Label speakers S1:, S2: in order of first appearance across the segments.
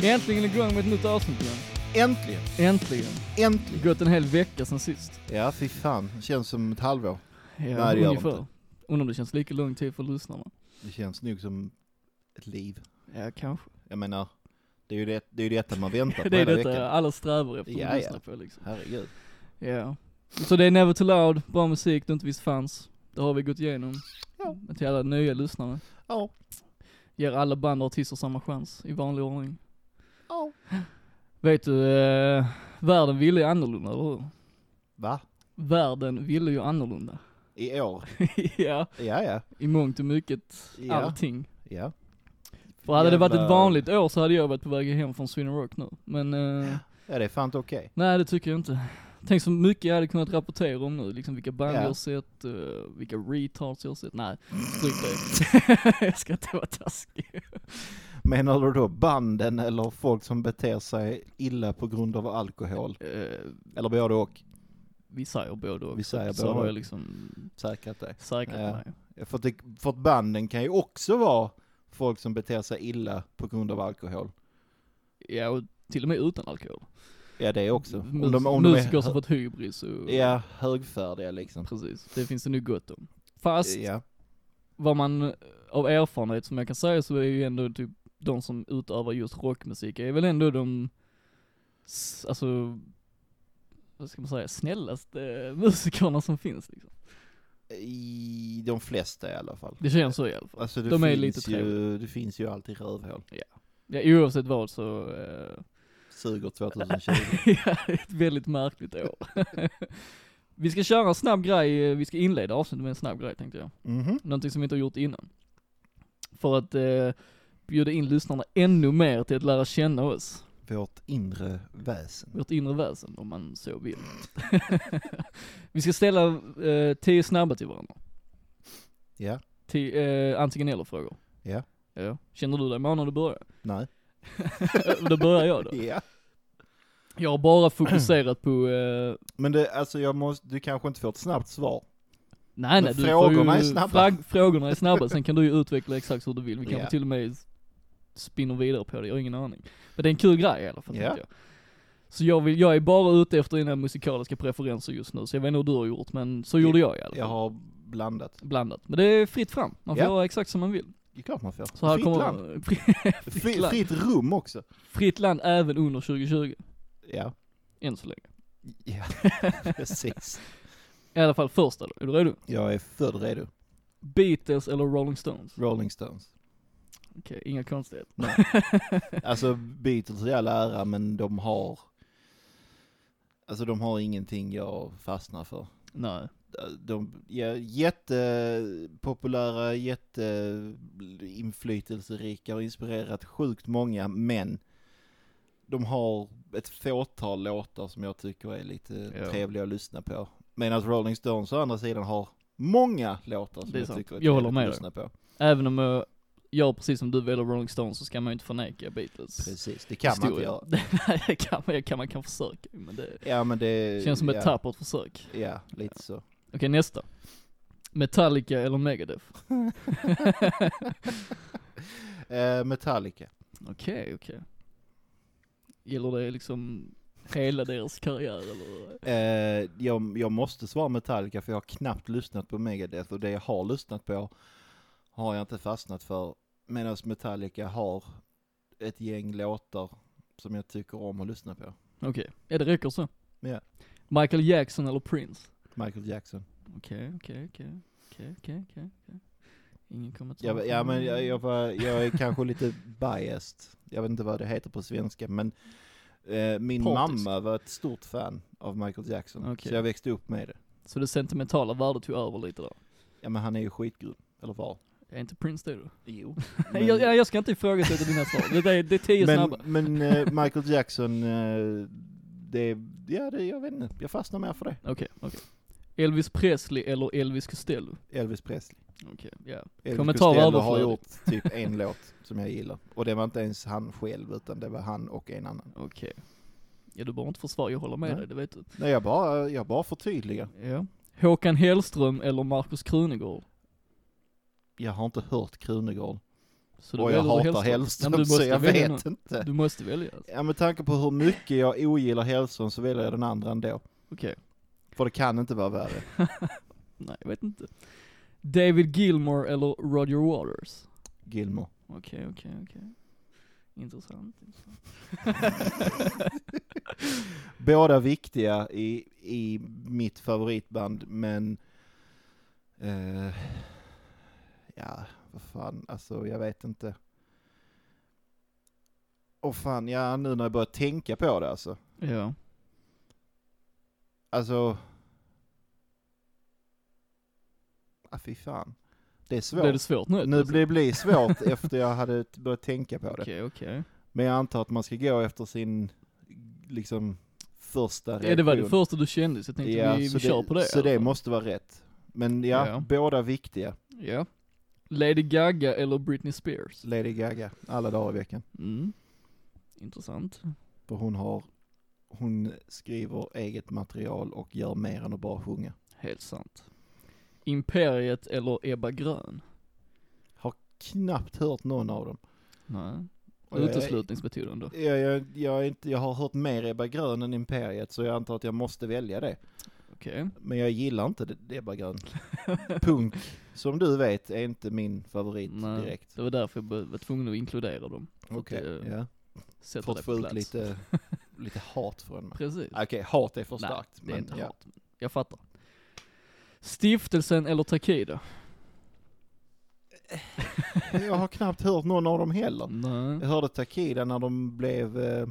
S1: Vi är äntligen igång med ett nytt avsnitt igen.
S2: Äntligen,
S1: Äntligen.
S2: äntligen.
S1: Det har gått en hel vecka sedan sist.
S2: Ja, fy fan. Det känns som ett halvår.
S1: Ja,
S2: Nej, det gör det inte.
S1: Undrar om det känns lika lång tid för lyssnarna.
S2: Det känns nog som ett liv.
S1: Ja, kanske.
S2: Jag menar, det är ju, det, det är ju detta man väntar på
S1: Det är
S2: hela
S1: detta
S2: veckan.
S1: alla strävar efter att
S2: Ja, ja.
S1: lyssna på liksom.
S2: Herregud.
S1: Ja. Så det är Never Too Loud, bra musik du inte visst fanns. Det har vi gått igenom.
S2: Ja.
S1: Men Till alla nya lyssnare.
S2: Ja,
S1: Ger alla band och artister samma chans i vanlig ordning.
S2: ja.
S1: Vet du, eh, världen ville ju annorlunda, eller hur?
S2: Va?
S1: Världen ville ju annorlunda.
S2: I år?
S1: ja,
S2: Ja, ja.
S1: i mångt och mycket
S2: Ja.
S1: allting.
S2: Ja.
S1: För hade det varit ett
S2: Jävla-
S1: vanligt år så hade jag varit på väg hem från Sweden Rock nu. Men eh,
S2: Ja, det är fan inte okej.
S1: nej det tycker jag inte. Tänk så mycket jag hade kunnat rapportera om nu, liksom vilka band
S2: Ja.
S1: jag har sett, eh, vilka retards jag har sett. Nej, stryk det. jag ska inte vara taskig.
S2: Menar du då banden eller folk som beter sig illa på grund av alkohol?
S1: Eh,
S2: Eller både och?
S1: vi säger både och.
S2: Vi säger
S1: så
S2: både
S1: har
S2: och.
S1: jag liksom
S2: Säkrat dig.
S1: säkrat
S2: Ja.
S1: mig.
S2: För att, det, för att banden kan ju också vara folk som beter sig illa på grund av alkohol.
S1: Ja, och till och med utan alkohol.
S2: Ja, det också.
S1: Mus- musiker som fått hybris och...
S2: Ja, högfärdiga liksom.
S1: Precis, det finns det nu gott om. Fast
S2: Ja,
S1: vad man eh, av erfarenhet som jag kan säga så är ju ändå typ de som utövar just rockmusik är väl ändå de, s- alltså, vad ska man säga, snällaste musikerna som finns liksom.
S2: i de flesta i alla fall.
S1: Det känns så i alla fall.
S2: Alltså det,
S1: De är
S2: finns,
S1: lite
S2: ju,
S1: trevliga.
S2: det finns ju alltid rövhål.
S1: Ja, oavsett vad så, eh,
S2: Suger 2020.
S1: ja, ett väldigt märkligt år. vi ska köra en snabb grej, eh, vi ska inleda avsnittet med en snabb grej tänkte jag.
S2: Mhm.
S1: Någonting som vi inte har gjort innan. För att eh, bjuda in lyssnarna ännu mer till att lära känna oss.
S2: Vårt inre väsen.
S1: vårt inre väsen om man så vill. vi ska ställa eh, tio snabba till varandra.
S2: Ja,
S1: Tio, eh, antingen eller frågor.
S2: Ja.
S1: ja. Känner du dig man när du börjar?
S2: nej.
S1: Eh, då börjar jag då.
S2: Ja.
S1: Jag har bara fokuserat på, eh,
S2: Men det, alltså jag måste, du kanske inte får ett snabbt svar.
S1: nej nej
S2: Men
S1: du
S2: frågorna
S1: får
S2: är
S1: ju,
S2: snabba.
S1: frågorna är snabba, sen kan du ju utveckla exakt hur du vill. Vi kanske
S2: Ja.
S1: till och med spinner vidare på det, jag har ingen aning. Men det är en kul grej i alla fall.
S2: Ja.
S1: tänkte Jag. Så jag, vill, jag är bara ute efter dina musikaliska preferenser just nu, så jag vet inte hur du har gjort, men så gjorde jag i alla fall.
S2: Jag har blandat.
S1: blandat. Men det är fritt fram, man får
S2: Ja.
S1: göra exakt som man vill.
S2: Det är klart man får.
S1: Så här
S2: fritt
S1: kommer
S2: land.
S1: fritt,
S2: Fri,
S1: land.
S2: fritt rum också.
S1: fritt land även under 2020,
S2: Ja.
S1: än så länge.
S2: Ja, precis.
S1: I alla fall första då, är du redo?
S2: Jag är född redo.
S1: Beatles eller Rolling Stones?
S2: Rolling Stones.
S1: Okej, inga konstigheter.
S2: Alltså Beatles i all ära, men de har, alltså de har ingenting jag fastnar för.
S1: Nej.
S2: De är jättepopulära, jätteinflytelserika och inspirerat sjukt många, men de har ett fåtal låtar som jag tycker är lite
S1: Ja.
S2: trevliga att lyssna på. Medan Rolling Stones å andra sidan har många låtar som
S1: Det är
S2: jag
S1: sant.
S2: tycker är
S1: Jag håller
S2: trevliga
S1: med
S2: att
S1: dig.
S2: lyssna på.
S1: Även om jag, jag precis som du väljer Rolling Stones så ska man ju inte förneka Beatles
S2: Precis, det kan man inte
S1: historia.
S2: göra.
S1: Nej, det kan man, det kan man kan försöka men det
S2: Ja men det...
S1: känns som ett
S2: Eh, ja,
S1: tappert försök.
S2: Ja, lite så.
S1: Okej, nästa. Metallica eller Megadeth?
S2: Eh, Metallica.
S1: Okej, okej. Gäller det liksom hela deras karriär eller?
S2: Eh, jag, jag måste svara Metallica för jag har knappt lyssnat på Megadeth och det jag har lyssnat på har jag inte fastnat för. Medan Metallica har ett gäng låtar som jag tycker om att lyssna på.
S1: Okej, ja det räcker så.
S2: Ja.
S1: Michael Jackson eller Prince?
S2: Michael Jackson.
S1: Okej, okej, okej, okej, okej, okej, okej. Ingen kommentar.
S2: Jag, ja men jag, jag, var, jag är kanske lite biased. Jag vet inte vad det heter på svenska men eh, min
S1: Partisk.
S2: mamma var ett stort fan av Michael Jackson.
S1: Okej.
S2: Så jag växte upp med det.
S1: Så det sentimentala värdet tog över lite där.
S2: Ja men han är ju skitgrym. Eller var.
S1: Är inte Prince det då?
S2: Jo.
S1: Nej, jag, jag- jag ska inte ifrågasätta dina svar. Det är, det är tio
S2: men,
S1: snabba.
S2: men eh, Michael Jackson, eh, det, ja det, jag vet inte, jag fastnar mer för det.
S1: Okej, okej. Elvis Presley eller Elvis Costello?
S2: Elvis Presley.
S1: Okej, ja.
S2: Elvis
S1: Kommentar
S2: Costello har
S1: överflödig.
S2: gjort typ en låt som jag gillar. Och det var inte ens han själv, utan det var han och en annan.
S1: Okej. Ja du behöver inte försvara, jag håller med
S2: Nej.
S1: dig, det vet du.
S2: Nej jag bara, jag bara förtydligar.
S1: Ja. Håkan Hellström eller Markus Krunegård?
S2: Jag har inte hört Krunegård.
S1: Så
S2: och jag
S1: väljer du
S2: hatar Hellström
S1: Nej, men du
S2: så
S1: måste
S2: jag
S1: välja
S2: vet
S1: någon.
S2: inte.
S1: Du måste välja. alltså.
S2: Ja med tanke på hur mycket jag ogillar Hellström så väljer jag den andra ändå.
S1: Okej.
S2: För det kan inte vara värre.
S1: Nej, jag vet inte. David Gilmore eller Roger Waters?
S2: Gilmore.
S1: Okej, okej, okej. Intressant. intressant.
S2: Båda viktiga i, i mitt favoritband men... Eh, ja, vad fan, alltså jag vet inte. Och fan, ja nu när jag börjar tänka på det alltså.
S1: Ja.
S2: Alltså... Ah, fy fan. Det är svårt.
S1: Blev det svårt nu?
S2: nu blir det blir svårt efter jag hade t- börjat tänka på det.
S1: Okej, okej.
S2: Men jag antar att man ska gå efter sin, liksom, första
S1: Ja, det var det första du kände, så jag tänkte vi,
S2: så
S1: vi kör på det. i
S2: Så
S1: alla
S2: det
S1: fall.
S2: måste vara rätt. Men ja,
S1: Ja.
S2: båda viktiga.
S1: Ja. Lady Gaga eller Britney Spears?
S2: Lady Gaga, alla dagar i veckan.
S1: Mm. Intressant.
S2: För hon har, hon skriver eget material och gör mer än att bara sjunga.
S1: Helt sant. Imperiet eller Ebba Grön?
S2: Har knappt hört någon av dem.
S1: Nej.
S2: Och jag är-
S1: Uteslutningsmetoden då.
S2: Jag, jag, jag, är inte, jag har hört mer Ebba Grön än Imperiet så jag antar att jag måste välja det.
S1: Okej.
S2: Men jag gillar inte det- det Ebba Grön. Punk, som du vet, är inte min favorit
S1: Nej.
S2: direkt.
S1: Det var därför jag be- var tvungen att inkludera dem. För att,
S2: Okej,
S1: eh,
S2: ja.
S1: Sätta
S2: För
S1: det
S2: att
S1: på
S2: få ut
S1: plats.
S2: lite, lite hat från mig.
S1: Precis.
S2: Okej, hat är för
S1: Nej,
S2: starkt.
S1: det är inte
S2: ja.
S1: hat. Jag fattar. Stiftelsen eller Takida?
S2: Jag har knappt hört någon av dem heller.
S1: Mm.
S2: Jag
S1: Nej.
S2: hörde Takida när de blev eh,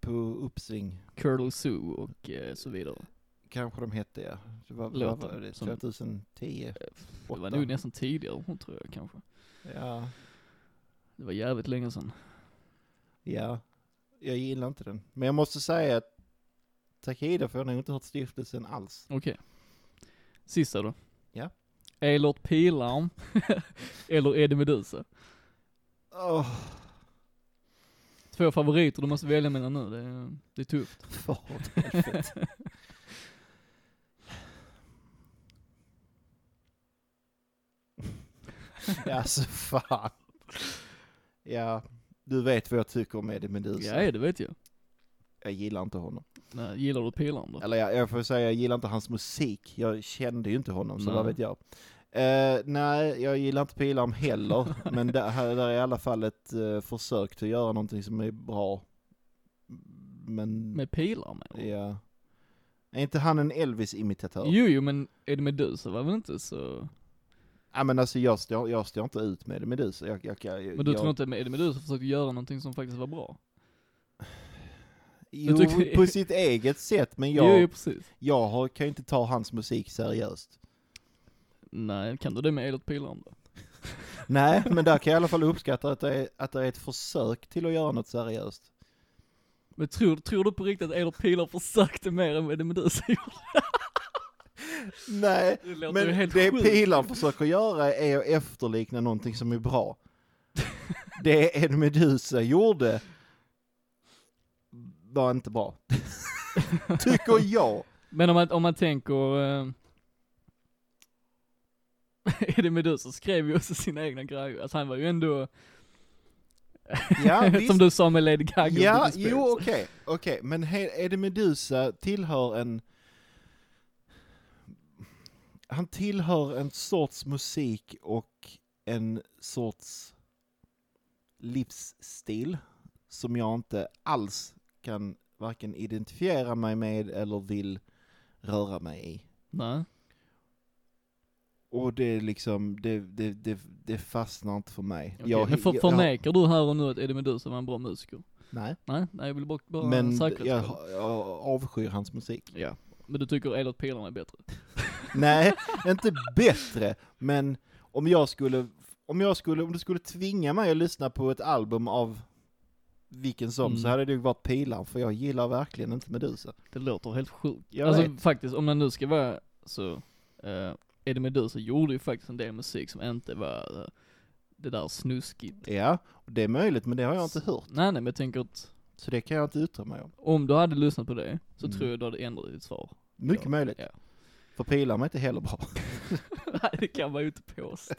S2: på uppsving.
S1: Curl Zoo och eh, så vidare.
S2: Kanske de hette ja. Det var, vad
S1: Låten
S2: var det,
S1: som- Eh,
S2: 2010?
S1: Det var
S2: Åtta.
S1: nog nästan tidigare hon tror jag kanske.
S2: Ja.
S1: Det var jävligt länge sedan.
S2: ja. Jag gillar inte den. Men jag måste säga att Takida för jag har nog inte hört stiftelsen alls.
S1: Okej. Sista då.
S2: Ja.
S1: Elert Pilarm eller Eddie Meduza.
S2: Åh,
S1: Två favoriter du måste välja mellan nu, det är, det är tufft.
S2: för helvete. ja, så Alltså, fan. Ja, du vet vad jag tycker om Eddie Meduza.
S1: Ja, det vet jag.
S2: Jag gillar inte honom.
S1: Nej, gillar du Pilarm då?
S2: Eller jag, jag får säga, jag gillar inte hans musik. Jag kände ju inte honom, så
S1: Nej.
S2: vad vet jag. Eh, nej, jag gillar inte Pilarm heller, men det här, där är i alla fall ett eh, försök till att göra någonting som är bra. Men,
S1: Med Pilarm eller?
S2: ja. Är inte han en Elvis-imitatör?
S1: Jo, jo, men Eddie Meduza var väl inte så...
S2: Ja men alltså jag står, jag står inte ut med det med du, så jag, jag, jag,
S1: Men du
S2: jag,
S1: tror inte att Eddie Meduza försökte göra någonting som faktiskt var bra?
S2: Jo,
S1: du tycker-
S2: på sitt eget sätt, men
S1: Jo, jo,
S2: jag,
S1: precis.
S2: jag har, kan ju inte ta hans musik seriöst.
S1: Nej, kan du det med Elert Pilarm då?
S2: Nej, men där kan jag i alla fall uppskatta att det är, att det är ett försök till att göra något seriöst.
S1: Men tror, tror du på riktigt att Elert Pilarm försökte mer än vad Eddie Meduza gjorde?
S2: Nej,
S1: Det låter ju
S2: men
S1: helt
S2: det
S1: sjukt.
S2: Pilar försöker göra är att efterlikna någonting som är bra. Det Ed Meduza gjorde var inte bra. Tycker jag.
S1: Men om man, om man tänker, eh, Eddie Meduza skrev ju också sina egna grejer, alltså han var ju ändå,
S2: Ja, visst.
S1: som du sa med Lady Gaga och
S2: Ja,
S1: Britney Spears.
S2: jo okej, okej, men he- Eddie Meduza tillhör en... Han tillhör en sorts musik och en sorts livsstil som jag inte alls kan varken identifiera mig med eller vill röra mig i.
S1: Nej,
S2: Och det är liksom, det, det, det, det fastnar inte för mig.
S1: okej.
S2: Jag-
S1: men för,
S2: jag-
S1: förnekar du här och nu att Eddie Meduza var en bra musiker?
S2: Nej,
S1: Nej, nej jag vill bara, bara
S2: men jag,
S1: säkerhetsskoll.
S2: jag avskyr hans musik.
S1: Ja. Men du tycker Elert Pilarm är bättre?
S2: Nej, inte bättre, men om jag skulle, om jag skulle, om du skulle tvinga mig att lyssna på ett album av vilken som,
S1: Mm.
S2: så hade det ju varit Pilar, för jag gillar verkligen inte Medusa.
S1: Det låter helt sjukt.
S2: Jag
S1: alltså
S2: vet.
S1: faktiskt, om man nu ska vara så, eh, Eddie Meduza gjorde ju faktiskt en del musik som inte var eh, det där snuskigt.
S2: Ja, det är möjligt, men det har jag inte hört,
S1: Nej nej men jag tänker att
S2: så det kan jag inte yttra mig om.
S1: om du hade lyssnat på det, så
S2: Mm.
S1: tror jag du hade ändrat ditt svar.
S2: Mycket
S1: Ja,
S2: möjligt,
S1: ja.
S2: för Pilar är inte heller bra.
S1: Nej det kan man ju inte påstå.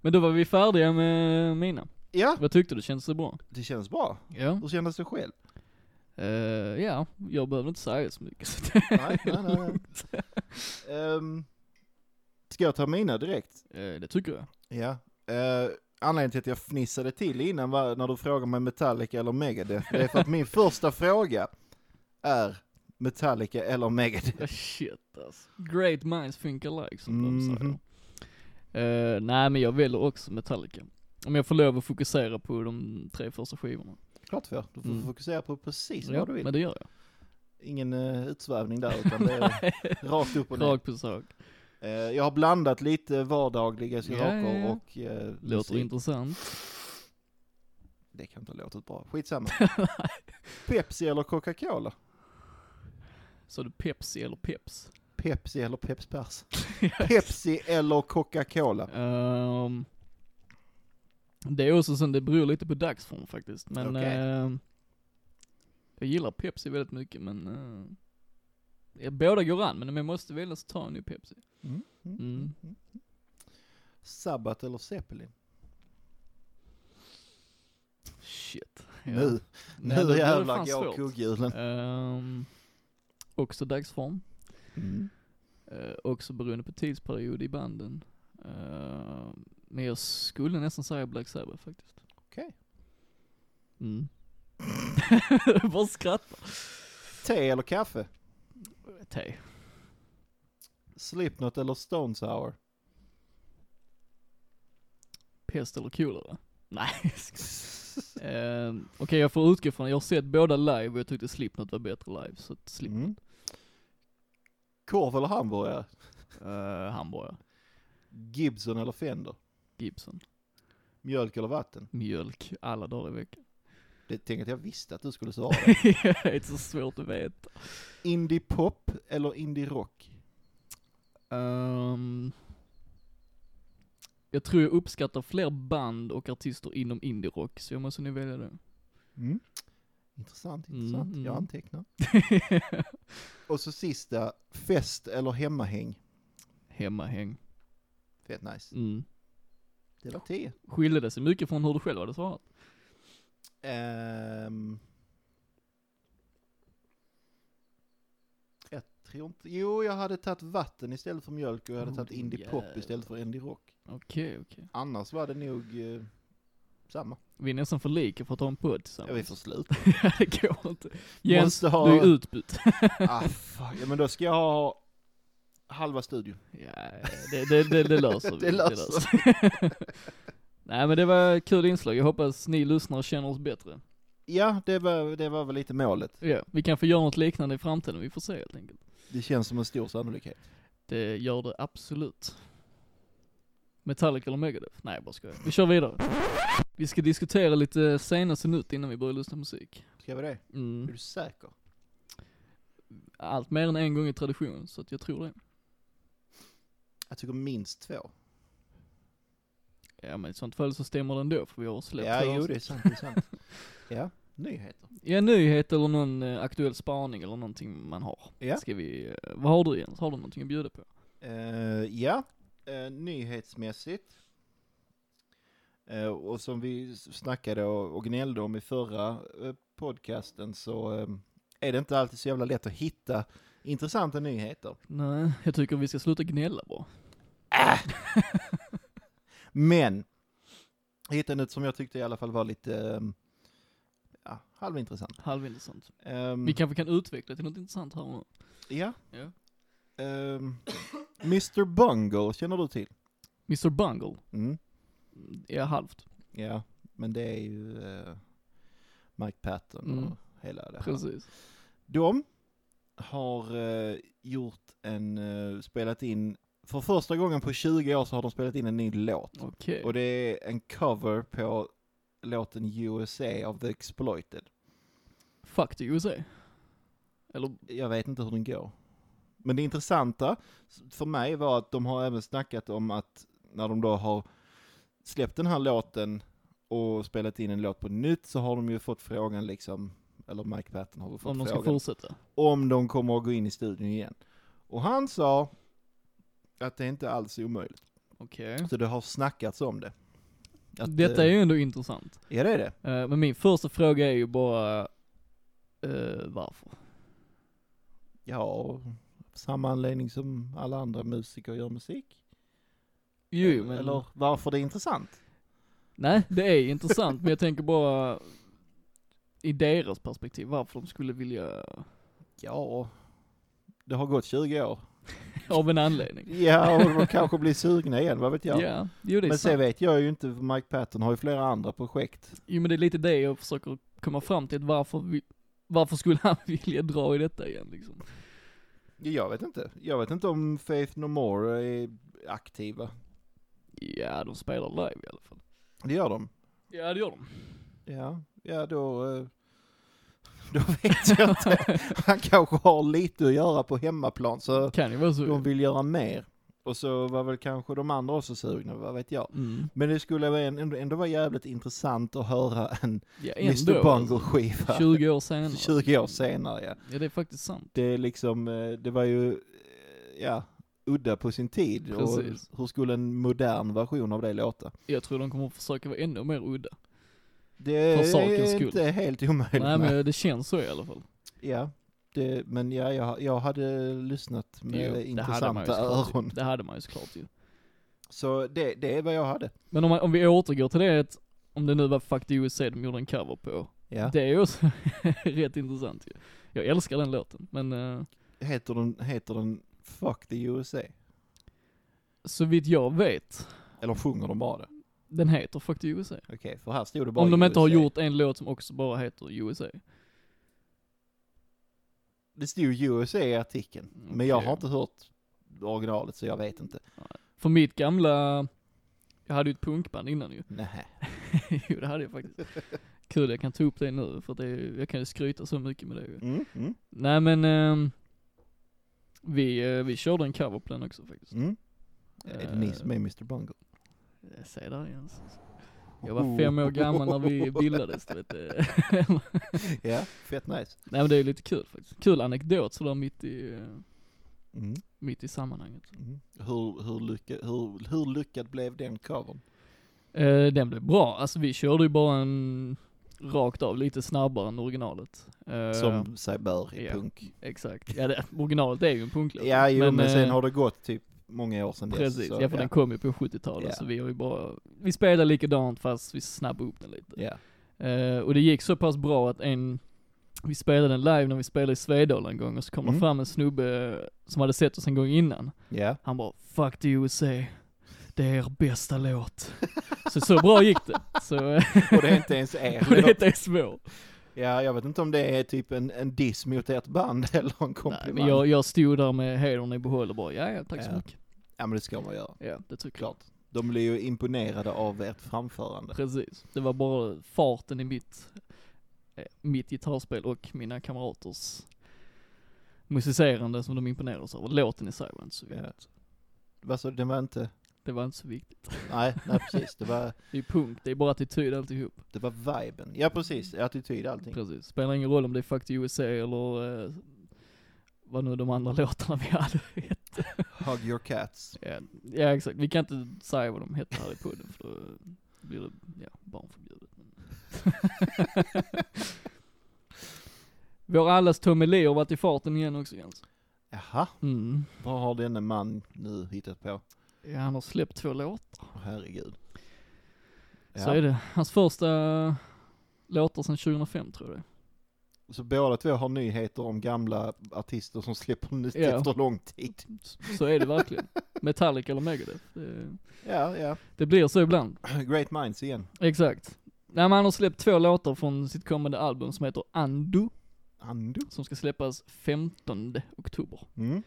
S1: Men då var vi färdiga med mina.
S2: Ja,
S1: Vad tyckte du? Kändes det bra?
S2: det känns bra.
S1: Ja.
S2: Hur kändes det själv?
S1: Eh, ja, jag behöver inte säga så mycket. så det-
S2: Nej, nej, nej. nej. Ehm, ska jag ta mina direkt?
S1: Eh, det tycker jag.
S2: Ja. Eh, anledningen till att jag fnissade till innan var när du frågade mig Metallica eller Megadeth. Det är för att min första fråga är Metallica eller Megadeth.
S1: Ah, Shit alltså. Great minds think alike som de
S2: Mhm.
S1: säger. Eh, nej men jag väljer också Metallica. Om jag får lov att fokusera på de tre första skivorna.
S2: Klart för. Du får
S1: Mm.
S2: fokusera på precis
S1: Ja,
S2: vad du vill.
S1: men det gör jag.
S2: Ingen eh, utsvävning där utan det är rakt upp och ner.
S1: Rakt på sak.
S2: Eh, jag har blandat lite vardagliga saker
S1: ja, ja.
S2: och eh,
S1: Låter
S2: musik.
S1: intressant.
S2: Det kan inte ha låtit bra. Skitsamma. Pepsi eller Coca-Cola?
S1: Så du Pepsi eller Peps?
S2: Pepsi eller Peps Pers? Pepsi eller Coca-Cola?
S1: Ehm, det är också som det beror lite på dagsform faktiskt. Men
S2: Okej.
S1: ehm, jag gillar Pepsi väldigt mycket men eh, ja, båda går an men om jag måste välja så tar jag nu Pepsi.
S2: Mm.
S1: Mm.
S2: mm. Sabbat eller Zeppelin?
S1: Shit.
S2: Nu, nu
S1: Nej, det- det är
S2: jävlar
S1: fan
S2: går
S1: svårt.
S2: kugghjulen.
S1: Ehm, också dagsform. Eh, också beroende på tidsperiod i banden. Ehm, men jag skulle nästan säga Black Sabbath faktiskt.
S2: Okej.
S1: Mm. Bara skratta.
S2: Te eller kaffe?
S1: Te.
S2: Slipknot eller Stone Sour?
S1: Pest eller kolera? Nej. um, Okej jag får utgå från, jag har sett båda live och jag tyckte Slipknot var bättre live. Så att Slip...
S2: Mm. Korv eller hamburgare?
S1: eh, hamburgare,
S2: Gibson eller Fender?
S1: Gibson,
S2: Mjölk eller vatten?
S1: mjölk, alla dagar i veckan.
S2: Det tänkte att jag visste att du skulle svara.
S1: det är inte så svårt att veta.
S2: indie pop eller indie rock?
S1: Ehm, jag tror jag uppskattar fler band och artister inom indie-rock, så jag måste nu välja det.
S2: Mm. Intressant,
S1: Mm,
S2: intressant. Jag
S1: mm.
S2: antecknar. Och så sista, fest eller hemmahäng?
S1: Hemmahäng.
S2: Fett nice.
S1: Mm.
S2: Det var tio.
S1: Skiljer det sig mycket från hur du själv hade svarat?
S2: Ehm. jag tror inte, jo jag hade tagit vatten istället för mjölk och jag hade
S1: Oh,
S2: tagit
S1: din
S2: indie pop
S1: jävel.
S2: istället för indie rock.
S1: Okej, okej.
S2: Annars var det nog eh, samma.
S1: Vi är nästan för lika för att ha en podd
S2: Ja, vi får
S1: tillsammans.
S2: sluta.
S1: Ja, det går inte. Jens,
S2: Måste ha,
S1: du är utbytt.
S2: ah, fuck. Ja, men då ska jag ha halva studion.
S1: Ja, det, det, det, det löser vi.
S2: Det löser
S1: vi. Nej men det var kul inslag, jag hoppas ni lyssnare känner oss bättre.
S2: Ja, det var, det var väl lite målet.
S1: Ja, vi kanske gör något liknande i framtiden, vi får se helt enkelt.
S2: Det känns som en stor sannolikhet.
S1: Det gör det absolut. Metallica eller Megadeth? Nej jag bara skojar. Vi kör vidare. Vi ska diskutera lite senaste nytt innan vi börjar lyssna på musik.
S2: Ska vi det? Är
S1: Mm.
S2: du säker?
S1: Allt mer än en gång i tradition, så att jag tror det.
S2: Jag tycker minst två.
S1: Ja men i sånt fall så stämmer det ändå, för vi har släppt
S2: Ja,
S1: två
S2: jo
S1: avsnitt.
S2: det är sant, det är sant. ja, nyheter.
S1: Ja, nyhet eller någon eh, aktuell spaning eller någonting man har.
S2: Ja.
S1: Ska vi, eh, vad har du Jens? Har du någonting att bjuda på?
S2: Eh, ja, Eh, nyhetsmässigt. Eh, och som vi s- snackade och, och gnällde om i förra eh, podcasten så eh, är det inte alltid så jävla lätt att hitta intressanta nyheter.
S1: Nej, jag tycker vi ska sluta gnälla bara.
S2: Men jag hittade något som jag tyckte i alla fall var lite eh, ja, halvintressant.
S1: Halvintressant.
S2: Ehm,
S1: Vi kanske kan utveckla till något intressant här nu.
S2: ja.
S1: Ja.
S2: Ehm, Mr Bungle känner du till?
S1: Mr Bungle,
S2: Mm.
S1: Mm, ja halvt.
S2: Ja, men det är ju eh, Mike Patton
S1: Mm.
S2: och hela det här.
S1: Precis.
S2: De har eh, gjort en, eh, spelat in, för första gången på 20 år så har de spelat in en ny låt.
S1: Okej.
S2: Och det är en cover på låten USA av The Exploited.
S1: Fuck the USA. Eller,
S2: Jag vet inte hur den går. Men det intressanta s- för mig var att de har även snackat om att när de då har släppt den här låten och spelat in en låt på nytt så har de ju fått frågan liksom, eller Mike Patton har väl fått
S1: om de ska
S2: frågan
S1: fortsätta.
S2: om de kommer att gå in i studion igen. Och han sa att det inte alls är omöjligt.
S1: Okej.
S2: Så det har snackats om det. Att,
S1: Detta är
S2: eh,
S1: ju ändå intressant.
S2: Ja det är det.
S1: Eh, men min första fråga är ju bara, eh, varför?
S2: Ja, samma anledning som alla andra musiker gör musik.
S1: Jo, men...
S2: Eller varför det är intressant.
S1: Nej, det är intressant, men jag tänker bara i deras perspektiv, varför de skulle vilja,
S2: Ja, det har gått 20 år.
S1: av en anledning.
S2: Ja, och de kanske blir sugna igen, vad vet jag.
S1: Ja, jo det är
S2: Men sen
S1: sant.
S2: vet jag ju inte, för Mike Patton har ju flera andra projekt.
S1: Jo men det är lite det jag försöker komma fram till, att varför, vi, varför skulle han vilja dra i detta igen liksom?
S2: Jag vet inte. Jag vet inte om Faith No More är aktiva.
S1: Ja, de spelar live i alla fall.
S2: Det gör de.
S1: Ja, det gör de.
S2: Ja, ja då... eh, Då vet jag inte. Han kanske har lite att göra på hemmaplan, så
S1: Kan ju vara så.
S2: de vill göra mer. Och så var väl kanske de andra också sugna, vad vet jag.
S1: Mm.
S2: Men det skulle vara en- ändå, ändå vara jävligt intressant att höra en
S1: Ja,
S2: Mr.
S1: ändå. alltså.
S2: Bungle-skiva
S1: 20 år senare.
S2: 20 år senare. Ja.
S1: Ja, det är faktiskt sant.
S2: det är liksom, eh, det var ju, eh, ja, udda på sin tid.
S1: Precis.
S2: Och hur skulle en modern version av det låta?
S1: Jag tror de kommer försöka vara ännu mer udda.
S2: Det
S1: För sakens
S2: är
S1: skull.
S2: inte helt omöjligt.
S1: Nej
S2: Nej,
S1: men det känns så i alla fall.
S2: Ja, det, men ja, jag, jag hade lyssnat med
S1: Jo,
S2: intressanta
S1: såklart
S2: öron.
S1: Ju. Det hade man ju såklart ju.
S2: Så det, det är vad jag hade.
S1: Men om, man, om vi återgår till det, att om det nu var Fuck the USA de gjorde en cover på.
S2: Ja.
S1: Det är ju också rätt intressant ju. Jag älskar den låten, men eh,
S2: Heter, den, heter den Fuck the USA?
S1: så vitt jag vet,
S2: Eller sjunger de bara det?
S1: den heter Fuck the USA.
S2: Okej, för här stod det bara
S1: Om de inte har
S2: USA.
S1: gjort en låt som också bara heter USA.
S2: Det stod USA i artikeln. Men jag
S1: Okej.
S2: har inte hört originalet så jag vet inte.
S1: För mitt gamla, jag hade ju ett punkband innan ju.
S2: Nej.
S1: jo det hade jag faktiskt. Kul jag kan ta upp det nu, för att det, är- jag kan ju skryta så mycket med det ju.
S2: Mm, mm,
S1: Nej men, ehm, vi, eh, vi körde en cover på den också faktiskt.
S2: mm. Är det ni
S1: Eh,
S2: som är Mr. Bungle?
S1: Jag säger där igen. Jag var fem år gammal när vi bildades, du vet det.
S2: Ja, fett nice.
S1: Nej men det är lite kul faktiskt. Kul anekdot sådär mitt i, eh,
S2: Mm.
S1: mitt i sammanhanget.
S2: Mm. Hur, hur, lycka, hur, hur lyckad blev den covern?
S1: Eh, den blev bra, alltså vi körde ju bara en rakt av, lite snabbare än originalet. Eh,
S2: Som sig bör i
S1: ja.
S2: punk.
S1: Exakt, ja det, originalet är ju en punklåt.
S2: Ja, jo, men, sen
S1: eh,
S2: har det gått typ många år sedan
S1: Precis,
S2: dess. så
S1: ja för den kom ju på 70-talet
S2: Ja.
S1: så vi har ju bara, vi spelar likadant fast vi snabbar upp den lite.
S2: Ja.
S1: Eh, och det gick så pass bra att en, vi spelade den live när vi spelade i Svedala en gång och så kom
S2: Mm.
S1: det fram en snubbe som hade sett oss en gång innan.
S2: ja.
S1: Han bara 'Fuck the USA, det är er bästa låt' Så så bra gick det. Så, eh,
S2: Och det är inte ens er.
S1: och det är inte svårt.
S2: Ja, jag vet inte om det är typ en, en diss mot ert band eller en
S1: Nej,
S2: komplimang.
S1: men jag, jag stod där med hedern i behåll och bara 'Ja, ja tack så
S2: Ja.
S1: mycket'
S2: Ja, men det ska man göra.
S1: Ja, det tycker
S2: Klart. De blir ju imponerade av ert framförande.
S1: jag. Precis. Det var bara farten i mitt, eh, mitt gitarrspel och mina kamraters musicerande som de imponerades av. Och Låten i sig var inte så viktig.
S2: Ja. Vad sa du? Den var inte...
S1: Det var inte så viktigt.
S2: Nej, nej precis. Det var,
S1: Det är punk, det är bara attityd alltihop.
S2: det var viben. Ja, precis. Attityd, allting.
S1: Precis. Spelar ingen roll om det är Fuck the USA eller eh, vad nu de andra låtarna vi hade hette.
S2: Hug your cats.
S1: Ja, Eh, ja exakt, vi kan inte säga vad de hette här i podden för då blir det ja, barnförbjudet. Vår allas Tommy Lee har varit i farten igen också Jens.
S2: Jaha,
S1: Mm.
S2: vad har denne man nu hittat på?
S1: Ja, han har släppt två låtar,
S2: Åh, Herregud. Ja.
S1: så är det. Hans första låtar sedan 2005 tror jag det är.
S2: Så båda två har nyheter om gamla artister som släpper nytt
S1: Ja.
S2: efter lång tid.
S1: Så- Så är det verkligen. Metallica eller Megadeth. Det,
S2: Ja, ja.
S1: det blir så ibland.
S2: Great minds igen.
S1: Exakt. Nej men han har släppt två låtar från sitt kommande album som heter Ando,
S2: Ando.
S1: som ska släppas 15 oktober.
S2: Mm.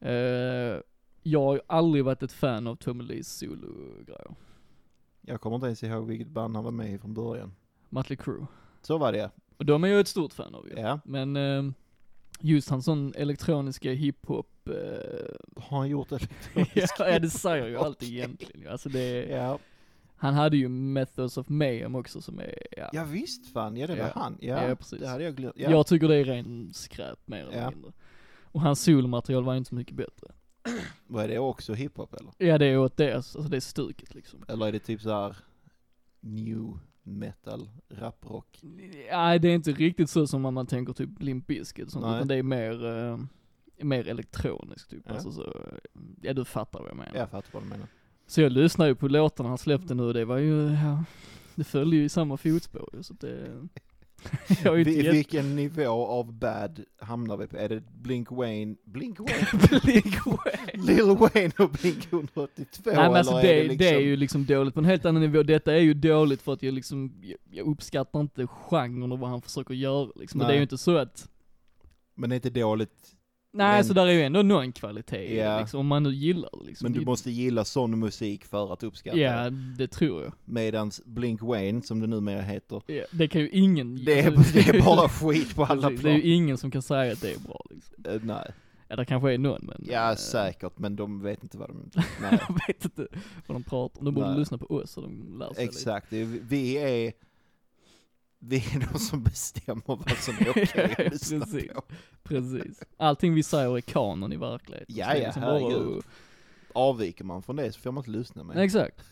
S1: Eh, jag har ju aldrig varit ett fan av Tommy Lees solo-grejer.
S2: Jag kommer inte ens ihåg vilket band han var med i från början.
S1: Mötley Crüe.
S2: Så var det,
S1: Och de är jag ett stort fan av ju.
S2: ja.
S1: Men eh, just hans sån elektroniska hiphop, eh,
S2: Har han gjort det?
S1: ja det säger ju alltid
S2: Okej.
S1: egentligen ju. Alltså det,
S2: Ja.
S1: han hade ju Methods of Mayhem också som är, ja.
S2: ja, visst fan. Ja, det var
S1: Ja.
S2: han. Ja,
S1: Ja, precis.
S2: det hade jag glömt. Ja.
S1: Jag tycker det är ren skräp mer eller
S2: Ja.
S1: mindre. Och hans solomaterial var inte så mycket bättre.
S2: Vad är det också hiphop eller?
S1: Ja det är åt det, alltså det är stuket liksom.
S2: Eller är det typ så här new metal, raprock?
S1: Nej det är inte riktigt så som man, man tänker typ Limp Bizkit, sånt,
S2: Nej.
S1: utan det är mer, eh, mer elektroniskt typ.
S2: Ja.
S1: Alltså så, eh, ja du fattar vad jag menar.
S2: Jag fattar vad du menar.
S1: Så jag lyssnade ju på låtarna han släppte nu, det var ju, ja, det följde ju i samma fotspår ju, så att det... jag är ju
S2: Vi,
S1: inte jätte...
S2: vilken nivå av bad hamnar vi på? Är det Blink Wayne, Blink Wayne?
S1: Blink Wayne.
S2: Lil Wayne och Blink 182
S1: Nej men
S2: eller
S1: alltså
S2: är
S1: det,
S2: det,
S1: det,
S2: liksom...
S1: är ju liksom dåligt på en helt annan nivå, detta är ju dåligt för att jag liksom, jag, jag uppskattar inte genren och vad han försöker göra liksom, men det är
S2: Nej.
S1: ju inte så att
S2: Men det är inte dåligt.
S1: Nej,
S2: Men-
S1: så där är ju ändå någon kvalitet i det,
S2: Ja.
S1: liksom, om man nu gillar det, liksom.
S2: Men du
S1: Det-
S2: måste gilla sån musik för att uppskatta
S1: Ja,
S2: det.
S1: det tror jag.
S2: Medans Blink Wayne, som det numera heter,
S1: Ja, det kan ju ingen...
S2: det är,
S1: alltså,
S2: det är bara skit på alla
S1: Precis, Det är
S2: plan.
S1: ju ingen som kan säga att det är bra liksom.
S2: Eh, Nej.
S1: Ja, det kanske är någon men...
S2: Ja,
S1: eh,
S2: säkert, men de vet inte vad de... Nej.
S1: Jag vet inte vad de pratar om. De borde
S2: Nej.
S1: lyssna på oss så de lär sig lite.
S2: Exakt, det är- vi är... Vi är de som bestämmer vad som är okej
S1: Ja,
S2: att lyssna
S1: precis.
S2: på.
S1: Precis. Allting vi säger är kanon i verkligheten.
S2: Ja,
S1: Så det är liksom
S2: ja,
S1: bara-
S2: herregud. Avviker man från det så får man inte lyssna mer.
S1: Exakt.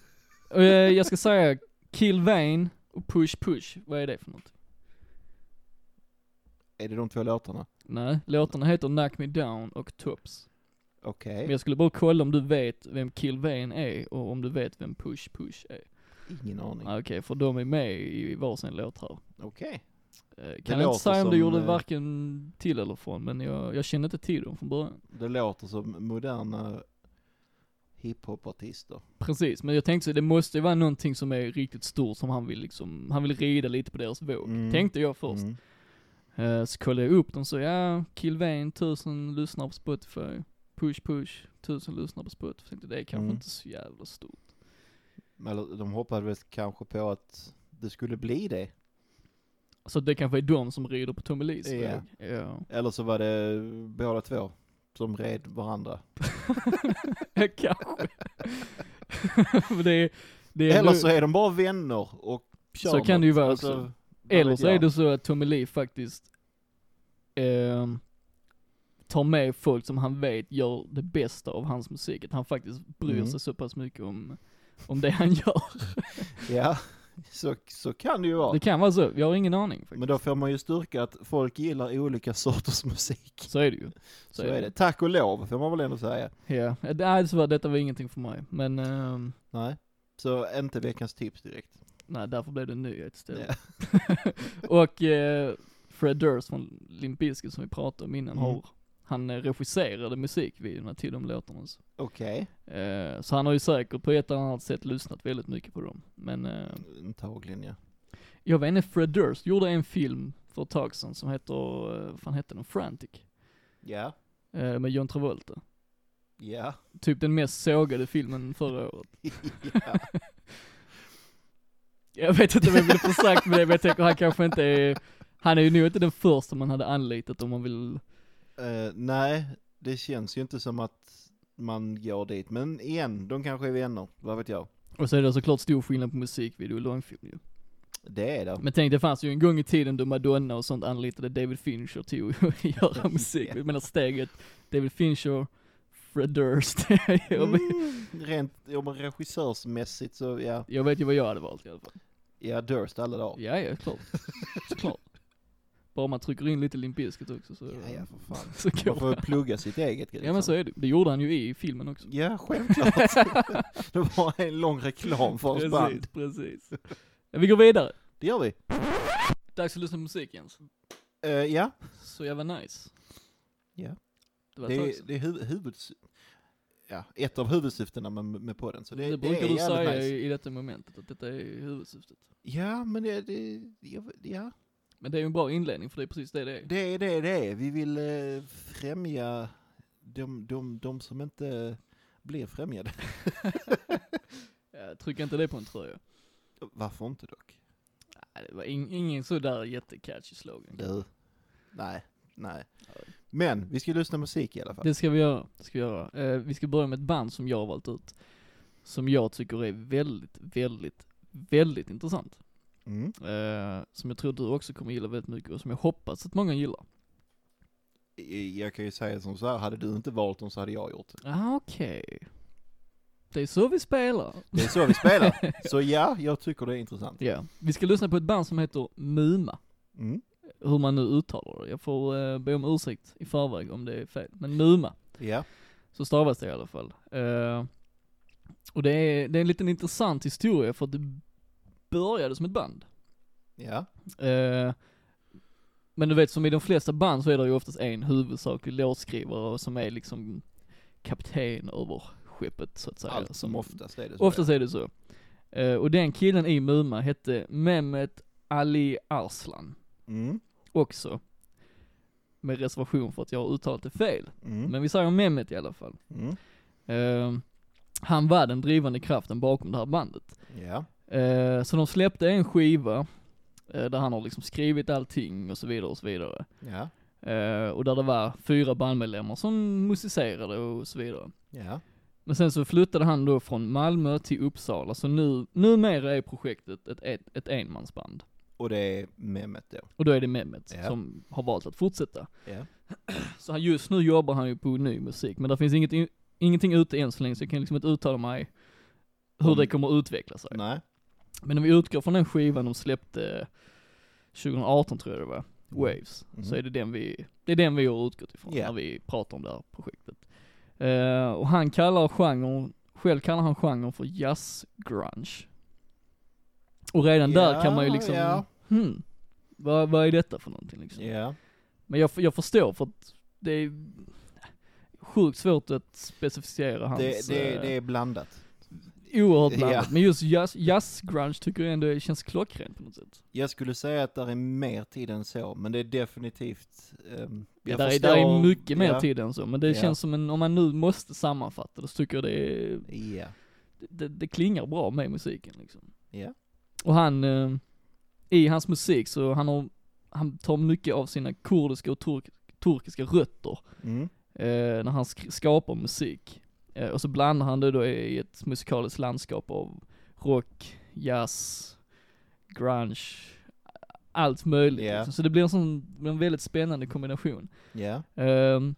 S1: Och, eh, jag ska säga Kill Vane och Push Push. Vad är det för något?
S2: Är det de två låtarna?
S1: Nej, låtarna heter Knock Me Down och Tops.
S2: Okej,
S1: Men jag skulle bara kolla om du vet vem Kill Vane är och om du vet vem Push Push är.
S2: ingen aning.
S1: Ah, Okej, för de är med i varsin låt här.
S2: Okej.
S1: Eh, Kan jag
S2: låter
S1: inte säga om du
S2: som,
S1: gjorde
S2: eh,
S1: varken till eller från, men jag, jag kände inte till dem från början.
S2: Det låter som moderna hiphopartister.
S1: Precis, men jag tänkte så det måste ju vara någonting som är riktigt stort som han vill liksom, han vill rida lite på deras våg.
S2: Mm.
S1: Tänkte jag först.
S2: Mm.
S1: Eh, så kollade jag upp dem så, ja, Kilvain, 1000 lyssnare på Spotify. Push push, 1000 lyssnare på Spotify. Tänkte det är kanske
S2: Mm.
S1: inte så jävla stort.
S2: Eller de hoppades väl kanske på att det skulle bli det.
S1: Så det kanske är de som rider på Tommelis
S2: Ja.
S1: våg. Ja.
S2: Eller så var det båda två som red varandra.
S1: Ja, kanske. Men det är, det är
S2: Eller
S1: ändå-
S2: så är de bara vänner och kör
S1: Så kan det ju
S2: något.
S1: vara
S2: Alltså,
S1: också.
S2: vad
S1: Eller
S2: vet
S1: så är
S2: jag?
S1: det så att Tommy Lee faktiskt ehm, tar med folk som han vet gör det bästa av hans musik. Att han faktiskt bryr
S2: Mm.
S1: sig så pass mycket om, om det han gör.
S2: Ja, så, så kan det ju vara.
S1: Det kan vara så, jag har ingen aning faktiskt.
S2: Men då får man ju styrka att folk gillar olika sorters musik.
S1: Så är det ju.
S2: Så, är det. Tack och lov, får man väl ändå säga.
S1: Ja, Eh, nej så var detta var ingenting för mig. Men ehm,
S2: Nej. Så inte veckans tips direkt.
S1: nej, därför blev det en nyhet istället.
S2: Ja.
S1: Och eh, Fred Durst från Limp Bizkit som vi pratade om innan
S2: Mm.
S1: har, han eh, regisserade musikvideorna till de låtarna. Så.
S2: Okej,
S1: Eh, Så han har ju säkert på ett eller annat sätt lyssnat väldigt mycket på dem. Men eh,
S2: antagligen ja.
S1: jag vet inte, Fred Durst gjorde en film för ett tag sedan som heter, eh, vad fan hette den, Frantic?
S2: Ja,
S1: Eh, Med John Travolta.
S2: ja,
S1: Typ den mest sågade filmen förra året.
S2: ja.
S1: Jag vet inte vad jag vill få sagt med det, men jag tänker han kanske inte är, han är ju nog inte den första man hade anlitat om man vill,
S2: Eh, nej, det känns ju inte som att man går dit. Men igen, de kanske är vänner, vad vet jag.
S1: och så är det såklart stor skillnad på musikvideo och långfilm ju.
S2: Det är det.
S1: Men tänk det fanns ju en gång i tiden då Madonna och sånt anlitade David Fincher till att göra musik. Jag menar steget, David Fincher, Fred Durst. jag, vet,
S2: Mm, rent om regissörsmässigt så ja,
S1: jag vet ju vad jag hade valt i alla fall.
S2: ja Durst alla dagar.
S1: Ja, ja, klart. Såklart. Bara man trycker in lite Limp Bizkit också så,
S2: Ja, ja, för fan.
S1: så
S2: Man
S1: går
S2: får
S1: det.
S2: plugga sitt eget. liksom.
S1: Ja men så är det Det gjorde han ju i filmen också.
S2: Ja, självklart. det var en lång reklam för oss band.
S1: Precis, precis. Ja, vi går vidare.
S2: Det gör vi.
S1: Dags att lyssna på musik Jens.
S2: Eh, ja,
S1: Så jävla nice.
S2: Ja.
S1: Det var
S2: det
S1: ett tag
S2: är,
S1: sedan.
S2: det är hu- huvuds... Ja, ett av huvudsyftena med, med podden. Så det,
S1: Det
S2: det
S1: brukar
S2: är
S1: du
S2: jävligt
S1: säga
S2: nice.
S1: i, i detta momentet, att detta är huvudsyftet.
S2: Ja, men det, det, jag vet- ja,
S1: Men det är ju en bra inledning för det är precis det det är.
S2: det är det det är. Vi vill eh, främja de, de, de som inte blir främjade.
S1: Ja, Eh, Tryck inte det på en tröja.
S2: Varför inte dock?
S1: Nej, det var in, ingen sådär jättecatchy slogan.
S2: Du. Nej, nej. Men vi ska lyssna på musik i alla fall.
S1: Det ska vi göra, det ska vi göra. Eh, vi ska börja med ett band som jag har valt ut. Som jag tycker är väldigt, väldigt, väldigt intressant.
S2: Mm.
S1: Eh, som jag tror du också kommer gilla väldigt mycket och som jag hoppas att många gillar.
S2: i- jag kan ju säga som så här, hade du inte valt dem så hade jag gjort det.
S1: Ah, okej. Det är så vi spelar.
S2: Det är så vi spelar. Så ja, jag tycker det är intressant.
S1: Ja. Vi ska lyssna på ett band som heter Muma.
S2: Mm.
S1: Hur man nu uttalar det. Jag får eh, be om ursäkt i förväg om det är fel. Men Muma,
S2: Ja,
S1: så stavas det i alla fall. Eh, och det är, det är en liten intressant historia för att det började som ett band.
S2: ja,
S1: Eh, men du vet som i de flesta band så är det ju oftast en huvudsaklig låtskrivare som är liksom kapten över skeppet så att säga.
S2: allt som
S1: Som-
S2: oftast är det så.
S1: Oftast är det så. Eh, och den killen i Muma hette Mehmet Ali Arslan
S2: Mm.
S1: också. Med reservation för att jag har uttalat det fel.
S2: Mm.
S1: Men vi säger Mehmet i alla fall.
S2: Mm.
S1: Eh, han var den drivande kraften bakom det här bandet.
S2: Ja,
S1: Eh, så de släppte en skiva eh, där han har liksom skrivit allting och så vidare och så vidare.
S2: ja,
S1: Eh, och där det var fyra bandmedlemmar som musicerade och så vidare.
S2: ja,
S1: Men sen så flyttade han då från Malmö till Uppsala, så nu, numera är projektet ett, ett, ett enmansband.
S2: och det är Mehmet då.
S1: Och då är det Mehmet
S2: Ja.
S1: som har valt att fortsätta.
S2: Ja.
S1: Så han, just nu jobbar han ju på ny musik, men det finns inget, in- ingenting ute än så länge, så jag kan liksom inte uttala mig hur
S2: Om-
S1: det kommer att utveckla sig.
S2: Nej.
S1: Men om vi utgår från den skivan de släppte 2018 tror jag det var, Waves,
S2: Mm.
S1: så är det den vi, det är den vi har utgått ifrån
S2: Ja.
S1: när vi pratar om det här projektet. Eh, och han kallar genren, själv kallar han genren för jazz grunge. Och redan där kan man ju
S2: Ja,
S1: liksom,
S2: ja.
S1: hmm, vad, vad är detta för någonting liksom?
S2: Ja,
S1: Men jag, jag förstår för att det är sjukt svårt att specificera hans,
S2: det, det,
S1: eh,
S2: det är blandat.
S1: oerhört blandat.
S2: Ja.
S1: Men just jazz, jazz grunge tycker jag ändå känns klockrent på något sätt.
S2: Jag skulle säga att där är mer tid än så, men det är definitivt... ehm,
S1: Ja,
S2: jag
S1: där, är,
S2: förstår-
S1: där är mycket mer
S2: ja,
S1: tid än så, men det
S2: Ja.
S1: känns som en, om man nu måste sammanfatta det så tycker jag det, är,
S2: Ja,
S1: det, det klingar bra med musiken liksom.
S2: Ja.
S1: Och han, eh, i hans musik så han har, han tar mycket av sina kurdiska och turk, turkiska rötter
S2: mm,
S1: eh, när han sk- skapar musik. Eh, och så blandar han det då i ett musikaliskt landskap av rock, jazz, grunge, allt möjligt.
S2: Ja.
S1: Liksom. Så det blir en sån, en väldigt spännande kombination.
S2: ja,
S1: Ehm,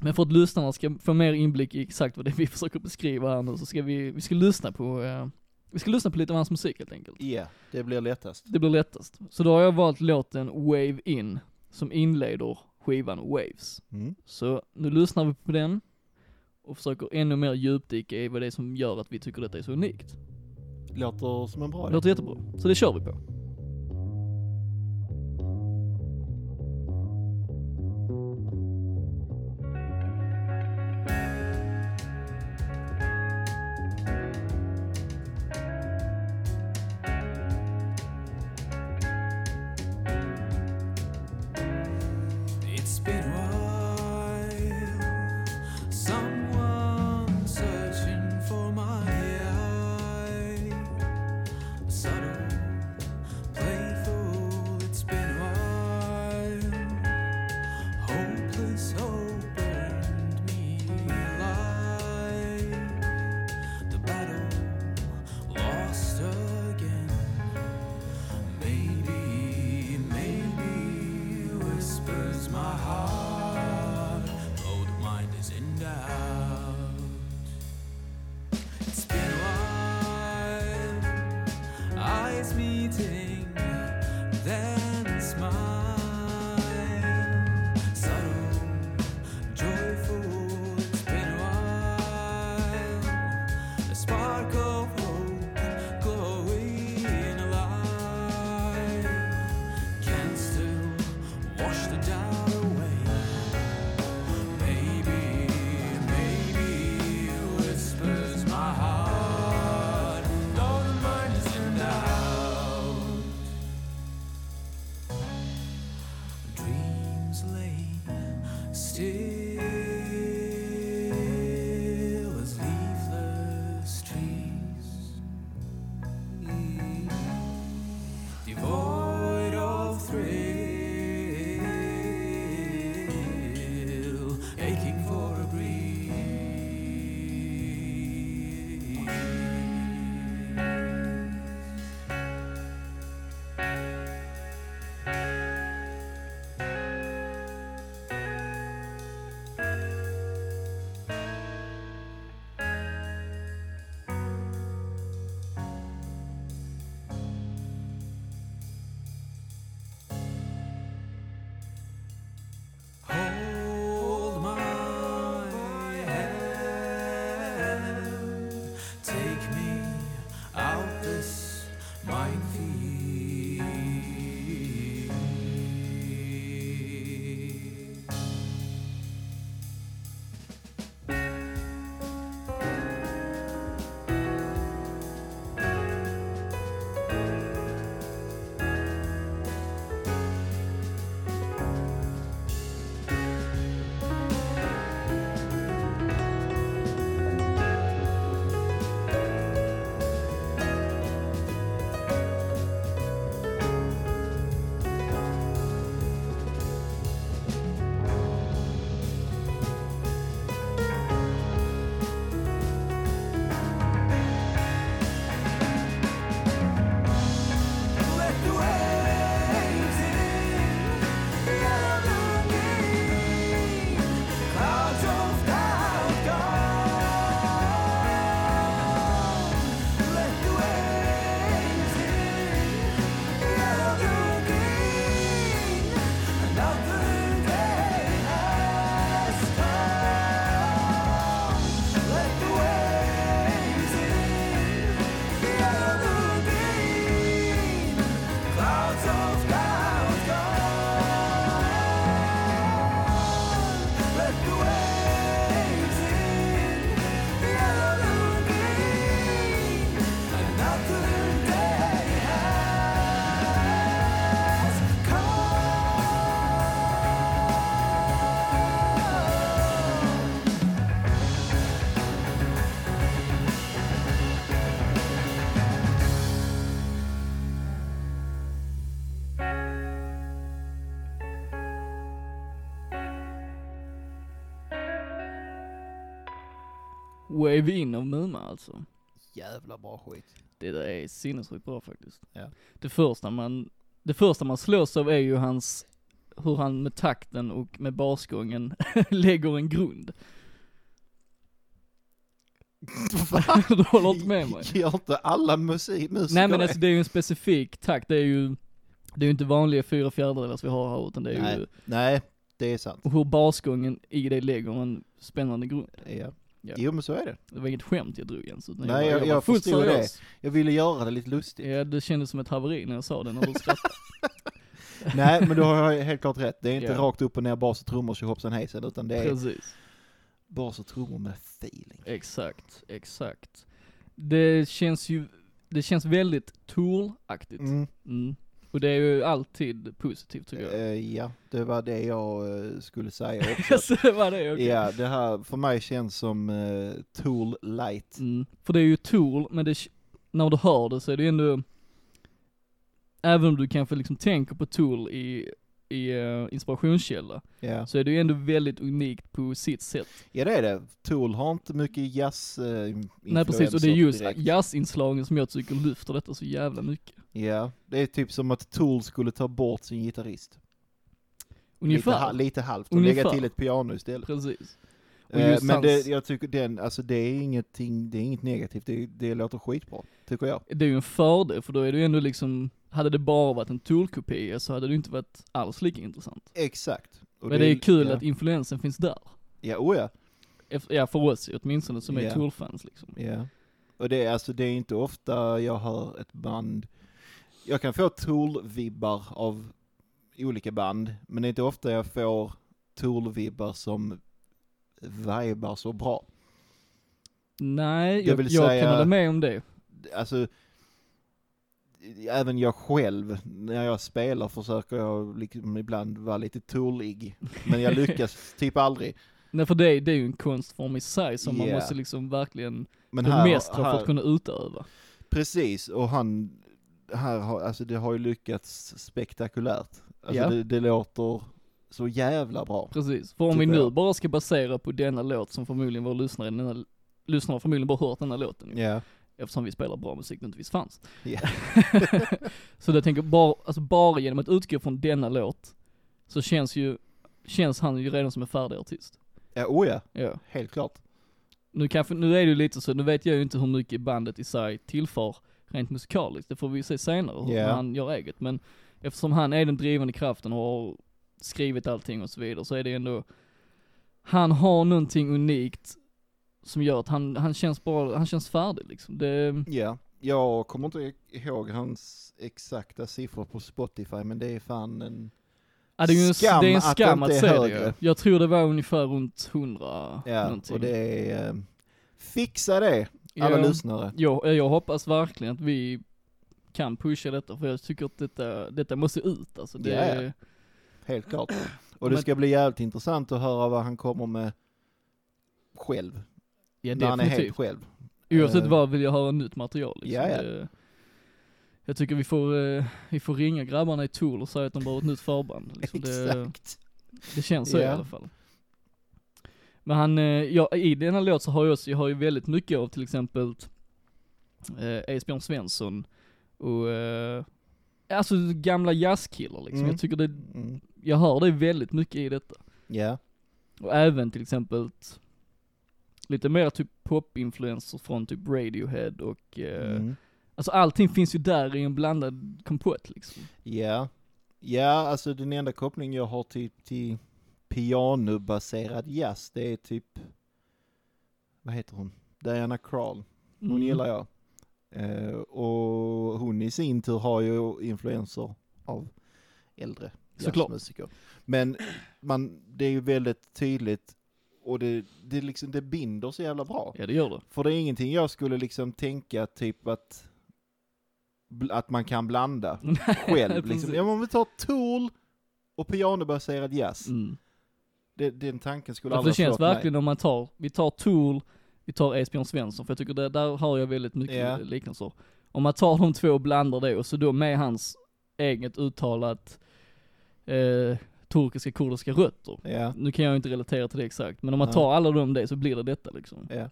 S1: men för att lyssnarna ska få mer inblick i exakt vad det är vi försöker beskriva här nu så ska vi, vi ska lyssna på, eh, vi ska lyssna på lite av hans musik helt enkelt.
S2: ja, det blir lättast.
S1: Det blir lättast. Så då har jag valt låten Wave In, som inleder skivan Waves.
S2: Mm.
S1: Så nu lyssnar vi på den och försöker ännu mer djupdyka i vad det är som gör att vi tycker detta är så unikt.
S2: Låter som en bra
S1: Det
S2: idé.
S1: låter jättebra, så det kör vi på.
S3: It's been a while. Someone searching for my eye. Subtle, playful. It's been a while. Hopeless hope burned me alive. The battle lost again. Maybe, maybe whispers my heart. Oh, the mind is in doubt. It's been a while, eyes meeting, then smile. Subtle, joyful. It's been a while, a spark of hope glowing alive. Can still wash the doubt away. Maybe, maybe whispers my heart. Though the mind is in doubt.
S1: wave in av Muma alltså.
S2: Jävla bra skit.
S1: Det där är sinnessjukt bra faktiskt.
S2: Ja.
S1: Det första man, det första man slås av är ju hans, hur han med takten och med basgången lägger en grund. du håller inte med mig?
S2: Gör inte alla musik, musiker
S1: Nej men
S2: det?
S1: alltså det är ju en specifik takt, det är ju, det är ju inte vanliga fyra fjärdedelar som vi har här utan det är ju,
S2: Nej, nej, det är sant.
S1: och hur basgången i det lägger en spännande grund.
S2: Ja.
S1: Ja.
S2: Jo men så är det.
S1: Det var inget skämt jag drog ens utan
S2: Nej,
S1: bara-
S2: jag-
S1: var
S2: jag
S1: fullt
S2: förstår det.
S1: seriös.
S2: Jag ville göra det lite lustigt.
S1: Ja det kändes som ett haveri när jag sa det när du skrattade.
S2: Nej men du har ju helt klart rätt. Det är inte
S1: Ja.
S2: rakt upp och ner bas och trummor tjohoppsan hejsan utan det är
S1: Precis.
S2: bas och trummor med feeling.
S1: Exakt, exakt. Det känns ju, det känns väldigt Tool-aktigt. Mm.
S2: Mm.
S1: Och det är ju alltid positivt tycker jag.
S2: Eh, ja, det var det jag eh, skulle säga också.
S1: Yes, det var det, okej.
S2: Ja, det här för mig känns som eh, Tool light.
S1: Mm. För det är ju Tool, men det, när du hör det så är det ju ändå, även om du kanske liksom tänker på Tool i, i eh, inspirationskälla,
S2: Ja.
S1: så är det ju ändå väldigt unikt på sitt sätt.
S2: ja, det är det. Tool har inte mycket jazz eh,
S1: Nej precis, och det är just
S2: direkt.
S1: jazzinslagen som jag tycker lyfter detta så jävla mycket.
S2: Ja, det är typ som att Tool skulle ta bort sin gitarrist. Lite, ha-
S1: Ungefär.
S2: lite halvt och
S1: Ungefär.
S2: lägga till ett piano istället.
S1: Precis. Och
S2: Eh,
S1: just
S2: men
S1: hans-
S2: det, jag tycker den, alltså det är ingenting, det är inget negativt, det, det låter skitbra, tycker jag.
S1: det är ju en fördel för då är det ju ändå liksom, hade det bara varit en Tool-kopia så hade det ju inte varit alls lika intressant.
S2: Exakt. Och
S1: Men det är kul
S2: ja.
S1: att influensen finns där.
S2: Ja, oh ja.
S1: Ef- Ja för oss åtminstone som är
S2: Ja.
S1: Tool-fans liksom.
S2: Ja. Och det är alltså, det är inte ofta jag hör ett band, jag kan få Tool-vibbar av olika band, men det är inte ofta jag får Tool-vibbar som vibar så bra.
S1: Nej,
S2: Jag
S1: jag, jag,
S2: vill säga-
S1: kan hålla med om det.
S2: alltså, även jag själv, när jag spelar försöker jag liksom ibland vara lite toolig. Men jag lyckas typ aldrig.
S1: Nej för det, det är ju en konstform i sig som
S2: Ja.
S1: man måste liksom verkligen
S2: Men
S1: bemästra för
S2: här,
S1: att kunna utöva.
S2: precis, och han, här har, alltså det har ju lyckats spektakulärt. Alltså
S1: Ja.
S2: det, det låter så jävla bra.
S1: Precis, för om
S2: Typ
S1: vi nu
S2: jag.
S1: bara ska basera på denna låt som förmodligen våra lyssnare, denna, lyssnare har förmodligen bara hört denna låten ju,
S2: Ja,
S1: eftersom vi spelar bra musik det inte visst fanns.
S2: Ja.
S1: så jag tänker bara, alltså bara genom att utgå från denna låt så känns ju, känns han ju redan som en färdig artist.
S2: ja, oh ja
S1: Ja.
S2: helt klart.
S1: Nu kanske, nu är det ju lite så, nu vet jag ju inte hur mycket bandet i sig tillför rent musikaliskt, det får vi ju se senare hur
S2: Ja.
S1: han gör eget, men eftersom han är den drivande kraften och har skrivit allting och så vidare så är det ändå, han har någonting unikt som gör att han, han känns bara, han känns färdig liksom. Det,
S2: Ja. Jag kommer inte ihåg hans exakta siffror på Spotify, men det är fan en,
S1: ja, det är ju en
S2: Skam
S1: skam, det är en
S2: att
S1: skam
S2: det
S1: att,
S2: inte är
S1: se det
S2: högre.
S1: ju. Jag tror det var ungefär runt 100
S2: ja,
S1: någonting.
S2: och det är, eh, fixa det alla
S1: Ja.
S2: lyssnare.
S1: Jag, eh, jag hoppas verkligen att vi kan pusha detta, för jag tycker att detta, detta måste ut alltså. Det,
S2: Ja, ja. Helt klart. Och det
S1: Men-
S2: ska bli jävligt intressant att höra vad han kommer med själv.
S1: Ja,
S2: när han är
S1: definitivt.
S2: helt själv.
S1: Oavsett
S2: Eh.
S1: vad vill jag höra nytt material liksom.
S2: Ja, ja.
S1: Det- Jag tycker vi får, eh, vi får ringa grabbarna i Tool och säga att de behöver ett nytt förband. Liksom. Det,
S2: Exakt.
S1: det känns så
S2: Ja.
S1: i alla fall. Men han, eh, ja, i denna låt så har jag också, jag har ju väldigt mycket av till exempel eh, Esbjörn Svensson och, eh, alltså gamla jazzkillar liksom.
S2: Mm.
S1: Jag tycker det,
S2: Mm.
S1: jag hör det väldigt mycket i detta.
S2: Ja,
S1: Och även till exempel lite mer typ popinfluenser från typ Radiohead och eh,
S2: mm.
S1: Alltså allting finns ju där i en blandad kompott liksom.
S2: ja. Ja, alltså den enda koppling jag har till, till pianobaserad jazz, det är typ, vad heter hon? Diana Krall. Hon
S1: Mm.
S2: gillar jag. Eh, och hon i sin tur har ju influenser av äldre
S1: Såklart.
S2: jazzmusiker. Men man, det är ju väldigt tydligt och det, det, liksom, det binder så jävla bra.
S1: Ja det gör det.
S2: För det är ingenting jag skulle liksom tänka typ att, bl- att man kan blanda själv. liksom.
S1: precis.
S2: ja, men om vi tar Tool och pianobaserad jazz,
S1: Mm.
S2: det, den tanken skulle
S1: Ja, för det
S2: aldrig ha
S1: känns
S2: slått mig.
S1: verkligen om man tar, vi tar Tool, vi tar Esbjörn Svensson, för jag tycker det, där har jag väldigt mycket
S2: Ja.
S1: liknelser. Om man tar de två och blandar det, och så då med hans eget uttalat eh, turkiska kurdiska rötter.
S2: Ja.
S1: Nu kan jag ju inte relatera till det exakt, men om man
S2: Nej.
S1: tar alla de det så blir det detta liksom.
S2: Ja.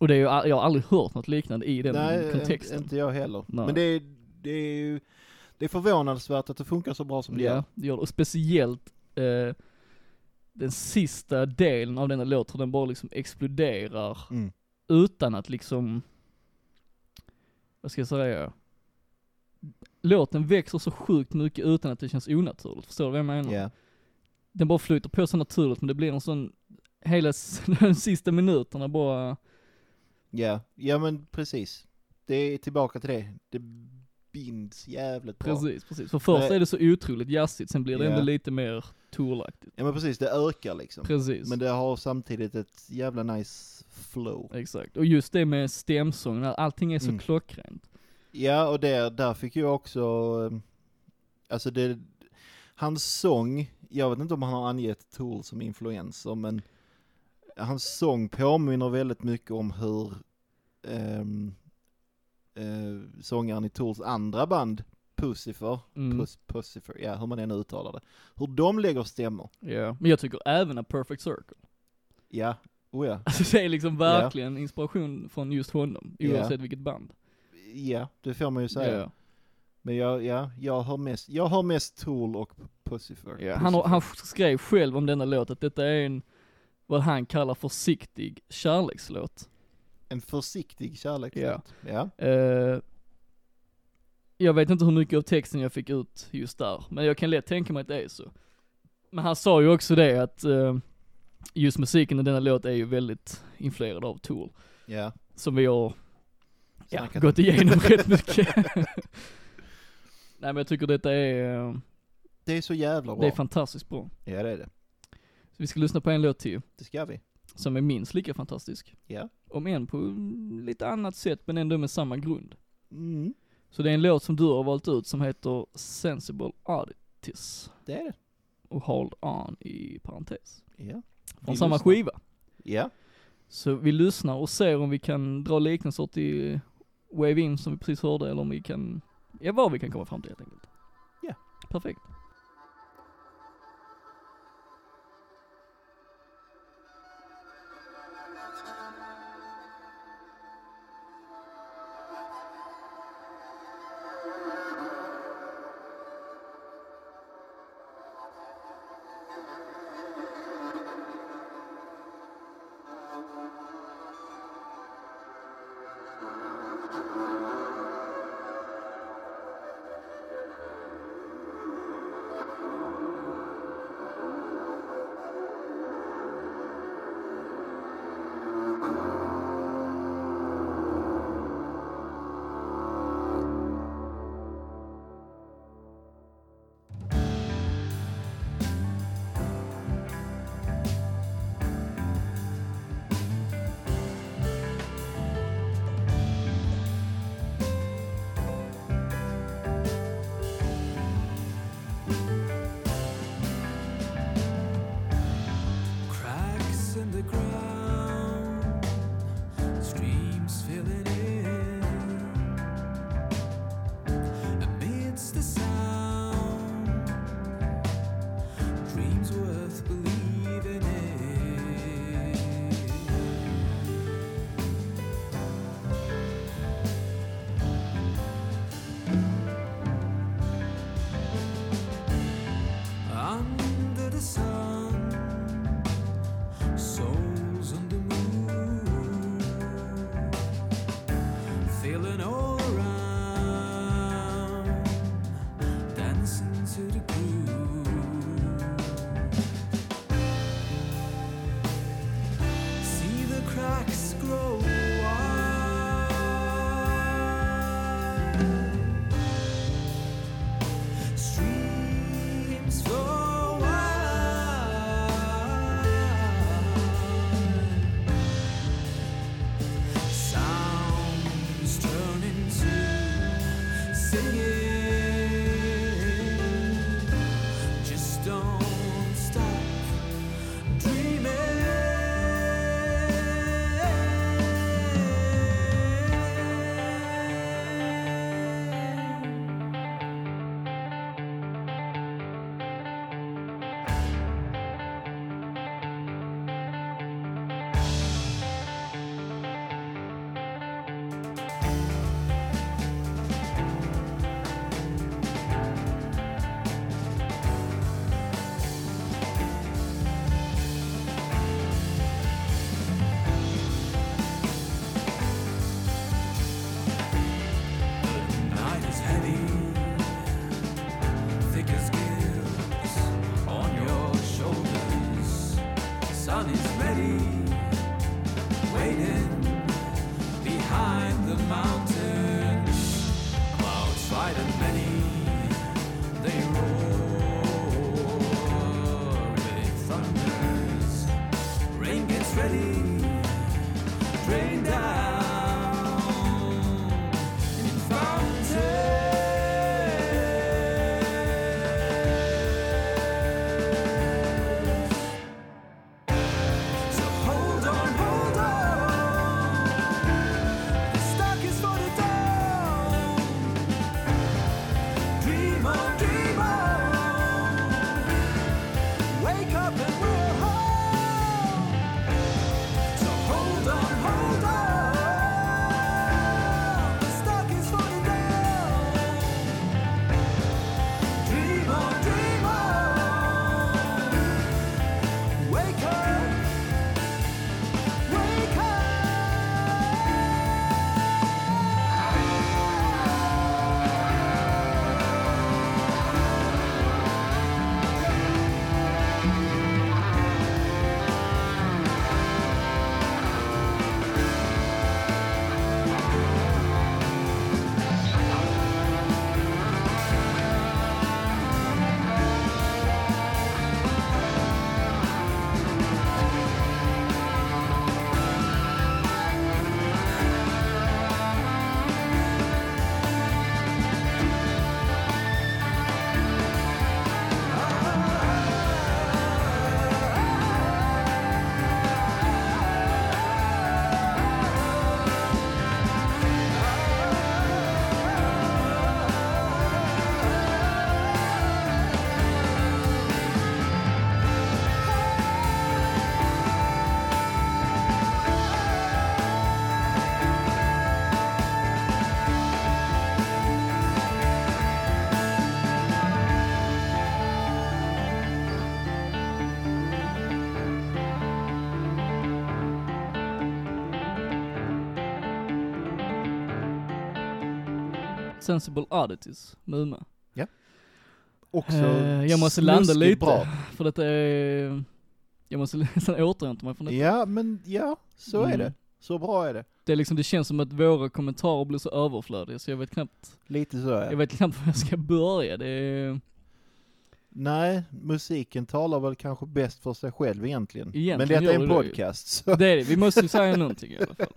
S1: Och det är ju, jag har aldrig hört något liknande i den
S2: Nej,
S1: kontexten.
S2: inte- inte jag heller.
S1: Nej.
S2: Men det är, det är ju, det är förvånansvärt att det funkar så bra som det gör.
S1: Ja, det gör det. Och speciellt eh, den sista delen av denna låt, hur den bara liksom exploderar
S2: Mm.
S1: utan att liksom, vad ska jag säga? Låten växer så sjukt mycket utan att det känns onaturligt, förstår du vad jag menar?
S2: Ja.
S1: Den bara flyter på så naturligt men det blir en sån, hela s- de sista minuterna bara,
S2: Ja, ja men precis. Det är tillbaka till det. Det binds jävligt bra.
S1: precis, precis. För först
S2: Nej.
S1: är det så otroligt jazzigt, sen blir det
S2: Ja.
S1: ändå lite mer tourlaktigt.
S2: Ja men precis, det ökar liksom.
S1: Precis.
S2: Men det har samtidigt ett jävla nice flow.
S1: Exakt, och just det med stämsången, att allting är så
S2: Mm.
S1: klockrent.
S2: Ja och där, där fick jag också, eh, alltså det, hans sång, jag vet inte om han har angett Tool som influenser men hans sång påminner väldigt mycket om hur ehm, eh, sångaren i Tools andra band, Pussifer,
S1: Mm.
S2: Puss, Pussifer, ja hur man än uttalar det, hur de lägger stämmor.
S1: Ja. Men jag tycker även A Perfect Circle.
S2: Ja, oh ja.
S1: Alltså det är liksom verkligen inspiration från just honom,
S2: Ja.
S1: oavsett vilket band.
S2: Ja, det får man ju säga.
S1: Ja.
S2: Men jag, ja, jag har mest, jag har mest Tool och Pussifer.
S1: Ja. Han, har-
S2: Pussifer.
S1: han skrev själv om denna låt att detta är en, vad han kallar försiktig kärlekslåt.
S2: En försiktig kärlek.
S1: Ja.
S2: ja.
S1: Eh, jag vet inte hur mycket av texten jag fick ut just där, men jag kan lätt tänka mig att det är så. Men han sa ju också det att eh, just musiken i denna låt är ju väldigt influerad av Tool.
S2: Ja.
S1: som vi har ja,
S2: Snackat
S1: gått igenom rätt mycket. Nej men jag tycker detta är, eh,
S2: Det är så jävla bra.
S1: det är fantastiskt bra.
S2: ja det är det.
S1: Så vi ska lyssna på en låt till,
S2: Det ska vi.
S1: som är minst lika fantastisk.
S2: Ja.
S1: Om än på mm, lite annat sätt, men ändå med samma grund.
S2: Mm.
S1: Så det är en låt som du har valt ut som heter Sensible Oddities
S2: Det är det.
S1: och Hold On i parentes.
S2: Ja.
S1: Från
S2: Vi
S1: samma
S2: lyssnar.
S1: skiva.
S2: Ja.
S1: Så vi lyssnar och ser om vi kan dra liknelser till Wave In som vi precis hörde, eller om vi kan, ja vad vi kan komma fram till helt enkelt.
S2: Ja.
S1: Perfekt.
S3: Cracks in the ground, streams filling in. Amidst the sound, dreams worth believing in. Under the sun, souls under moon, feeling all around, dancing to the groove. See the cracks grow wide. Streams flow wide. Sounds turn into singing. Just don't stop dreaming. light and many they roar. It thunders, rain gets ready, rain down in fountains. So hold on, hold on. The stock is for the dawn. Dream on, dream on. Wake up and we're home. So hold on, hold on. The stock is for the dawn. Dream on, dream on. Wake up. Wake up!
S1: Sensible Oddities med Uma.
S2: Också
S1: Eh, jag måste landa
S2: snuskigt
S1: lite.
S2: Bra.
S1: För detta är... Jag måste nästan återhämta mig från detta.
S2: Ja, men ja, så är
S1: Mm.
S2: det. Så bra är det.
S1: Det är liksom, det känns som att våra kommentarer blir så överflödiga så jag vet knappt,
S2: Lite så är
S1: jag
S2: det.
S1: vet knappt var jag ska börja. Det är,
S2: Nej, musiken talar väl kanske bäst för sig själv egentligen.
S1: Egentligen
S2: men detta
S1: gör
S2: är en
S1: det det.
S2: podcast, så
S1: det är det, vi måste ju säga någonting i alla fall.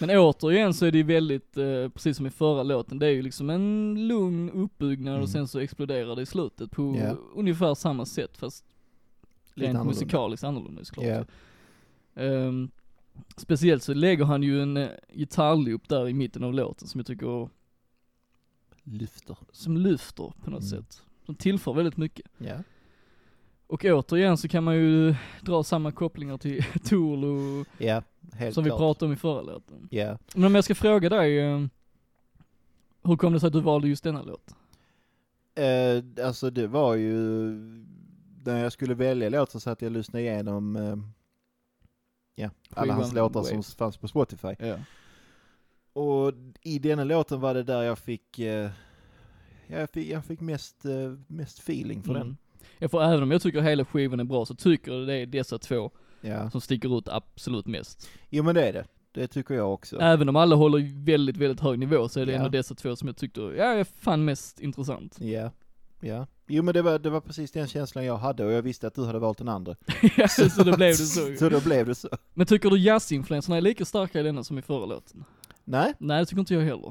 S1: Men återigen så är det ju väldigt, eh, precis som i förra låten, det är ju liksom en lugn uppbyggnad
S2: Mm.
S1: och sen så exploderar det i slutet på
S2: Ja.
S1: ungefär samma sätt fast
S2: lite
S1: rent
S2: annorlunda.
S1: musikaliskt annorlunda såklart.
S2: Ja.
S1: Ehm, speciellt så lägger han ju en eh, gitarrloop där i mitten av låten som jag tycker,
S2: Lyfter.
S1: som lyfter på något
S2: Mm.
S1: sätt. Som tillför väldigt mycket.
S2: Ja.
S1: Och återigen så kan man ju dra samma kopplingar till Tool och,
S2: Ja, helt
S1: som vi
S2: klart.
S1: pratade om i förra låten.
S2: Ja.
S1: Men om jag ska fråga dig, eh, hur kom det sig att du valde just denna låt?
S2: Eh, alltså det var ju, när jag skulle välja låt så satt jag och lyssnade igenom eh, ja, alla hans
S1: Skivan
S2: låtar som
S1: Waves.
S2: fanns på Spotify.
S1: Ja.
S2: Och i denna låten var det där jag fick, eh, jag fick, jag fick mest, eh, mest feeling för den.
S1: Mm. Ja, för även om jag tycker hela skivan är bra så tycker jag det är dessa två
S2: Ja.
S1: som sticker ut absolut mest.
S2: Jo men det är det. Det tycker jag också.
S1: Även om alla håller väldigt, väldigt hög nivå så är det
S2: Ja.
S1: ändå dessa två som jag tyckte, ja, är fan mest intressant.
S2: Ja. Ja. Jo men det var, det var precis den känslan jag hade och jag visste att du hade valt den andra.
S1: Ja, så då blev det så. ju.
S2: så då blev det så.
S1: Men tycker du jazzinfluenserna är lika starka i denna som i förra låten?
S2: Nej,
S1: Nej, det tycker inte jag heller.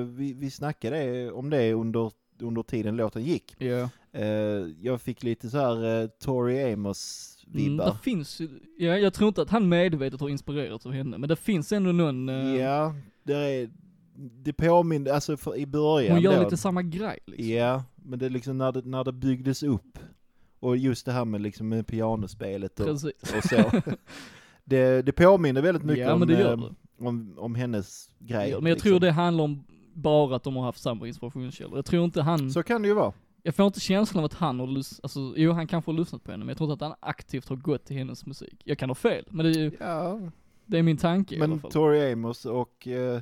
S2: eh, vi, vi snackade om det under, under tiden låten gick.
S1: Ja.
S2: Eh, jag fick lite så här eh, Tori Amos-vibbar.
S1: det finns ju- ja, jag tror inte att han medvetet har inspirerats av henne, men det finns ändå någon, eh,
S2: Ja, det är, det påminner, alltså för, i början
S1: hon gör
S2: då,
S1: lite samma grej liksom.
S2: Ja, men det är liksom när det, när det byggdes upp och just det här med liksom med pianospelet och,
S1: Precis.
S2: och så. det, det påminner väldigt mycket
S1: Ja
S2: om,
S1: men det gör
S2: eh,
S1: det.
S2: om, om hennes grej.
S1: Ja, men jag
S2: liksom.
S1: tror det handlar om bara att de har haft samma inspirationskällor. Jag tror inte han,
S2: Så kan det ju vara.
S1: jag får inte känslan av att han har lys, alltså jo han kanske har lyssnat på henne, men jag tror inte att han aktivt har gått till hennes musik. Jag kan ha fel, men det är, ju-
S2: Ja,
S1: det är min tanke i alla
S2: men
S1: fall.
S2: Tori Amos och eh,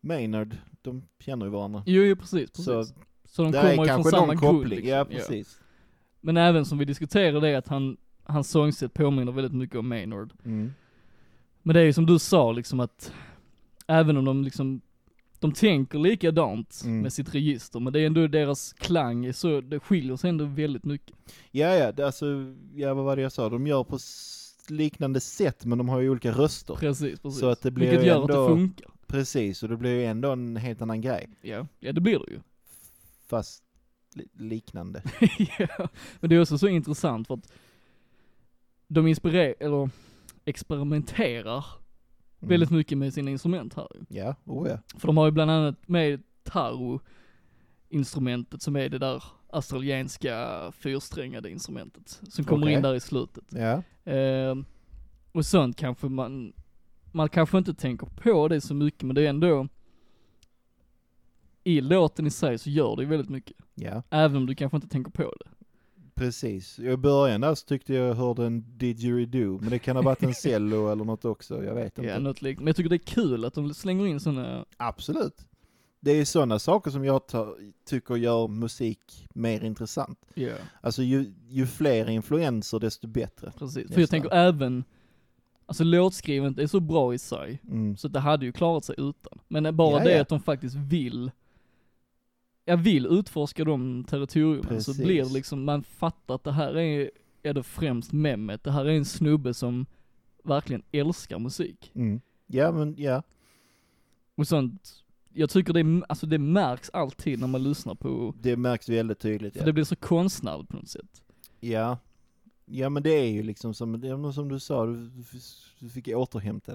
S2: Maynard, de känner ju varandra.
S1: Jo, jo precis, precis.
S2: Så
S1: Så, de
S2: där
S1: kommer ju
S2: är
S1: från
S2: kanske
S1: samma
S2: någon
S1: grund,
S2: koppling.
S1: liksom.
S2: Ja, precis.
S1: Men även som vi diskuterade det att han, hans sångsätt påminner väldigt mycket om Maynard.
S2: Mm.
S1: Men det är ju som du sa liksom att, även om de liksom de tänker likadant
S2: Mm.
S1: med sitt register, men det är ändå deras klang, är så det skiljer sig ändå väldigt mycket.
S2: Ja, ja, det, alltså, ja, vad var det jag sa? De gör på s- liknande sätt, men de har ju olika röster.
S1: Precis, precis.
S2: Så att det blir
S1: Vilket
S2: ju
S1: gör att
S2: ändå-
S1: det funkar.
S2: Precis, och det blir ju ändå en helt annan grej.
S1: Ja, ja det blir det ju.
S2: Fast li- liknande. Mm.
S1: ja, men det är också så intressant för att de inspirerar, eller experimenterar
S2: Mm.
S1: väldigt mycket med sina instrument här ju.
S2: Ja, oh ja.
S1: För de har ju bland annat med taro-instrumentet som är det där australienska fyrsträngade instrumentet som kommer
S2: Okej.
S1: in där i slutet.
S2: Ja,
S1: Ehm, och sånt kanske man, man kanske inte tänker på det så mycket men det är ändå i låten i sig så gör det ju väldigt mycket.
S2: ja.
S1: Även om du kanske inte tänker på det.
S2: Precis. I början där så tyckte jag hörde en didgeridoo, men det kan ha varit en cello eller något också, jag vet inte.
S1: Ja, något likt. Men jag tycker det är kul att de slänger in sådana,
S2: Absolut. Det är sådana saker som jag ta- tycker gör musik mer intressant.
S1: ja
S2: Alltså ju, ju fler influenser desto bättre.
S1: precis. För
S2: Nästan.
S1: jag tänker även, alltså låtskrivandet är så bra i sig,
S2: Mm.
S1: så det hade ju klarat sig utan. Men bara
S2: Ja,
S1: det
S2: ja.
S1: att de faktiskt vill, jag vill utforska de territorierna, så
S2: Precis.
S1: blir det liksom, man fattar att det här är, är det främst memet, det här är en snubbe som verkligen älskar musik.
S2: Mm. Ja men ja,
S1: Och sånt, jag tycker det, alltså det märks alltid när man lyssnar på,
S2: det märks väldigt tydligt.
S1: för
S2: Ja.
S1: det blir så konstnärligt på något sätt.
S2: ja. Ja men det är ju liksom som, det är nog som du sa, du, du fick återhämta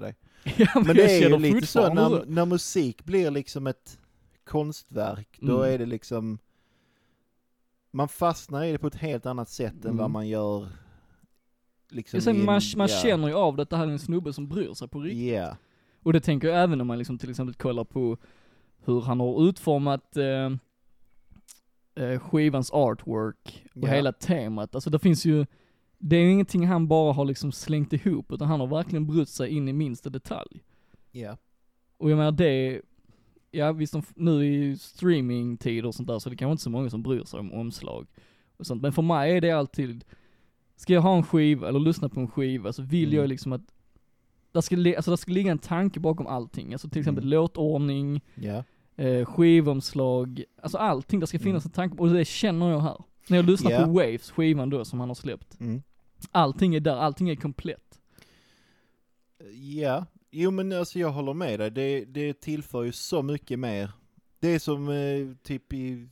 S2: dig.
S1: Ja,
S2: Men det
S1: jag
S2: är ju
S1: känner
S2: lite så,
S1: fortfarande
S2: när, liksom när musik blir liksom ett konstverk, då
S1: Mm.
S2: är det liksom, man fastnar i det på ett helt annat sätt än vad
S1: Mm.
S2: man gör liksom
S1: Jag säger, man,
S2: in-
S1: man
S2: ja.
S1: känner ju av det att det här är en snubbe som bryr sig på riktigt.
S2: Ja,
S1: Och det tänker jag även om man liksom till exempel kollar på hur han har utformat eh, eh, skivans artwork och
S2: Ja.
S1: hela temat. Alltså det finns ju, det är ju ingenting han bara har liksom slängt ihop utan han har verkligen brutit sig in i minsta detalj.
S2: ja,
S1: Och jag menar det, ja visst de, nu i streamingtider och sånt där så det kanske inte så många som bryr sig om omslag och sånt. Men för mig är det alltid, ska jag ha en skiva eller lyssna på en skiva så vill
S2: Mm.
S1: jag liksom att, där ska, li- alltså där ska ligga en tanke bakom allting. Alltså till exempel
S2: Mm.
S1: låtordning,
S2: ja.
S1: eh, skivomslag, alltså allting, där ska finnas en tanke, och det känner jag här. När jag lyssnar
S2: Mm. Ja.
S1: på Waves, skivan då som han har släppt,
S2: Mm.
S1: allting är där, allting är komplett.
S2: Ja, jo men alltså jag håller med dig. Det, det tillför ju så mycket mer. Det är som eh, typ i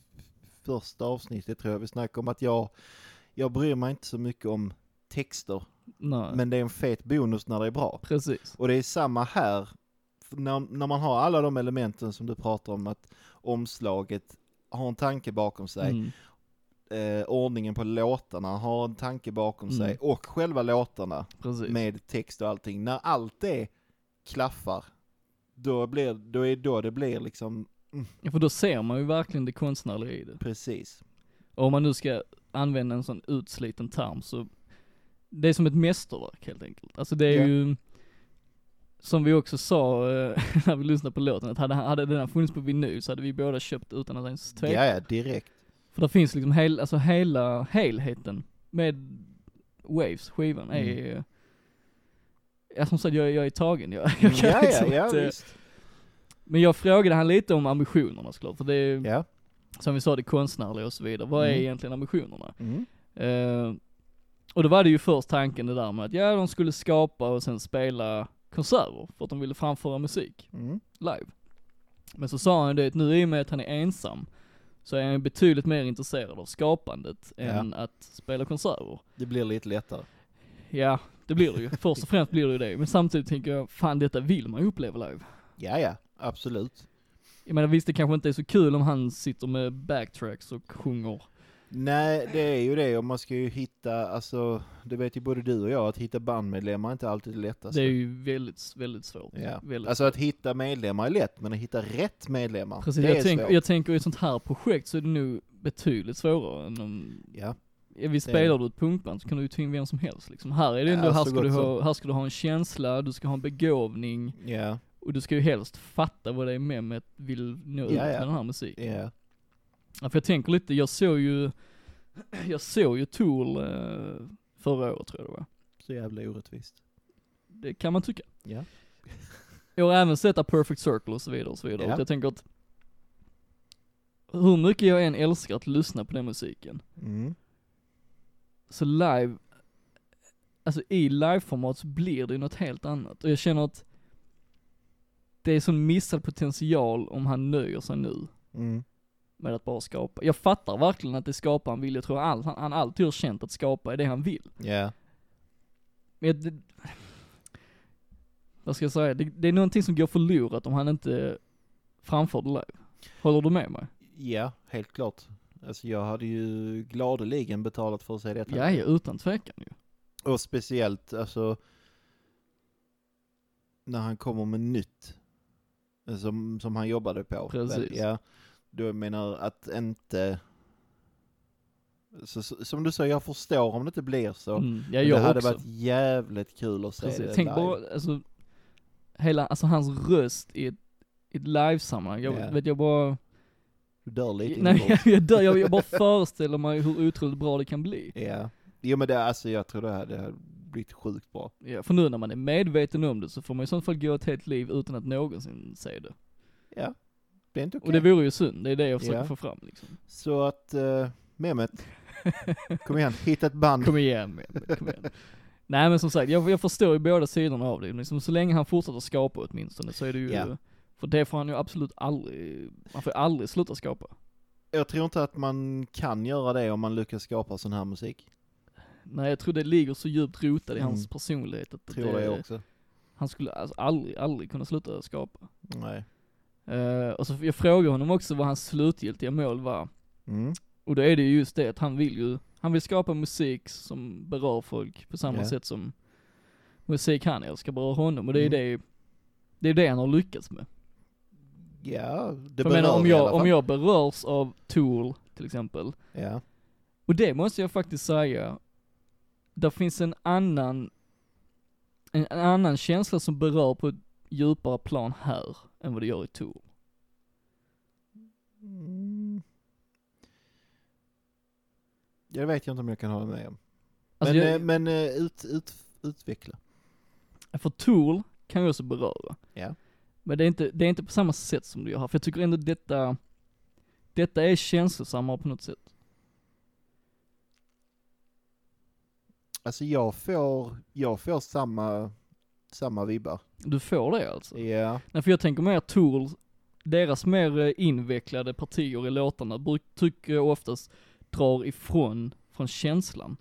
S2: första avsnittet tror jag vi snackade om att jag, jag bryr mig inte så mycket om texter.
S1: Nej,
S2: Men det är en fet bonus när det är bra.
S1: precis.
S2: Och det är samma här, För när, när man har alla de elementen som du pratar om, att omslaget har en tanke bakom sig,
S1: Mm.
S2: eh, ordningen på låtarna har en tanke bakom
S1: Mm.
S2: sig och själva låtarna
S1: Precis.
S2: med text och allting. När allt det klaffar, då, blir, då är då det blir liksom
S1: Ja, för då ser man ju verkligen det konstnärliga i det.
S2: precis.
S1: Och om man nu ska använda en sån utsliten term så, det är som ett mästerverk helt enkelt. Alltså det är
S2: Ja.
S1: ju, som vi också sa eh, när vi lyssnade på låten, att hade, hade den här funnits på vinyl så hade vi båda köpt utan att ens tveka.
S2: Ja, ja, direkt.
S1: För där finns liksom hel, alltså hela helheten med Waves, skivan, är
S2: Mm.
S1: ju, ja som sagt jag, jag är tagen, jag, jag kan
S2: Ja, ja,
S1: liksom
S2: ja,
S1: inte,
S2: visst.
S1: Men jag frågade han lite om ambitionerna såklart, för det är,
S2: Ja.
S1: som vi sa, det konstnärliga och så vidare. Vad är
S2: Mm.
S1: egentligen ambitionerna?
S2: Mm.
S1: Eh, och då var det ju först tanken det där med att ja, de skulle skapa och sen spela konserter för att de ville framföra musik
S2: Mm.
S1: live. Men så sa han det att nu i och med att han är ensam så är han betydligt mer intresserad av skapandet än att spela konserter.
S2: Det blir lite lättare.
S1: Ja, det blir det ju. Först och främst blir det ju det. Men samtidigt tänker jag, fan detta vill man ju uppleva live.
S2: Ja, ja, absolut.
S1: Jag menar visst, det kanske inte är så kul om han sitter med backtracks och sjunger.
S2: Nej, det är ju det och man ska ju hitta, alltså, det vet ju både du och jag, att hitta bandmedlemmar är inte alltid det lättaste.
S1: Det är ju väldigt, väldigt svårt.
S2: Ja.
S1: Väldigt
S2: Alltså att hitta medlemmar är lätt, men att hitta rätt medlemmar,
S1: Precis,
S2: det är
S1: jag, tänker
S2: svårt.
S1: jag tänker i ett sånt här projekt så är det nog betydligt svårare än om,
S2: Ja,
S1: ja, vi spelar du ett punkband så kan du ju ta in vem som helst liksom. Här är det ändå,
S2: Ja,
S1: här,
S2: så
S1: ska du
S2: gott
S1: ha, här ska du ha en känsla, du ska ha en begåvning
S2: ja,
S1: och du ska ju helst fatta vad det är memet vill nå ut
S2: Ja, ja.
S1: med den här musiken.
S2: ja.
S1: Ja, för jag tänker lite, jag såg ju, jag såg ju Tool eh, förra året tror jag det var.
S2: Så jävla orättvist.
S1: Det kan man tycka.
S2: Ja.
S1: Jag har även sett A Perfect Circle och så vidare och så vidare.
S2: Ja.
S1: Och jag tänker att hur mycket jag än älskar att lyssna på den musiken,
S2: Mm.
S1: så live, alltså i liveformat så blir det ju något helt annat. Och jag känner att det är sån missad potential om han nöjer sig nu
S2: Mm.
S1: med att bara skapa. Jag fattar verkligen att det skapar han vill. Jag tror all, han, han alltid har känt att skapa är det han vill.
S2: Ja.
S1: Men jag, det, vad ska jag säga? Det, det är någonting som går förlorat om han inte framför det live. Håller du med mig?
S2: Ja, helt klart. Alltså jag hade ju gladeligen betalat för att se detta.
S1: Ja, ja, utan tvekan ju.
S2: Och speciellt alltså när han kommer med nytt. eh, Som, som han jobbade på.
S1: Precis.
S2: Väl, Ja, då jag menar att inte... Så, så, som du säger, jag förstår om det inte blir så.
S1: Mm, ja,
S2: Men det
S1: jag
S2: hade
S1: också.
S2: varit jävligt kul att se
S1: Precis.
S2: det
S1: Tänk
S2: live.
S1: bara, alltså, hela, alltså hans röst i ett, i ett livesammanhang. Jag
S2: Ja.
S1: vet, jag bara,
S2: Du dör lite
S1: nej,
S2: inombords.
S1: jag, jag, dör, jag, jag bara föreställer mig hur otroligt bra det kan bli.
S2: Ja. Jo men det, alltså jag tror det hade, det hade blivit sjukt bra.
S1: Ja, för nu när man är medveten om det så får man i så fall gå ett helt liv utan att någonsin se det.
S2: Ja. Det är inte okej.
S1: Och det vore ju synd, det är det jag försöker
S2: Ja.
S1: få fram liksom.
S2: Så att, uh, Mehmet, kom igen, hitta ett band.
S1: Kom igen, men, kom igen. Nej men som sagt, jag, jag förstår ju båda sidorna av det. Liksom, så länge han fortsätter skapa åtminstone så är det ju,
S2: Ja.
S1: för det får han ju absolut aldrig, man får aldrig sluta skapa.
S2: Jag tror inte att man kan göra det om man lyckas skapa sån här musik.
S1: Nej jag tror det ligger så djupt rotat i hans
S2: Mm.
S1: personlighet att
S2: Tror det, jag också.
S1: han skulle alltså aldrig, aldrig kunna sluta skapa.
S2: Nej.
S1: Eh, och så jag frågade honom också vad hans slutgiltiga mål var.
S2: Mm.
S1: Och då är det ju just det att han vill ju, han vill skapa musik som berör folk på samma
S2: Ja.
S1: sätt som musik han älskar berör honom. Och det är
S2: Mm.
S1: det, det är det han har lyckats med.
S2: Ja, det
S1: För
S2: berör
S1: jag menar, om
S2: i alla
S1: jag,
S2: fall.
S1: om jag berörs av Tool till exempel,
S2: Ja.
S1: och det måste jag faktiskt säga, där finns en annan, en, en annan känsla som berör på ett djupare plan här än vad det gör i Tool.
S2: Mm. Jag vet jag inte om jag kan hålla med om.
S1: Alltså
S2: men
S1: jag,
S2: eh, men eh, ut, ut, utveckla.
S1: för Tool kan jag också beröra.
S2: eh, Ja.
S1: Men det är inte, det är inte på samma sätt som det gör här, för jag tycker ändå detta, detta är känslosammare på något sätt.
S2: Alltså jag får, jag får samma, samma vibbar.
S1: Du får det alltså?
S2: Ja.
S1: Nej för jag tänker mer Tool, deras mer eh, invecklade partier i låtarna bruk, tycker jag oftast drar ifrån från känslan.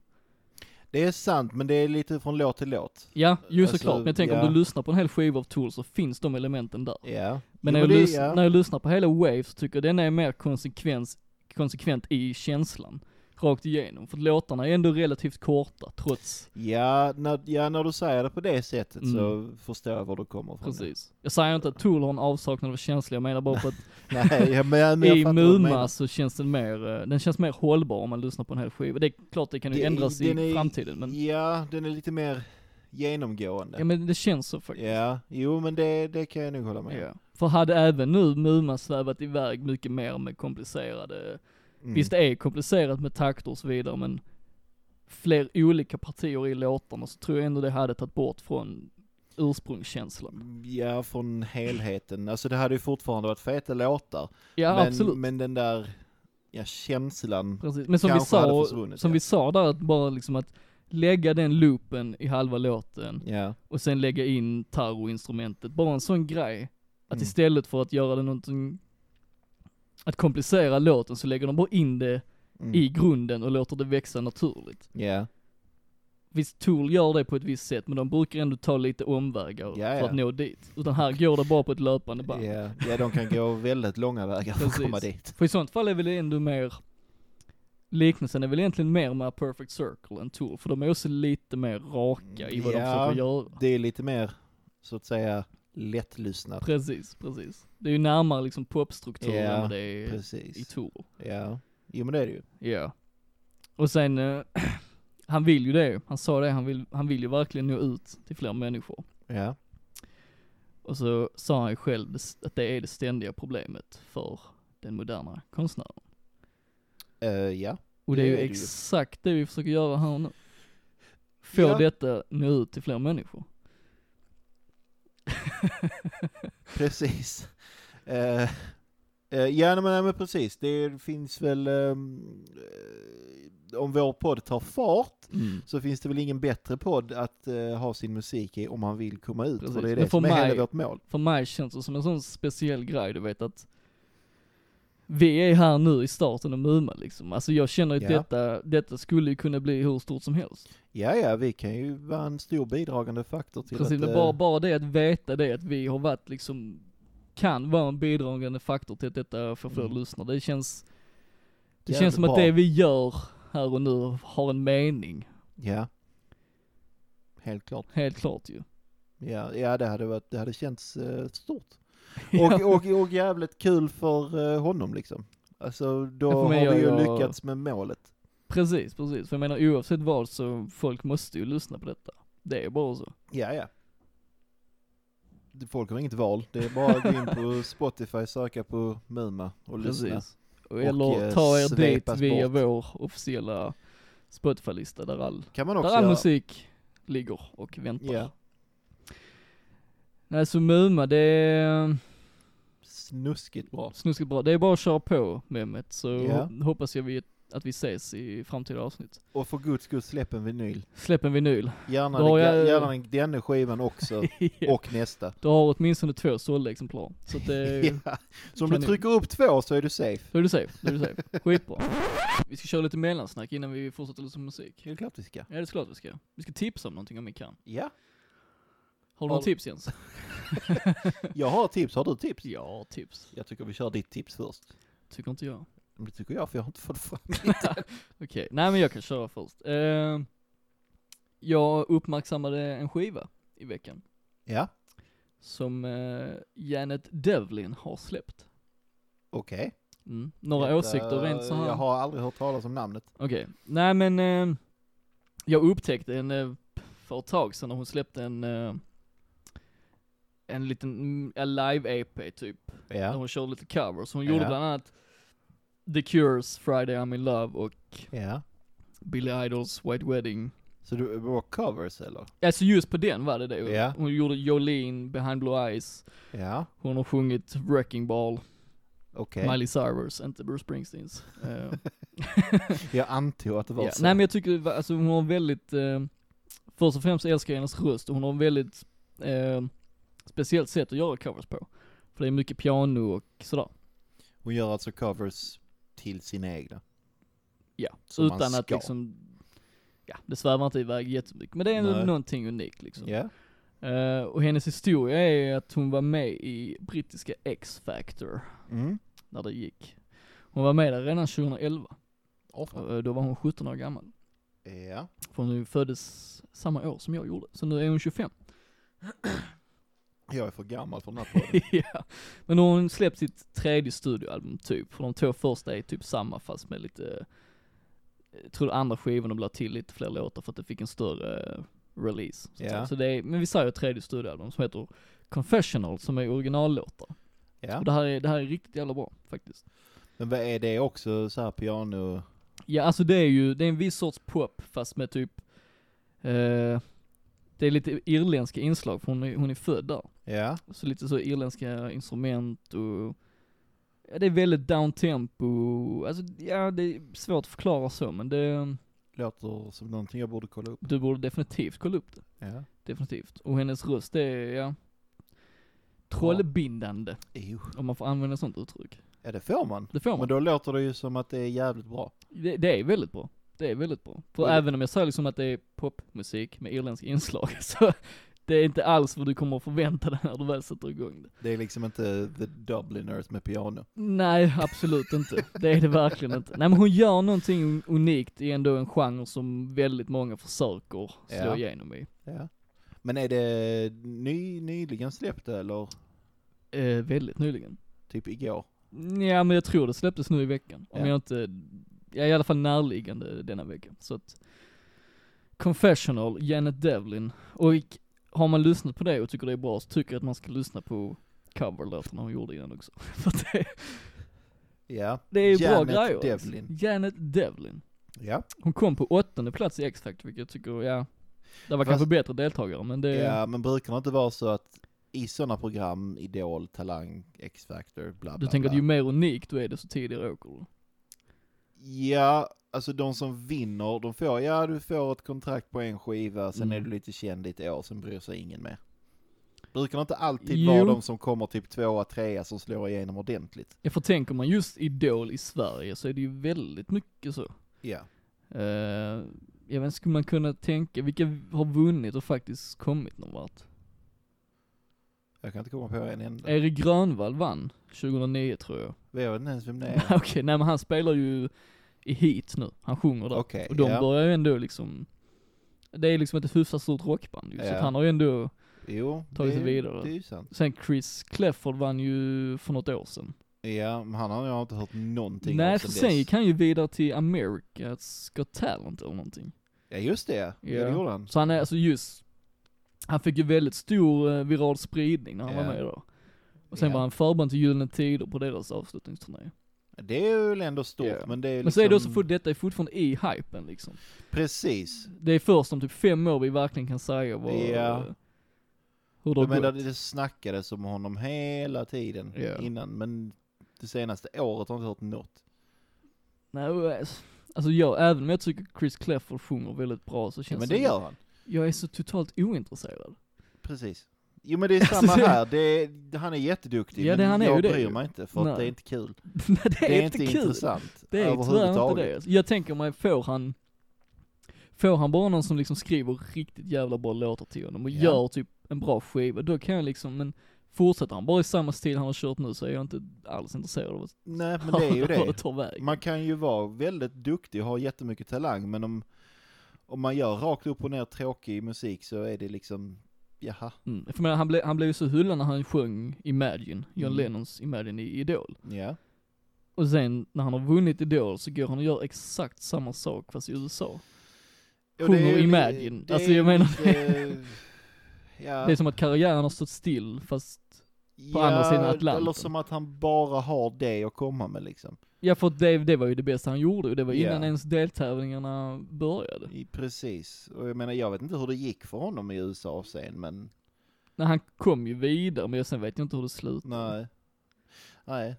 S2: Det är sant, men det är lite från låt till låt.
S1: Ja, ju
S2: Alltså,
S1: såklart, men jag tänker
S2: ja.
S1: om du lyssnar på en hel skiva av Tool så finns de elementen där.
S2: Ja.
S1: Men, när,
S2: Jo,
S1: jag
S2: det-
S1: lys- när jag lyssnar på hela Wave så tycker jag den är mer konsekvens, konsekvent i känslan. Rakt igenom, för att låtarna är ändå relativt korta trots,
S2: Ja när, ja, när du säger det på det sättet så förstår jag var du kommer från.
S1: Mm. precis. Jag säger inte att Tool har en avsaknad av känsla, jag menar bara på att
S2: Nej, jag, men, men jag
S1: i
S2: fattar vad du menar.
S1: Muma så känns den mer, eh, den känns mer hållbar om man lyssnar på en hel skiva. Det är klart det kan ju
S2: Det-
S1: ändras i
S2: den är-
S1: framtiden men,
S2: Ja, den är lite mer genomgående.
S1: ja men det känns så faktiskt.
S2: Ja, jo men det, det kan jag nog hålla med om.
S1: Ja. För hade även nu Muma svävat iväg mycket mer med komplicerade,
S2: Mm.
S1: visst det är komplicerat med takter och så vidare men fler olika partier i låtarna så tror jag ändå det hade tagit bort från ursprungskänslan.
S2: Ja, från helheten. Alltså det hade ju fortfarande varit feta låtar.
S1: Ja
S2: men,
S1: absolut,
S2: men den där ja, känslan
S1: precis. Men som vi
S2: kanske hade
S1: sa,
S2: försvunnit.
S1: som
S2: ja.
S1: vi sa där att bara liksom att lägga den loopen i halva låten
S2: Ja.
S1: och sen lägga in tarroinstrumentet. Bara en sån grej. Att
S2: Mm.
S1: istället för att göra det någonting, att komplicera låten så lägger de bara in det
S2: Mm.
S1: i grunden och låter det växa naturligt.
S2: Ja.
S1: Visst, Tool gör det på ett visst sätt men de brukar ändå ta lite omvägar
S2: Ja, ja.
S1: för att nå dit. Utan här går det bara på ett löpande band.
S2: Ja. ja, de kan gå väldigt långa vägar för att
S1: Precis.
S2: komma dit.
S1: För i sånt fall är väl det ändå mer, liknelsen är väl egentligen mer med Perfect Circle än Tool, för de är också lite mer raka i vad de
S2: Ja.
S1: försöker göra.
S2: Det är lite mer, så att säga, lättlyssnat.
S1: Precis, precis. Det är ju närmare liksom popstrukturen
S2: Ja,
S1: än vad det är i
S2: Precis.
S1: Tour.
S2: Ja. Jo men det är det ju.
S1: Ja. Och sen, eh, han vill ju det, han sa det, han vill, han vill ju verkligen nå ut till fler människor.
S2: Ja.
S1: Och så sa han ju själv det- att det är det ständiga problemet för den moderna konstnären.
S2: Eh, ja.
S1: Och det är ju
S2: Det är det ju.
S1: exakt det vi försöker göra här nu. Få
S2: Ja.
S1: detta nå ut till fler människor.
S2: Precis. Eh, eh, ja, nej, men, nej, men precis. Det finns väl... ehm, eh, om vår podd tar fart
S1: Mm.
S2: så finns det väl ingen bättre podd att eh, ha sin musik i om man vill komma ut.
S1: Precis.
S2: För det är
S1: Men
S2: det
S1: för
S2: som är
S1: mig-
S2: hela vårt mål.
S1: För mig känns det som en sån speciell grej, du vet att vi är här nu i starten av Muma liksom. Alltså jag känner att
S2: Ja.
S1: detta, detta skulle ju kunna bli hur stort som helst.
S2: Ja, ja, vi kan ju vara en stor bidragande faktor till
S1: Precis,
S2: att...
S1: men
S2: eh,
S1: bara, bara det att veta det, att vi har varit liksom, kan vara en bidragande faktor till att detta får fler
S2: Mm.
S1: lyssnare. Det känns, det
S2: Jävligt
S1: känns som att
S2: bra.
S1: det vi gör här och nu har en mening.
S2: Ja. Helt klart.
S1: Helt klart ju.
S2: Ja, ja det, hade varit, det hade känts eh, stort.
S1: Ja.
S2: Och, och, och jävligt kul för eh, honom liksom. Alltså då
S1: Ja, för
S2: har
S1: mig
S2: vi ju
S1: gör jag-
S2: lyckats med målet.
S1: Precis, precis. För jag menar oavsett vad så folk måste ju lyssna på detta. Det är bara så.
S2: Ja, ja. Folk har inget val, det är bara att gå in på Spotify, söka på Muma och lyssna.
S1: Precis. Och eller
S2: eh,
S1: ta er dit
S2: svepas
S1: via
S2: bort.
S1: vår officiella Spotify-lista där all,
S2: Kan man också
S1: där all
S2: göra.
S1: musik ligger och väntar.
S2: Ja.
S1: Nej så Muma det är
S2: Snuskigt bra.
S1: snuskigt bra. Det är bara att köra på Mehmet så
S2: Ja.
S1: hoppas jag vi, att vi ses i framtida avsnitt.
S2: Och för guds skull släpp en vinyl.
S1: Släpp en vinyl.
S2: Gärna,
S1: Då har jag-
S2: gärna den- denna skivan också, och nästa.
S1: Du har åtminstone två sålda exemplar. Så att det,
S2: Ja. Så om du
S1: Kanon.
S2: trycker upp två så är du safe.
S1: då är du safe, då är du safe. Skitbra. Vi ska köra lite mellansnack innan vi fortsätter lyssna på musik.
S2: Det är klart vi ska.
S1: Ja det är klart vi ska. Vi ska tipsa om någonting om vi kan.
S2: Ja,
S1: Har du några
S2: Har-
S1: tips Jens?
S2: jag har tips. Har du tips?
S1: Ja, tips.
S2: Jag tycker vi kör ditt tips först.
S1: Tycker inte jag.
S2: Men Det tycker jag, för jag har inte fått fram
S1: Okej, nej men jag kan köra först. Eh, jag uppmärksammade en skiva i veckan
S2: Ja,
S1: som eh, Janet Devlin har släppt.
S2: okej.
S1: Mm. Några
S2: Detta-
S1: åsikter rent så här.
S2: Jag har aldrig hört talas om namnet.
S1: Okej, nej men eh, jag upptäckte en eh, för ett tag sedan när hon släppte en eh, en liten mm, live-EP typ. Där
S2: Ja,
S1: hon körde lite covers. Hon
S2: Ja.
S1: gjorde bland annat The Cures, Friday I'm in Love och
S2: ja.
S1: Billy Idols White Wedding.
S2: Så du var covers eller?
S1: Alltså just på den var det det.
S2: Ja.
S1: Hon gjorde Jolene, Behind Blue Eyes,
S2: Ja,
S1: hon har sjungit Wrecking Ball,
S2: okej.
S1: Miley Cyrus, inte Bruce Springsteens. Eh,
S2: Jag antog att det var
S1: ja.
S2: så.
S1: Nej men jag tycker, det var- alltså hon har väldigt, eh, först och främst älskar jag hennes röst och hon har en väldigt eh, speciellt sätt att göra covers på. För det är mycket piano och sådär.
S2: Hon gör alltså covers till sina egna.
S1: Ja,
S2: Som man
S1: utan att
S2: ska.
S1: liksom, ja det svävar inte iväg jättemycket. Men det är
S2: Nej.
S1: någonting unikt liksom.
S2: Ja,
S1: Eh, och hennes historia är att hon var med i brittiska X-Factor.
S2: mm.
S1: när det gick. Hon var med där redan 2011,
S2: Åh, fan.
S1: och eh, då var hon 17 år gammal.
S2: Ja,
S1: För hon föddes samma år som jag gjorde, så nu är hon 25.
S2: jag är för gammal för den här podden.
S1: ja. Men nu har hon släppt sitt tredje studioalbum typ, för de två första är typ samma fast med lite, jag tror andra skivan de la till lite fler låtar för att det fick en större eh, release. Så, att
S2: Ja.
S1: säga. så det är, men vi säger ett tredje studioalbum som heter Confessional, som är originallåtar.
S2: Ja,
S1: Och det här är, det här är riktigt jävla bra faktiskt.
S2: men vad är det också så här piano?
S1: Ja alltså det är ju, det är en viss sorts pop fast med typ, eh, det är lite irländska inslag för hon är, hon är född där.
S2: Ja,
S1: Så lite så irländska instrument och, ja det är väldigt downtempo, alltså ja det är svårt att förklara så men det,
S2: låter som någonting jag borde kolla upp.
S1: du borde definitivt kolla upp det.
S2: Ja.
S1: Definitivt. Och hennes röst det är, ja, trollbindande
S2: Jo.
S1: om man får använda sånt uttryck.
S2: Ja, det får man.
S1: Det får man.
S2: Men då låter det ju som att det är jävligt bra.
S1: Det, det är väldigt bra. Det är väldigt bra. För
S2: Och det-
S1: även om jag säger liksom att det är popmusik med irländska inslag så det är inte alls vad du kommer att förvänta dig när du väl sätter igång det.
S2: Det är liksom inte the Dubliners med piano.
S1: Nej, absolut inte. Det är det verkligen inte. Nej men hon gör någonting unikt i ändå en genre som väldigt många försöker slå
S2: Ja.
S1: igenom i.
S2: Ja. Men är det ny, nyligen släppt eller
S1: Eh, väldigt nyligen.
S2: typ igår?
S1: Ja men jag tror det släpptes nu i veckan. Om
S2: Ja.
S1: jag inte, jag är i alla fall närliggande denna vecka. Så att Confessional, Janet Devlin. Och har man lyssnat på det och tycker det är bra så tycker jag att man ska lyssna på coverlåtarna hon gjorde innan också. För att det,
S2: Ja.
S1: det är ju
S2: Janet
S1: bra grejer. alltså.
S2: Devlin.
S1: Janet Devlin.
S2: Ja.
S1: Hon kom på åttonde plats i X-Factor vilket jag tycker, ja, det var
S2: Fast-
S1: kanske bättre deltagare men det,
S2: ja, men brukar det inte vara så att i sådana program, Idol, Talang, X-Factor, bla
S1: Du
S2: bla
S1: tänker
S2: bla.
S1: att ju mer unik du är desto tidigare åker du?
S2: Ja, alltså de som vinner, de får, ja du får ett kontrakt på en skiva, sen
S1: Mm.
S2: är du lite känd i ett år, sen bryr sig ingen mer. Brukar det inte alltid
S1: Jo.
S2: vara de som kommer typ tvåa, trea som slår igenom ordentligt?
S1: Ja för tänker man just Idol i Sverige så är det ju väldigt mycket så.
S2: Ja.
S1: Eh, jag vet inte, skulle man kunna tänka vilka har vunnit och faktiskt kommit någon vart?
S2: Jag kan inte komma på en enda.
S1: Erik Grönvall vann 2009 tror jag.
S2: Jag vet inte ens vem det
S1: Nej,
S2: är.
S1: Okej, nej men han spelar ju i hit nu. Han sjunger där.
S2: Okej,
S1: och de
S2: ja.
S1: börjar ju ändå liksom, det är liksom ett hyfsat stort rockband ju, så
S2: Ja.
S1: att han har ju ändå,
S2: Jo,
S1: Tagit
S2: det,
S1: sig vidare.
S2: det är ju sant.
S1: sen Chris Clefford vann ju för något år sedan.
S2: Ja, men han har jag inte hört någonting
S1: nej,
S2: om
S1: för
S2: sen
S1: sen
S2: dess.
S1: gick han ju vidare till America's Got Talent eller någonting.
S2: Ja, just det. Ja,
S1: Ja.
S2: det gjorde han.
S1: Så han är alltså just, han fick ju väldigt stor eh, viral spridning när han
S2: Ja.
S1: var med då. Och sen
S2: Ja.
S1: var han förband till Gyllene Tider på deras avslutningsturné.
S2: Det är väl ändå stort,
S1: Ja.
S2: men det är liksom...
S1: Men så är det också, för detta är fortfarande i hypen liksom.
S2: Precis.
S1: Det är först om typ fem år vi verkligen kan säga vad, eh,
S2: Ja.
S1: hur det har
S2: Jag menar,
S1: gått.
S2: det snackades om honom hela tiden
S1: Ja.
S2: innan, men det senaste året har jag inte hört något.
S1: Nej, och, eh, alltså jag, även om jag tycker Chris Clefford sjunger väldigt bra så
S2: Ja,
S1: känns
S2: men det gör han.
S1: Jag är så totalt ointresserad.
S2: Precis. Jo men det är samma här, det är, han är
S1: Alltså,
S2: jätteduktig
S1: Ja, det-
S2: men
S1: han är
S2: jag
S1: ju det
S2: bryr
S1: ju.
S2: mig inte för att
S1: Nej.
S2: det är inte kul.
S1: Nej, det,
S2: Det är,
S1: inte
S2: inte
S1: kul.
S2: intressant
S1: Det är tyvärr inte
S2: överhuvudtaget.
S1: det. Jag tänker mig, får han, får han bara någon som liksom skriver riktigt jävla bra låtar till honom och
S2: Ja.
S1: gör typ en bra skiva, då kan jag liksom, men fortsätter han bara i samma stil han har kört nu så är jag inte alls intresserad av att
S2: Nej men det är ju
S1: vad
S2: det.
S1: tar vägen.
S2: Man kan ju vara väldigt duktig och ha jättemycket talang men om, om man gör rakt upp och ner tråkig musik så är det liksom, jaha,
S1: Mm. För jag menar, han, blev, han blev ju så hyllad när han sjöng Imagine, John
S2: Mm.
S1: Lennons Imagine i Idol.
S2: ja.
S1: Och sen när han har vunnit Idol så går han och gör exakt samma sak fast i USA.
S2: Och det är
S1: Sjunger
S2: ju-
S1: Imagine.
S2: det
S1: Alltså,
S2: är
S1: jag menar-
S2: lite- Ja.
S1: Det är som att karriären har stått still fast, på
S2: ja,
S1: andra sidan Atlanten.
S2: Eller som att han bara har det att komma med liksom.
S1: ja för att det, det var ju det bästa han gjorde och det var innan
S2: Ja.
S1: ens deltävlingarna började.
S2: I, precis. Och jag menar, jag vet inte hur det gick för honom i USA sen, men
S1: När han kom ju vidare men sen vet jag inte hur det slutade.
S2: nej. Nej.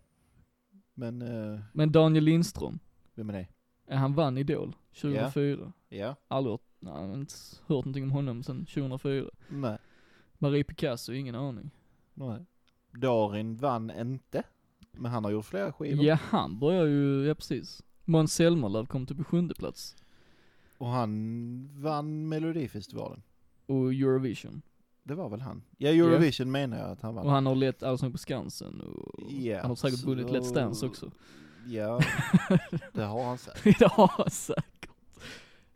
S2: Men, eh,
S1: Men Daniel Lindström,
S2: vem är det?
S1: eh, han vann Idol 2004.
S2: Ja.
S1: Aldrig hört, nej, jag har inte hört någonting om honom sen 2004.
S2: Nej.
S1: Marie Picasso, ingen aning.
S2: nej. Darin vann inte. Men han har gjort flera skivor.
S1: Ja, han börjar ju, ja precis. Måns Zelmerlöw kom till på sjunde plats.
S2: Och han vann Melodifestivalen.
S1: Och Eurovision.
S2: Det var väl han? Ja, Eurovision menar jag att han
S1: Och
S2: vann.
S1: han har lett Allsång på Skansen och
S2: Ja,
S1: han har säkert
S2: så-
S1: vunnit Let's Dance också.
S2: Ja, det har han sagt.
S1: det har han säkert.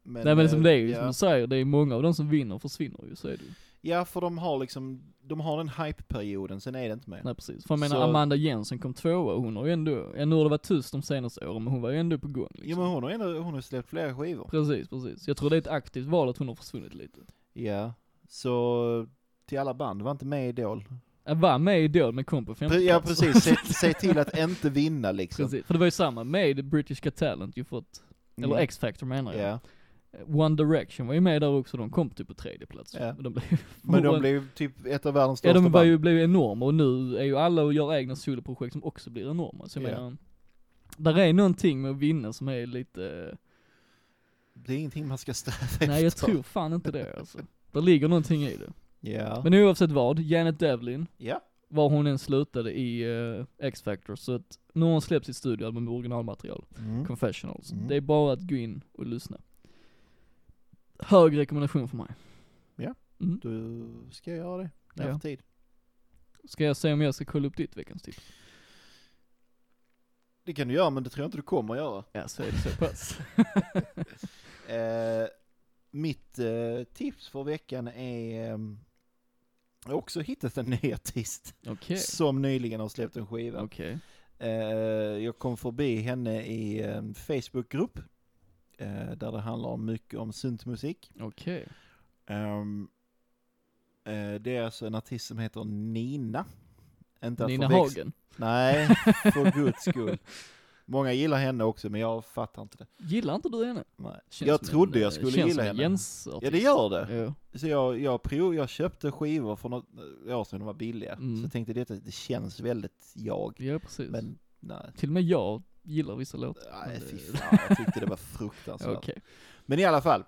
S2: Men,
S1: Nej men som
S2: eh,
S1: det är ju,
S2: ja.
S1: som du säger, det är många av de som vinner försvinner ju, så är det ju.
S2: Ja, för de har liksom, de har den hype-perioden, sen är det inte mer.
S1: Nej precis. För jag menar
S2: Så-
S1: Amanda Jensen kom tvåa och hon har ju ändå, ja nu har det varit tyst de senaste åren men hon var ju ändå på gång liksom.
S2: Jo men hon har ändå, hon har släppt flera skivor.
S1: Precis, precis. Jag tror det är ett aktivt val att hon har försvunnit lite.
S2: Ja, så till alla band, var inte med i Idol.
S1: Jag var med i Idol men kom på femte
S2: Pre- ja
S1: plats.
S2: precis, se, se till att inte vinna liksom.
S1: precis. För det var ju samma med British Got Talent ju för att
S2: Mm.
S1: Eller X-Factor menar jag.
S2: Ja,
S1: One Direction var ju med där också, de kom typ på tredje plats.
S2: Ja.
S1: Och De blev,
S2: men de
S1: och-
S2: blev typ ett av världens
S1: ja,
S2: största
S1: de var
S2: band.
S1: ju, blev ju enorma och nu är ju alla och gör egna soloprojekt som också blir enorma. Så jag
S2: Ja.
S1: menar, där är någonting med att vinna som är lite,
S2: Det är ingenting man ska sträva
S1: nej jag
S2: efter.
S1: tror fan inte det alltså. Där ligger någonting i det.
S2: Ja.
S1: Men oavsett vad, Janet Devlin,
S2: ja,
S1: var hon än slutade i eh, X-Factor, så att nu har hon släppt sitt studioalbum med originalmaterial,
S2: mm.
S1: Confessionals.
S2: Mm.
S1: Det är bara att gå in och lyssna. Hög rekommendation för mig. Mm.
S2: du ska jag göra det. När jag
S1: Ja.
S2: får tid.
S1: Ska jag se om jag ska kolla upp ditt veckans tips?
S2: Det kan du göra, men det tror jag inte du kommer att göra.
S1: Ja, så är det så pass.
S2: Eh, mitt eh, tips för veckan är... ehm, jag har också hittat en ny artist
S1: Okej.
S2: som nyligen har släppt en skiva.
S1: Okej.
S2: Eh, jag kom förbi henne i en Facebookgrupp eh, där det handlar mycket om syntmusik.
S1: Okej.
S2: Ehm, eh, det är alltså en artist som heter Nina. Inte att
S1: Nina
S2: förväxla-
S1: Hagen.
S2: Nej, för guds skull. Många gillar henne också, men jag fattar inte det.
S1: Gillar inte du henne?
S2: Nej.
S1: Känns
S2: Jag
S1: som
S2: trodde
S1: en,
S2: jag
S1: eh,
S2: skulle
S1: känns
S2: gilla
S1: som en
S2: henne.
S1: Jens-artist.
S2: Ja, det gör det.
S1: Ja.
S2: Så jag, jag, prov, jag köpte skivor för något eh, år sedan, de var billiga.
S1: Mm.
S2: Så jag tänkte detta, det känns väldigt jag.
S1: Ja, precis.
S2: Men nej.
S1: Till och med jag gillar vissa låtar.
S2: Nej,
S1: Men
S2: fy
S1: det-
S2: fan, jag tyckte det var fruktansvärt.
S1: Okej.
S2: Men i alla fall,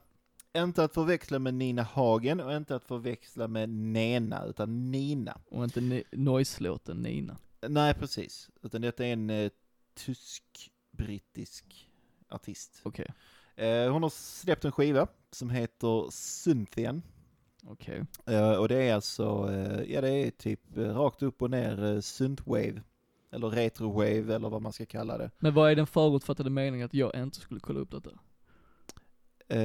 S2: inte att förväxla med Nina Hagen och inte att förväxla med Nena, utan Nina.
S1: Och inte ne- Noice-låten Nina.
S2: Nej, precis. Utan detta är en eh, tysk-brittisk artist.
S1: Okej.
S2: Eh, hon har släppt en skiva som heter Synthian.
S1: Okej.
S2: Eh, och det är alltså, eh, ja det är typ eh, rakt upp och ner eh, synthwave. Eller retrowave eller vad man ska kalla det.
S1: Men vad är den förutfattade meningen att jag inte skulle kolla upp detta?
S2: Eh,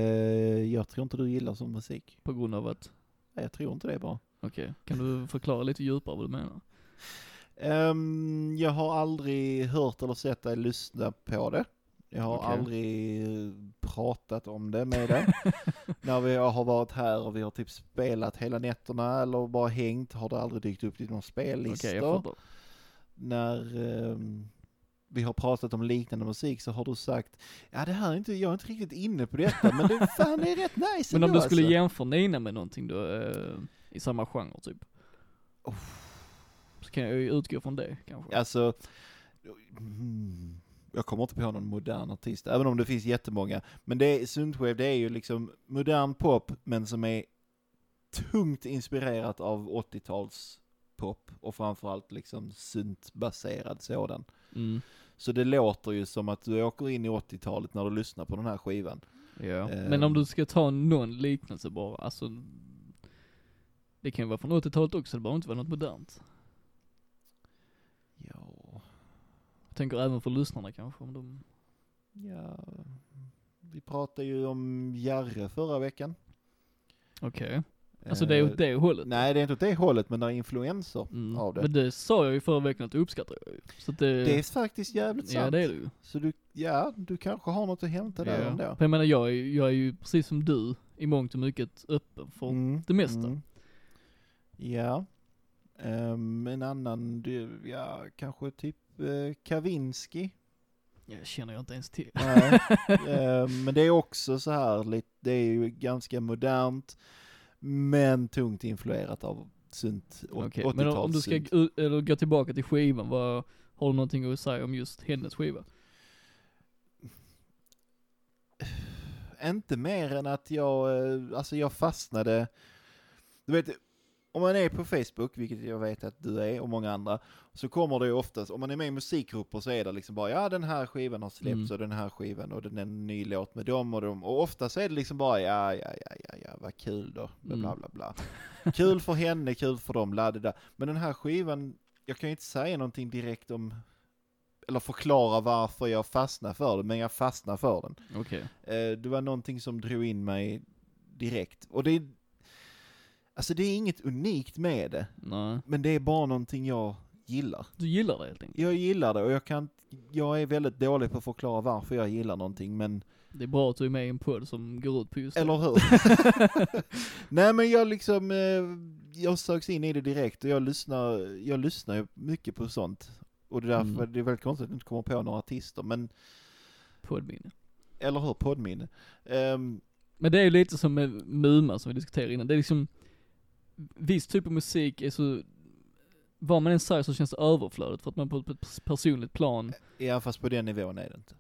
S2: jag tror inte du gillar sån musik.
S1: På grund av att,
S2: Nej, jag tror inte det bara.
S1: okej, kan du förklara lite djupare vad du menar?
S2: Ehm, jag har aldrig hört eller sett dig lyssna på det. Jag har
S1: Okej.
S2: aldrig eh, pratat om det med dig. När vi har varit här och vi har typ spelat hela nätterna eller bara hängt har det aldrig dykt upp i någon
S1: Okej,
S2: spellista.
S1: jag fattar.
S2: När ehm, vi har pratat om liknande musik så har du sagt ja det här är inte, jag är inte riktigt inne på detta men det fan det är rätt nice
S1: Men om
S2: ändå,
S1: du skulle
S2: alltså.
S1: jämföra Nina med någonting då, eh, i samma genre typ? Så kan jag ju utgå från det kanske.
S2: Alltså, mm, jag kommer inte på någon modern artist, även om det finns jättemånga. Men det är, Synthwave, det är ju liksom modern pop, men som är tungt inspirerat av 80-tals pop och framförallt liksom syntbaserad sådan.
S1: Mm.
S2: Så det låter ju som att du åker in i 80-talet när du lyssnar på den här skivan.
S1: Ja.
S2: Ehm.
S1: Men om du ska ta någon liknelse bara, alltså det kan ju vara från 80-talet också, det behöver inte vara något modernt.
S2: Ja,
S1: Jag tänker även för lyssnarna kanske om de,
S2: ja. Vi pratade ju om Jarre förra veckan.
S1: okej. Alltså det är
S2: Eh,
S1: åt det hållet.
S2: Nej, det är inte åt det hållet, men det är influenser
S1: Mm.
S2: av det.
S1: Men det sa jag ju förra veckan att det uppskattar jag ju. Så att det,
S2: Det är faktiskt jävligt sant.
S1: ja det är det ju.
S2: Så du, ja, du kanske har något att hämta där
S1: Ja.
S2: ändå.
S1: För jag menar jag är, jag är ju precis som du i mångt och mycket öppen för
S2: Mm,
S1: det mesta.
S2: mm. Ja. Ehm, en annan, du, ja, kanske typ eh, Kavinsky.
S1: Jag känner jag inte ens till.
S2: Nej. Ehm, men det är också så här, lite, det är ju ganska modernt, men tungt influerat av synt, å-
S1: Okej,
S2: 80-tals
S1: men om, om du ska
S2: synt.
S1: g- eller gå tillbaka till skivan, vad, har du någonting att säga om just hennes skiva?
S2: Inte mer än att jag, eh, alltså jag fastnade, du vet, om man är på Facebook, vilket jag vet att du är och många andra, så kommer det ju oftast, om man är med i musikgrupper så är det liksom bara, ja den här skivan har släppts
S1: Mm.
S2: och den här skivan och den är en ny låt med dem och dem. Och ofta så är det liksom bara, ja, ja, ja, ja, ja vad kul då, bla,
S1: Mm.
S2: bla, bla, bla. Kul för henne, kul för dem, la, da, da. Men den här skivan, jag kan ju inte säga någonting direkt om, eller förklara varför jag fastnar för den, men jag fastnar för den.
S1: Okej.
S2: Eh, Det var någonting som drog in mig direkt. Och det är, alltså det är inget unikt med det,
S1: Nej.
S2: men det är bara någonting jag gillar.
S1: Du gillar det helt enkelt.
S2: Jag gillar det och jag kan, jag är väldigt dålig på att förklara varför jag gillar någonting, men,
S1: Det är bra att du är med i en podd som går ut på just det.
S2: eller hur? Nej men jag liksom, eh, jag söks in i det direkt och jag lyssnar, jag lyssnar ju mycket på sånt. Och det är därför
S1: Mm.
S2: det är väldigt konstigt att du inte kommer på några artister, men,
S1: Poddminne.
S2: eller hur, poddminne. Ehm,
S1: Men det är ju lite som med Muma som vi diskuterade innan. Det är liksom, viss typ av musik är så, vad man än säger så känns det överflödigt för att man på ett personligt plan
S2: ja fast på den nivån är det inte.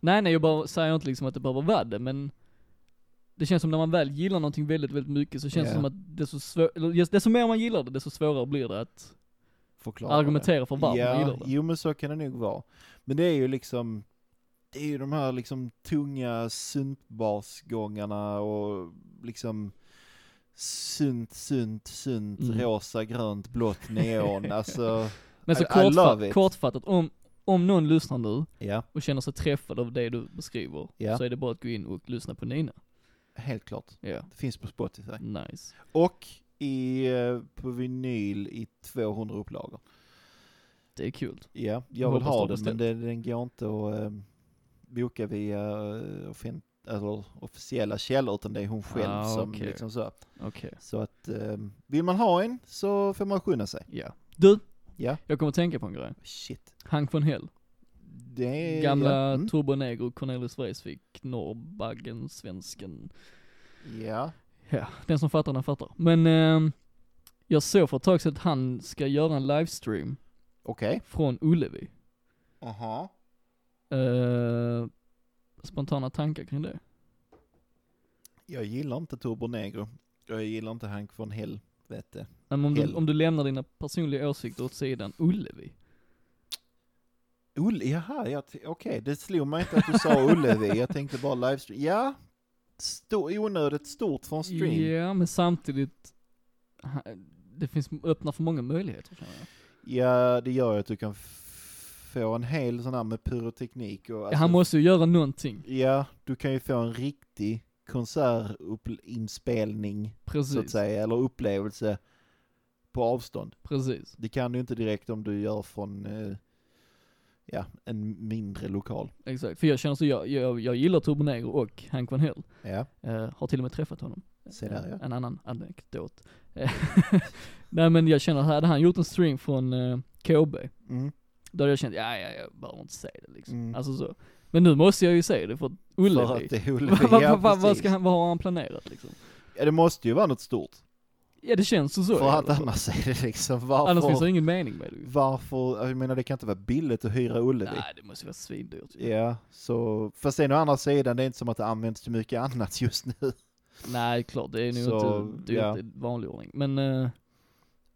S1: Nej nej, jag bara säger inte liksom att det behöver vara det, men det känns som när man väl gillar någonting väldigt, väldigt mycket så känns
S2: Ja.
S1: det som att desto, svår, eller, just desto mer man gillar det, desto svårare blir det att
S2: Förklara det.
S1: argumentera för varför man gillar det.
S2: jo men så kan det nog vara. Men det är ju liksom, det är ju de här liksom tunga syntbasgångarna och liksom synt, synt, synt,
S1: Mm.
S2: rosa, grönt, blått, neon, alltså.
S1: Men så
S2: I- I love
S1: kortfatt,
S2: it.
S1: kortfattat, om, om någon lyssnar nu
S2: Ja,
S1: och känner sig träffad av det du beskriver,
S2: Ja.
S1: så är det bara att gå in och lyssna på Nina.
S2: helt klart.
S1: Ja,
S2: Det finns på Spotify.
S1: nice.
S2: Och i, eh, på vinyl i 200 upplagor.
S1: Det är kul.
S2: Ja,
S1: Jag
S2: jag vill
S1: hoppas de
S2: ha den men
S1: beställt.
S2: den, den går inte att eh, boka via eh, offent- eller officiella källor utan det är hon själv
S1: Ah,
S2: som
S1: okej.
S2: liksom så.
S1: Okej.
S2: Så att eh, vill man ha en så får man skynda sig.
S1: Ja. Du,
S2: Ja.
S1: jag kommer att tänka på en grej.
S2: Shit.
S1: Hank von Hell.
S2: det är...
S1: Gamla
S2: ja, mm.
S1: Turbo Negro, Cornelis Vreeswijk, Norrbaggen, svensken.
S2: ja.
S1: Ja, den som fattar den fattar. Men ehm, jag såg för ett tag sedan att han ska göra en livestream
S2: okej.
S1: från Ullevi.
S2: Aha.
S1: Eh, spontana tankar kring det?
S2: Jag gillar inte Turbo Negro. Jag gillar inte Hank von Helvete.
S1: Nej, men om, du,
S2: Hell.
S1: om du lämnar dina personliga åsikter åt sidan, Ullevi.
S2: Ulle, jaha, jag t- okej, det slog mig inte att du sa Ullevi. Jag tänkte bara livestream. Ja, stor, onödigt stort för en stream.
S1: Ja, men samtidigt, ha- det finns, öppnar för många möjligheter känner jag.
S2: Ja, det gör ju att du kan f- få en hel sån här med pyroteknik och... alltså-
S1: Ja, han måste ju göra någonting.
S2: Ja, du kan ju få en riktig konsertinspelning, så att
S1: Precis,
S2: säga, eller upplevelse på avstånd.
S1: precis.
S2: Det kan du inte direkt om du gör från, eh, ja, en mindre lokal.
S1: Exakt. För jag känner så, jag, jag, jag gillar Turbo Negro och Hank Van Hell.
S2: Ja,
S1: Eh, har till och med träffat honom.
S2: se där ja.
S1: Eh, En annan anekdot. Eh, Nej men jag känner, hade han gjort en stream från eh, KB,
S2: Mm.
S1: då hade jag känt, ja ja jag behöver inte säga det liksom.
S2: Mm.
S1: Alltså så. Men nu måste jag ju säga det för att
S2: För att
S1: Ullevi,
S2: det är
S1: vad
S2: Ullevi,
S1: vad-
S2: ja,
S1: vad- vad ska
S2: precis.
S1: han, vad har han planerat liksom?
S2: Ja, det måste ju vara något stort.
S1: Ja det känns ju så. i
S2: För att
S1: alla fall.
S2: annars är det liksom, varför,
S1: Annars finns det ingen mening med det ju.
S2: varför, jag menar det kan inte vara billigt att hyra Ullevi.
S1: Nej det måste ju vara svindyrt ju.
S2: Ja, så, fast sen å andra sidan, det är inte som att det används till mycket annat just nu.
S1: Nej klart, det är nog
S2: Så,
S1: inte dyrt
S2: ja.
S1: i vanlig ordning. Men eh,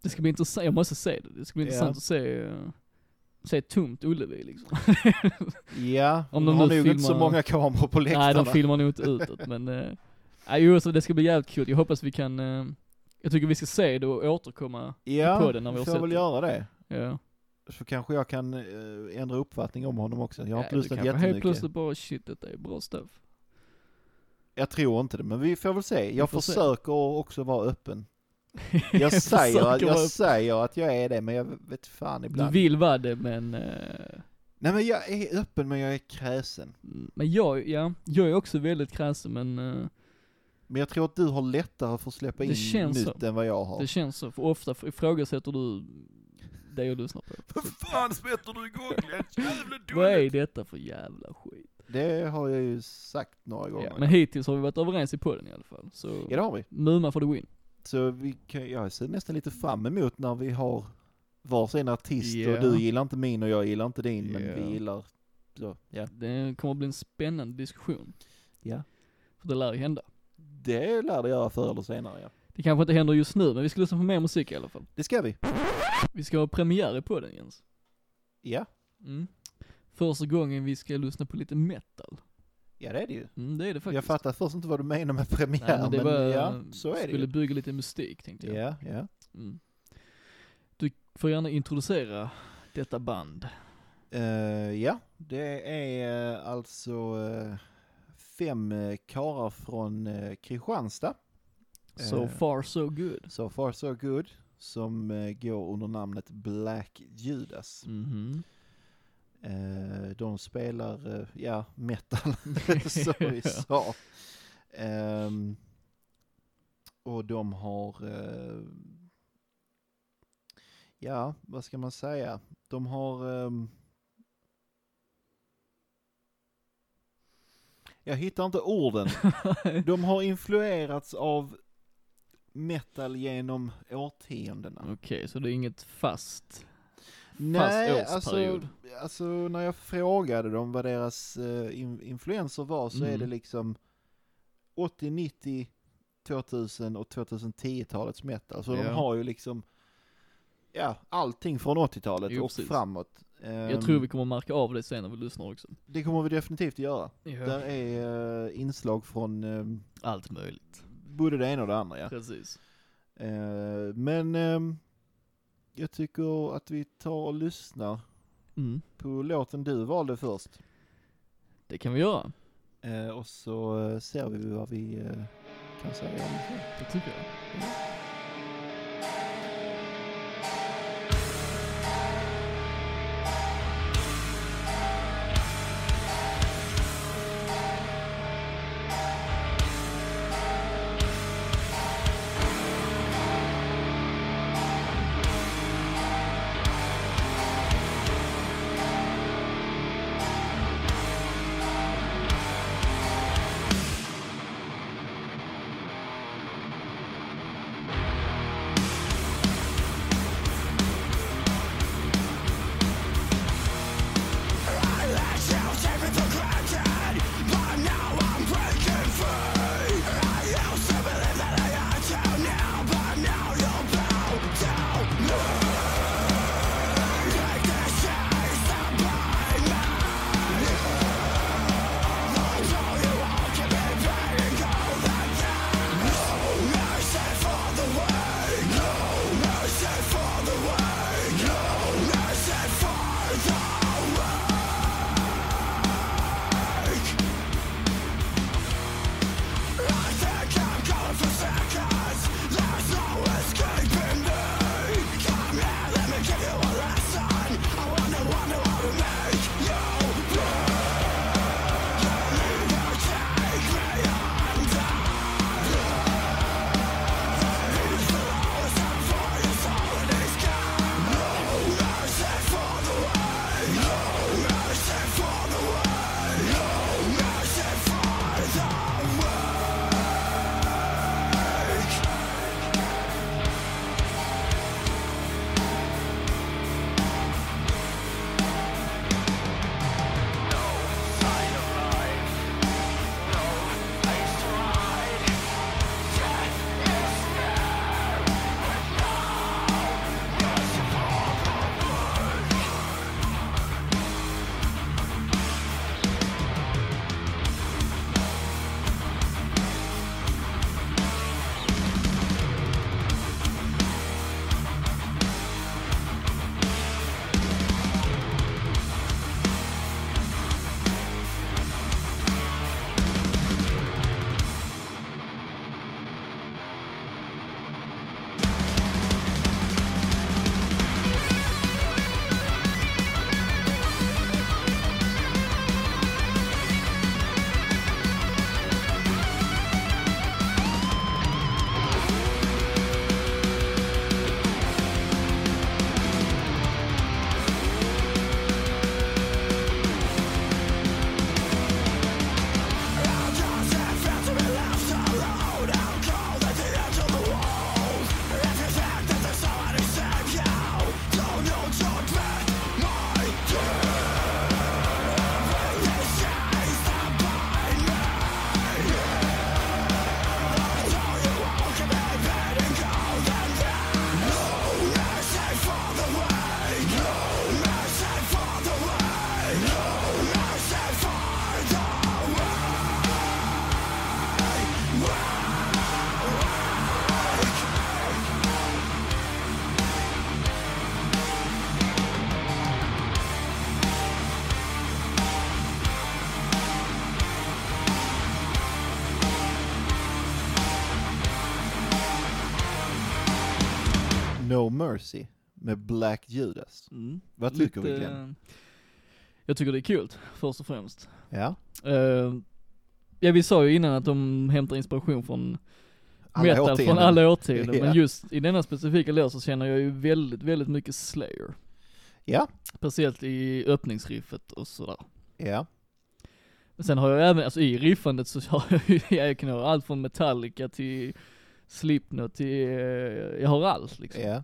S1: det ska bli intressant, jag måste se det. Det ska bli
S2: Ja.
S1: intressant att se, eh, se ett tomt Ullevi liksom.
S2: Ja,
S1: Om
S2: Om
S1: de
S2: de har
S1: nu
S2: nog inte så
S1: filmar-
S2: många kameror på läktarna.
S1: Nej, de filmar nog inte utåt, men... eh, Nej, jo, så det ska bli jävligt kul. Jag hoppas vi kan... eh, jag tycker vi ska se det och återkomma.
S2: ja,
S1: på den när vi har
S2: får
S1: sett
S2: väl
S1: det.
S2: göra det.
S1: Ja.
S2: Så kanske jag kan eh, ändra uppfattning om honom också. Jag har
S1: Ja,
S2: inte
S1: du
S2: lyssnat
S1: kanske Helt
S2: jättemycket.
S1: plötsligt bara, shit, detta är bra stuff.
S2: Jag tror inte det, men vi får väl se. Jag
S1: får se.
S2: försöker också vara öppen. Jag, säger, att,
S1: försöker
S2: jag
S1: vara-
S2: säger att jag är det, men jag vet fan
S1: Du
S2: ibland.
S1: vill vara det, men... eh,
S2: Nej men jag är öppen, men jag är kräsen.
S1: men jag, ja, jag är också väldigt kräsen, men eh,
S2: Men jag tror att du har lättare för att släppa
S1: Det
S2: in
S1: känns
S2: nytt än vad jag har.
S1: det känns så. För ofta ifrågasätter du det jag lyssnar på.
S2: Vad fan smätter du igång Glenn? Jävla
S1: Vad är detta för jävla skit?
S2: Det har jag ju sagt några gånger.
S1: Ja, men hittills har vi varit överens i podden i alla fall, så...
S2: Ja det har vi.
S1: Muma for the win.
S2: Så vi kan, jag ser nästan lite fram emot när vi har varsin artist
S1: Ja.
S2: och du gillar inte min och jag gillar inte din
S1: Ja.
S2: men vi gillar så, ja.
S1: Det kommer att bli en spännande diskussion,
S2: ja.
S1: för det lär ju hända.
S2: Det lär det göra förr eller senare ja.
S1: Det kanske inte händer just nu, men vi ska lyssna på mer musik i alla fall.
S2: Det ska vi.
S1: Vi ska ha premiär på den Jens.
S2: Ja,
S1: Mm. Första gången vi ska lyssna på lite metal.
S2: ja det är det ju.
S1: Mm, det är det faktiskt.
S2: Jag fattar först inte vad du menar med premiär
S1: Nej,
S2: men,
S1: men det var,
S2: ja, så är det
S1: skulle
S2: ju.
S1: bygga lite mystik tänkte jag.
S2: Ja, ja.
S1: Mm. Du får gärna introducera detta band.
S2: Eh, ja, det är eh, alltså eh, fem uh, karar från eh, Kristianstad.
S1: So
S2: Eh.
S1: far so good.
S2: So far so good. Som eh, går under namnet Black Judas.
S1: Mhm.
S2: Eh, de spelar, eh, ja, metal, som vi sa. Ehm, och de har, eh, ja, vad ska man säga? De har, ehm, jag hittar inte orden. De har influerats av metal genom årtiondena.
S1: Okej, så det är inget fast.
S2: Nej,
S1: fast
S2: alltså,
S1: årsperiod.
S2: alltså när jag frågade dem vad deras eh, in, influenser var så är
S1: Mm.
S2: det liksom 80, 90, 2000 och 2010-talets metal. Så de
S1: Ja.
S2: har ju liksom ja, allting från 80-talet
S1: Jo,
S2: och
S1: precis.
S2: framåt. Ehm,
S1: Jag tror vi kommer märka av det sen när vi lyssnar också.
S2: Det kommer vi definitivt att göra.
S1: Ja.
S2: Där är eh, inslag från ehm,
S1: Allt möjligt.
S2: både det ena och det andra. Ja.
S1: Precis.
S2: Eh, men ehm, jag tycker att vi tar och lyssnar
S1: Mm.
S2: på låten du valde först.
S1: Det kan vi göra.
S2: Eh, och så eh, ser vi vad vi eh, kan säga om det.
S1: Det tycker jag.
S4: Black
S2: Mercy med Black Judas.
S1: Mm.
S2: Vad tycker vi
S1: Lite- eh,
S2: Glenn?
S1: Jag tycker det är kul, först och främst.
S2: Ja.
S1: Eh, ja vi sa ju innan att de hämtar inspiration från
S2: Alla
S1: metal
S2: årtionden.
S1: från alla årtionden,
S2: Ja.
S1: men just i denna specifika låt så känner jag ju väldigt, väldigt mycket Slayer.
S2: Ja,
S1: Speciellt i öppningsriffet och sådär.
S2: ja,
S1: Men sen har jag även, alltså i riffandet så har jag ju, jag kan ha allt från Metallica till Slipknot till, eh, jag har allt liksom.
S2: ja. Mm.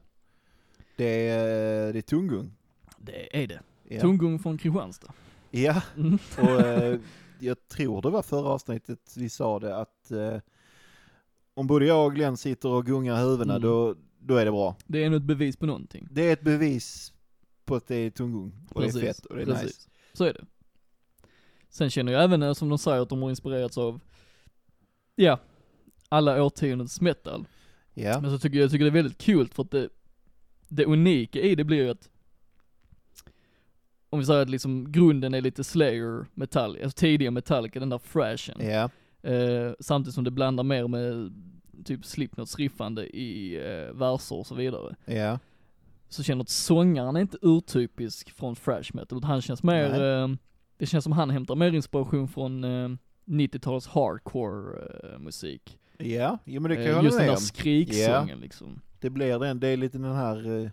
S2: Det är, eh, det är tunggung.
S1: Det är det.
S2: Ja.
S1: Tunggung från Kristianstad.
S2: ja.
S1: Mm.
S2: Och eh, jag tror det var förra avsnittet vi sa det att eh, om både jag och Glenn sitter och gungar huvudena
S1: Mm.
S2: då, då är det bra.
S1: Det är nog ett bevis på någonting.
S2: Det är ett bevis på att det är tunggung och det är fett och det är nice.
S1: Så är det. Sen känner jag även eh, som de säger att de har inspirerats av, ja, alla årtiondens metal.
S2: Ja,
S1: Men så tycker jag, jag tycker det är väldigt kul för att det, det unika i det blir ju att, om vi säger att liksom grunden är lite Slayer, Metallica, alltså tidiga Metallica, den där fräschen.
S2: ja,
S1: Eh, samtidigt som det blandar mer med typ Slipknots riffande i eh, verser och så vidare.
S2: ja,
S1: Så känner jag att sångaren är inte urtypisk från thrash metal, utan han känns mer, eh, det känns som han hämtar mer inspiration från eh, 90-talets hardcore eh, musik.
S2: ja, jo men det kan
S1: Eh,
S2: jag hålla
S1: Just den
S2: med
S1: där
S2: om.
S1: skriksången liksom.
S2: Det blir den, det är lite den här eh,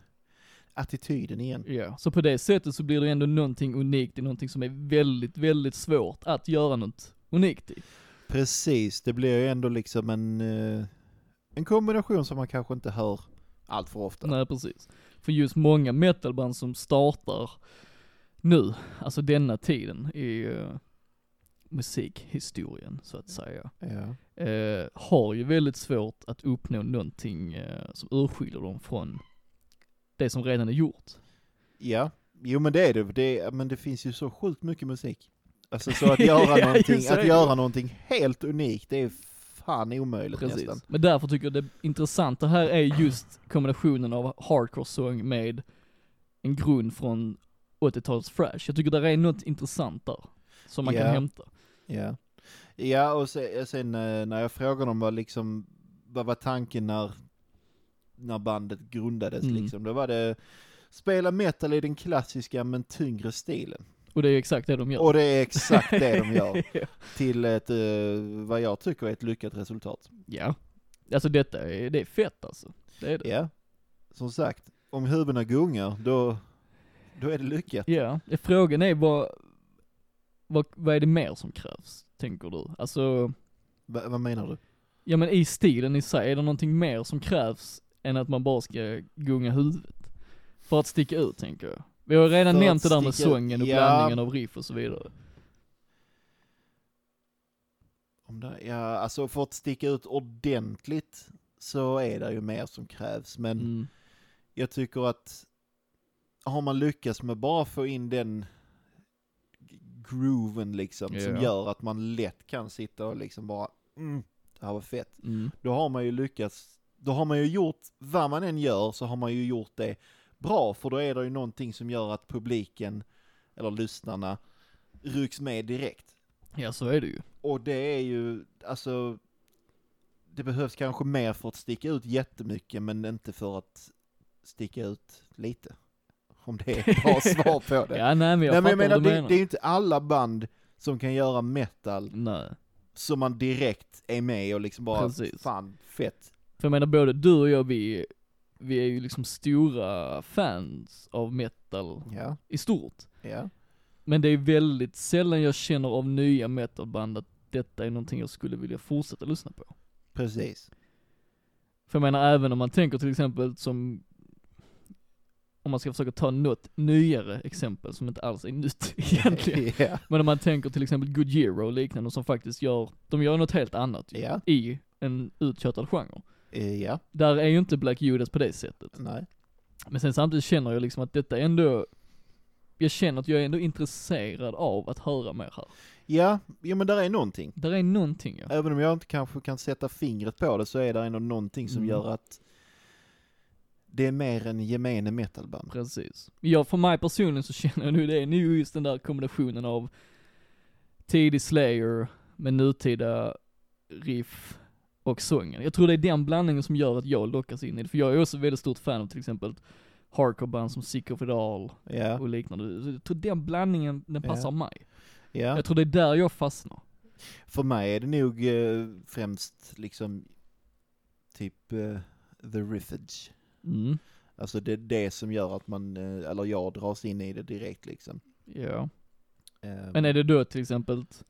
S2: attityden igen.
S1: Ja, så på det sättet så blir det ändå någonting unikt i någonting som är väldigt, väldigt svårt att göra något unikt i.
S2: Precis, det blir ju ändå liksom en, eh, en kombination som man kanske inte hör allt för ofta.
S1: Nej precis. För just många metalband som startar nu, alltså denna tiden i eh, musikhistorien så att säga,
S2: Ja.
S1: eh, har ju väldigt svårt att uppnå någonting eh, som urskiljer dem från det som redan är gjort.
S2: ja, jo men det är det. det. är- Men det finns ju så sjukt mycket musik. Alltså så att göra,
S1: Ja,
S2: någonting,
S1: just det.
S2: att göra någonting helt unikt, det är fan omöjligt
S1: Precis.
S2: nästan.
S1: Men därför tycker jag det intressanta här är just kombinationen av hardcore-sång med en grund från 80-talets thrash. Jag tycker där är något intressant där, som man
S2: Ja.
S1: kan hämta.
S2: Ja, ja och sen, sen eh, när jag frågade om vad liksom, vad var tanken när, när bandet grundades
S1: Mm.
S2: liksom, då var det spela metal i den klassiska men tyngre stilen.
S1: Och det är exakt det de gör.
S2: Och det är exakt det de gör. Till ett, eh, vad jag tycker är ett lyckat resultat.
S1: ja. Alltså detta är, det är fett alltså. Det är det.
S2: Ja, som sagt, om huvudena gungar, då, då är det lyckat.
S1: Ja. Frågan är vad, vad, vad är det mer som krävs, tänker du? Alltså,
S2: Va- vad menar du?
S1: ja men i stilen i sig, är det någonting mer som krävs än att man bara ska gunga huvudet? För att sticka ut tänker jag. Vi har ju redan
S2: För att
S1: nämnt det där med
S2: sticka ut,
S1: sången och
S2: ja.
S1: blandningen av riff och så vidare.
S2: Om det, ja, alltså för att sticka ut ordentligt så är det ju mer som krävs, men
S1: Mm.
S2: jag tycker att har man lyckats med bara få in den g- grooven liksom som
S1: Ja.
S2: gör att man lätt kan sitta och liksom bara mm, det här var fett.
S1: Mm.
S2: Då har man ju lyckats, då har man ju gjort, vad man än gör så har man ju gjort det bra för då är det ju någonting som gör att publiken eller lyssnarna rycks med direkt.
S1: Ja så är det ju.
S2: Och det är ju, alltså, det behövs kanske mer för att sticka ut jättemycket, men inte för att sticka ut lite. Om det är ett bra svar på det.
S1: Ja nej men jag
S2: Nej, men
S1: fattar
S2: jag menar,
S1: vad du
S2: det,
S1: menar.
S2: det är ju inte alla band som kan göra metal
S1: Nej.
S2: som man direkt är med och liksom bara,
S1: Precis.
S2: fan, fett.
S1: För jag menar både du och jag vi, vi är ju liksom stora fans av metal
S2: Ja,
S1: i stort.
S2: ja.
S1: Men det är väldigt sällan jag känner av nya metalband att detta är någonting jag skulle vilja fortsätta lyssna på.
S2: Precis.
S1: För jag menar även om man tänker till exempel som, om man ska försöka ta något nyare exempel som inte alls är nytt egentligen.
S2: Ja,
S1: Men om man tänker till exempel Gojira och liknande som faktiskt gör, de gör något helt annat ju,
S2: ja,
S1: i en uttjatad genre.
S2: eh, ja,
S1: Där är ju inte Black Judas på det sättet.
S2: nej.
S1: Men sen samtidigt känner jag liksom att detta ändå, jag känner att jag är ändå intresserad av att höra mer här.
S2: Ja, ja, men där är någonting.
S1: Där är någonting ja.
S2: Även om jag inte kanske kan sätta fingret på det så är det ändå någonting som
S1: Mm.
S2: gör att det är mer än gemene metalband.
S1: Precis. Ja, för mig personligen så känner jag nu det är nu just den där kombinationen av tidig Slayer med nutida riff och sången. Jag tror det är den blandningen som gör att jag lockas in i det, för jag är också väldigt stort fan av till exempel hardcore-band som Sick of It All
S2: Ja,
S1: och liknande. Så Jag tror den blandningen, den
S2: Ja.
S1: passar mig.
S2: ja.
S1: Jag tror det är där jag fastnar.
S2: För mig är det nog eh, främst liksom typ eh, the riffage.
S1: Mm.
S2: Alltså det är det som gör att man, eh, eller jag dras in i det direkt liksom.
S1: Ja.
S2: Eh,
S1: Men är det då till exempel, ett-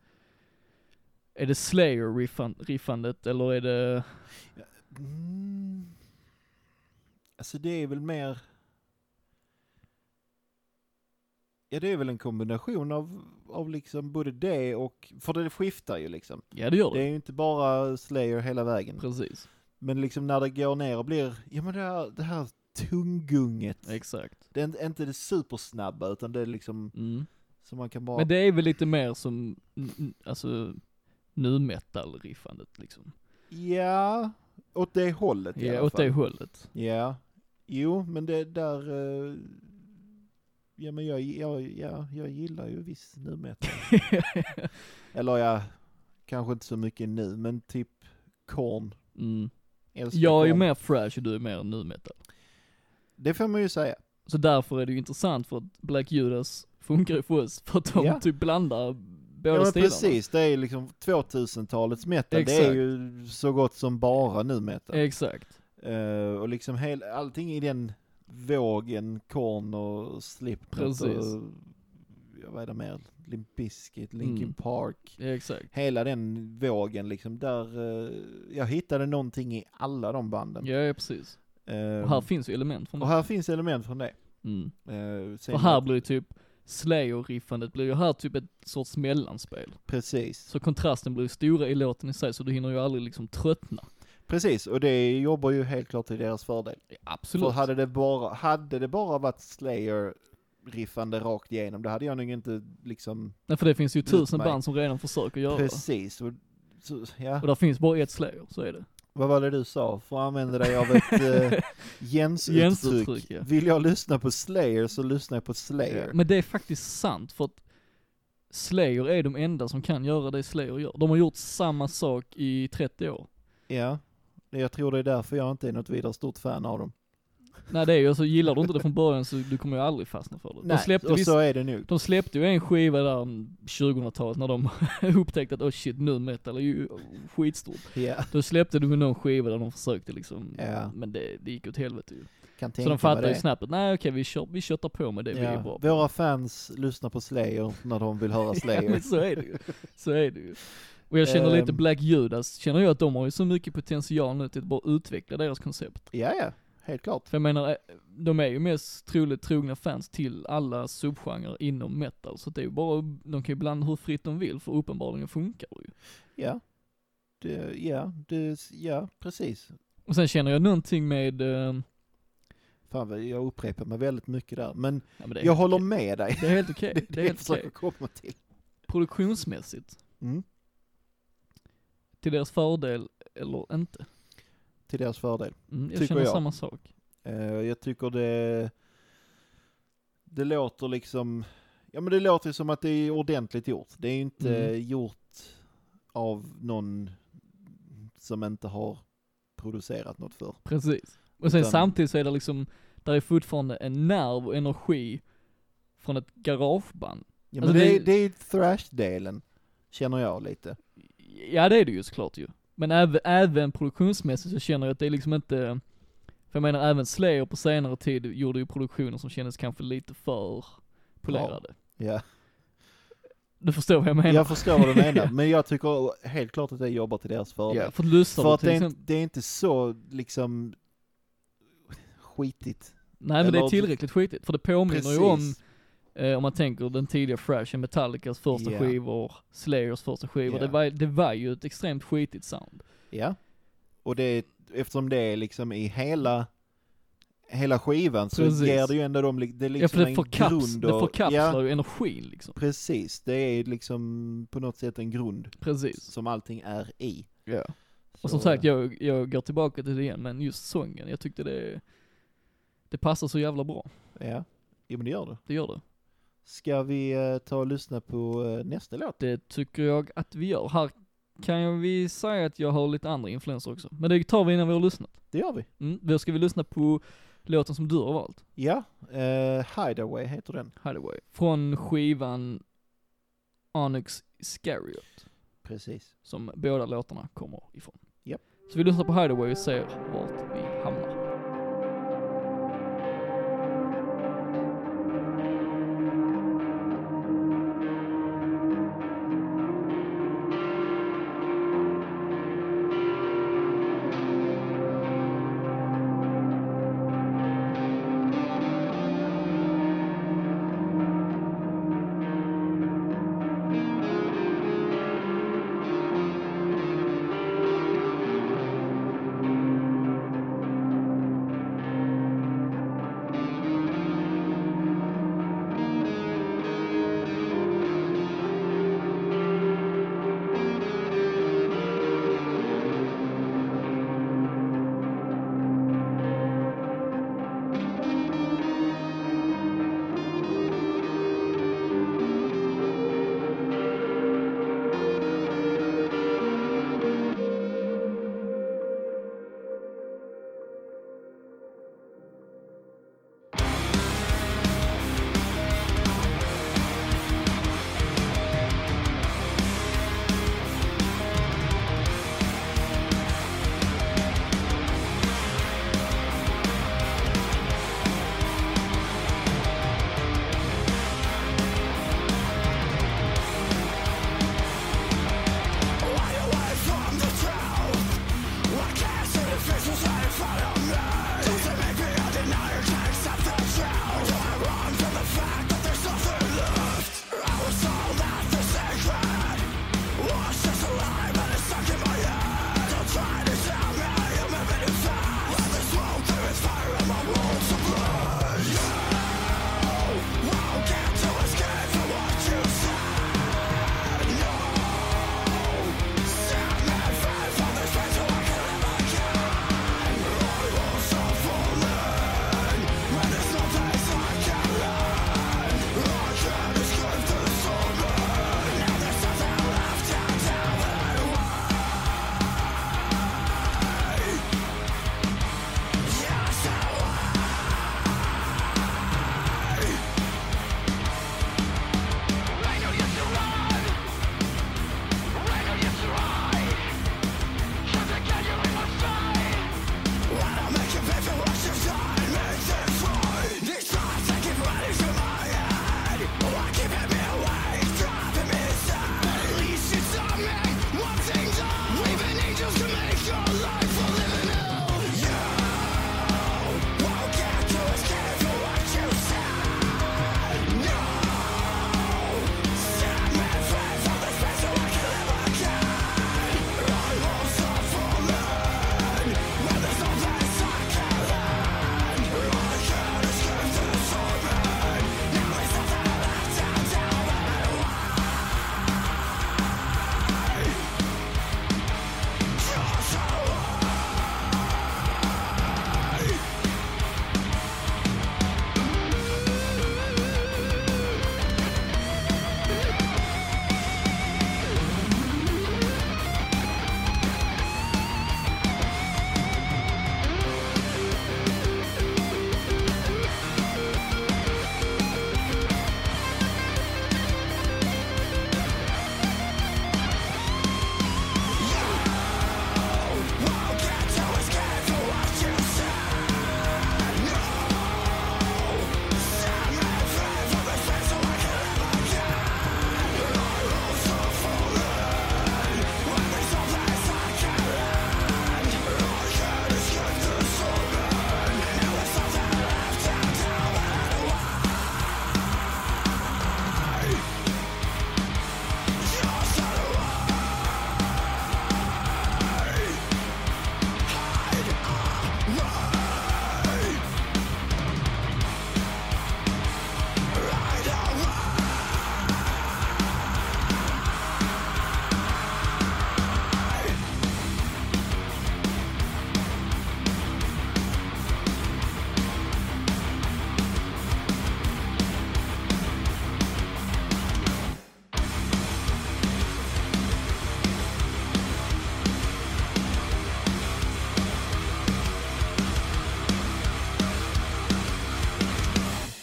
S1: är det Slayer-riffandet eller är det,
S2: Mm. Alltså det är väl mer... Ja det är väl en kombination av, av liksom både det och, för det skiftar ju liksom.
S1: ja det gör
S2: Det
S1: det.
S2: är ju inte bara Slayer hela vägen.
S1: Precis,
S2: Men liksom när det går ner och blir, ja men det här, det här tunggunget.
S1: exakt.
S2: Det är inte- inte det supersnabba utan det är liksom,
S1: Mm.
S2: så man kan bara...
S1: Men det är väl lite mer som, n- n- alltså, nu metal-riffandet liksom.
S2: Ja, åt det hållet i
S1: Ja,
S2: alla
S1: åt
S2: fall.
S1: det hållet.
S2: Ja, jo men det där, eh, ja men jag, jag, ja, jag gillar ju viss nu metal. Eller ja, kanske inte så mycket nu men typ Korn.
S1: mm.
S2: Älskar
S1: Jag är ju
S2: Korn.
S1: mer fresh och du är mer nu metal.
S2: Det får man ju säga.
S1: Så därför är det ju intressant för att Black Judas funkar ju för oss, för att de
S2: Ja.
S1: typ blandar båda
S2: Ja men
S1: stilarna.
S2: precis, det är liksom 2000-talets metal, det är
S1: Exakt.
S2: ju så gott som bara nu metal.
S1: Exakt.
S2: Eh, och liksom hel, allting i den vågen, Korn och Slipknot
S1: Precis.
S2: och, ja, vad är det mer, Limp Bizkit, Linkin
S1: Mm.
S2: Park.
S1: Exakt.
S2: hela den vågen liksom, där eh, jag hittade någonting i alla de banden.
S1: Ja, ja, precis.
S2: Eh,
S1: Och här finns ju element från
S2: och
S1: det.
S2: här finns element från det.
S1: Mm.
S2: Eh, sen-
S1: För här blir det typ, Slayer-riffandet blir ju här typ ett sorts mellanspel.
S2: Precis,
S1: Så kontrasten blir ju stora i låten i sig, så du hinner ju aldrig liksom tröttna.
S2: precis, och det jobbar ju helt klart till deras fördel.
S1: Absolut.
S2: För hade det bara, hade det bara varit Slayer riffande rakt igenom, då hade jag nog inte liksom,
S1: Nej, för det finns ju tusen
S2: Utmärkt.
S1: band som redan försöker göra det.
S2: precis, och, så, ja.
S1: Och där finns bara ett Slayer, så är det.
S2: Vad var det du sa? För att använda dig av ett eh, Jens-uttryck.
S1: Jens-uttryck, ja.
S2: Vill jag lyssna på Slayer så lyssnar jag på Slayer.
S1: Men det är faktiskt sant, för att Slayer är de enda som kan göra det Slayer gör. De har gjort samma sak i 30 år.
S2: Ja, jag tror det är därför jag inte är något vidare stort fan av dem.
S1: Nej det är ju, så gillar du inte det från början så du kommer ju aldrig fastna för det. De släppte,
S2: och
S1: visst,
S2: så är det nog.
S1: de släppte ju en skiva där mm, 2000-talet när de upptäckte att oh shit, nu metal är ju skitstort.
S2: Ja,
S1: Då släppte de ju någon skiva där de försökte liksom,
S2: Ja.
S1: men det, det gick åt helvete ju.
S2: kan
S1: Så de
S2: tänka mig
S1: fattade ju
S2: det.
S1: snabbt att nej okej vi, kör, vi köttar på med det vi är
S2: Ja.
S1: bra på.
S2: Våra fans lyssnar på Slayer när de vill höra
S1: Ja,
S2: Slayer.
S1: men så är det ju. Så är det ju. Och jag känner lite
S2: Ehm.
S1: Black Judas, känner jag att de har ju så mycket potential nu till att bara utveckla deras koncept.
S2: ja, ja, helt klart.
S1: För jag menar, eh, de är ju mest troligt trogna fans till alla subgenrer inom metal, så det är ju bara, de kan ju blanda hur fritt de vill, för uppenbarligen funkar det ju.
S2: Ja, det, ja, det, ja, precis.
S1: Och sen känner jag någonting med, eh,
S2: Fan, vad jag upprepar mig väldigt mycket där. Men
S1: ja, men det är
S2: jag
S1: helt
S2: håller
S1: okej.
S2: med dig.
S1: Det är helt okej, det är
S2: jag
S1: helt okej.
S2: försöker komma till.
S1: Produktionsmässigt,
S2: Mm.
S1: till deras fördel eller inte.
S2: Till deras fördel.
S1: Mm, jag
S2: Tycker
S1: känner
S2: jag.
S1: samma sak.
S2: Eh, jag tycker det, det låter liksom, ja men det låter ju som att det är ordentligt gjort. Det är ju inte
S1: Mm.
S2: gjort av någon som inte har producerat något för.
S1: Precis. Och sen
S2: Utan-
S1: samtidigt så är det liksom, där är fortfarande en nerv och energi från ett garageband.
S2: Ja, men
S1: Alltså,
S2: det,
S1: det-
S2: är- det är ju thrash-delen, känner jag lite.
S1: Ja det är det ju såklart ju. Men även, även produktionsmässigt så känner jag att det är liksom inte, för jag menar även Slayer på senare tid gjorde ju produktioner som kändes kanske lite för polerade.
S2: Ja.
S1: Du förstår vad jag menar?
S2: Jag förstår vad du menar, men jag tycker helt klart att det jobbar till deras fördel.
S1: Ja, för att lyssnar
S2: För
S1: du
S2: att
S1: till
S2: det är,
S1: exempel,
S2: inte, det är inte så liksom skitigt.
S1: nej men det är
S2: eller-
S1: tillräckligt skitigt, för det påminner ju om,
S2: Precis.
S1: eh, om man tänker den tidiga Thrashen, Metallicas första
S2: Ja.
S1: skivor, Slayers första skivor,
S2: Ja.
S1: det, var, det var ju ett extremt skitigt sound.
S2: Ja. Och det, är- eftersom det är liksom i hela, hela skivan så
S1: Precis.
S2: ger det ju ändå dem, li- det är liksom
S1: ja, för det,
S2: en
S1: förkaps,
S2: grund
S1: det
S2: och,
S1: förkapslar
S2: ja,
S1: ju energin liksom.
S2: precis. Det är liksom på något sätt en grund
S1: Precis.
S2: som allting är i.
S1: Ja. Och som
S2: Så,
S1: sagt, jag, jag går tillbaka till det igen, men just sången, jag tyckte det, det passar så jävla bra.
S2: Ja. Jo men det gör det.
S1: Det gör det.
S2: Ska vi eh, ta och lyssna på eh, nästa låt?
S1: Det tycker jag att vi gör. Här kan jag vi säga att jag har lite andra influenser också. Men det tar vi innan vi har lyssnat.
S2: Det gör vi.
S1: Mm. Då ska vi lyssna på låten som du har valt,
S2: Ja, eh, Hideaway heter den.
S1: Hideaway. Från skivan Onyx Iscariot,
S2: Precis.
S1: som båda låtarna kommer ifrån.
S2: Japp.
S1: Så vi lyssnar på Hideaway och ser vart vi hamnar.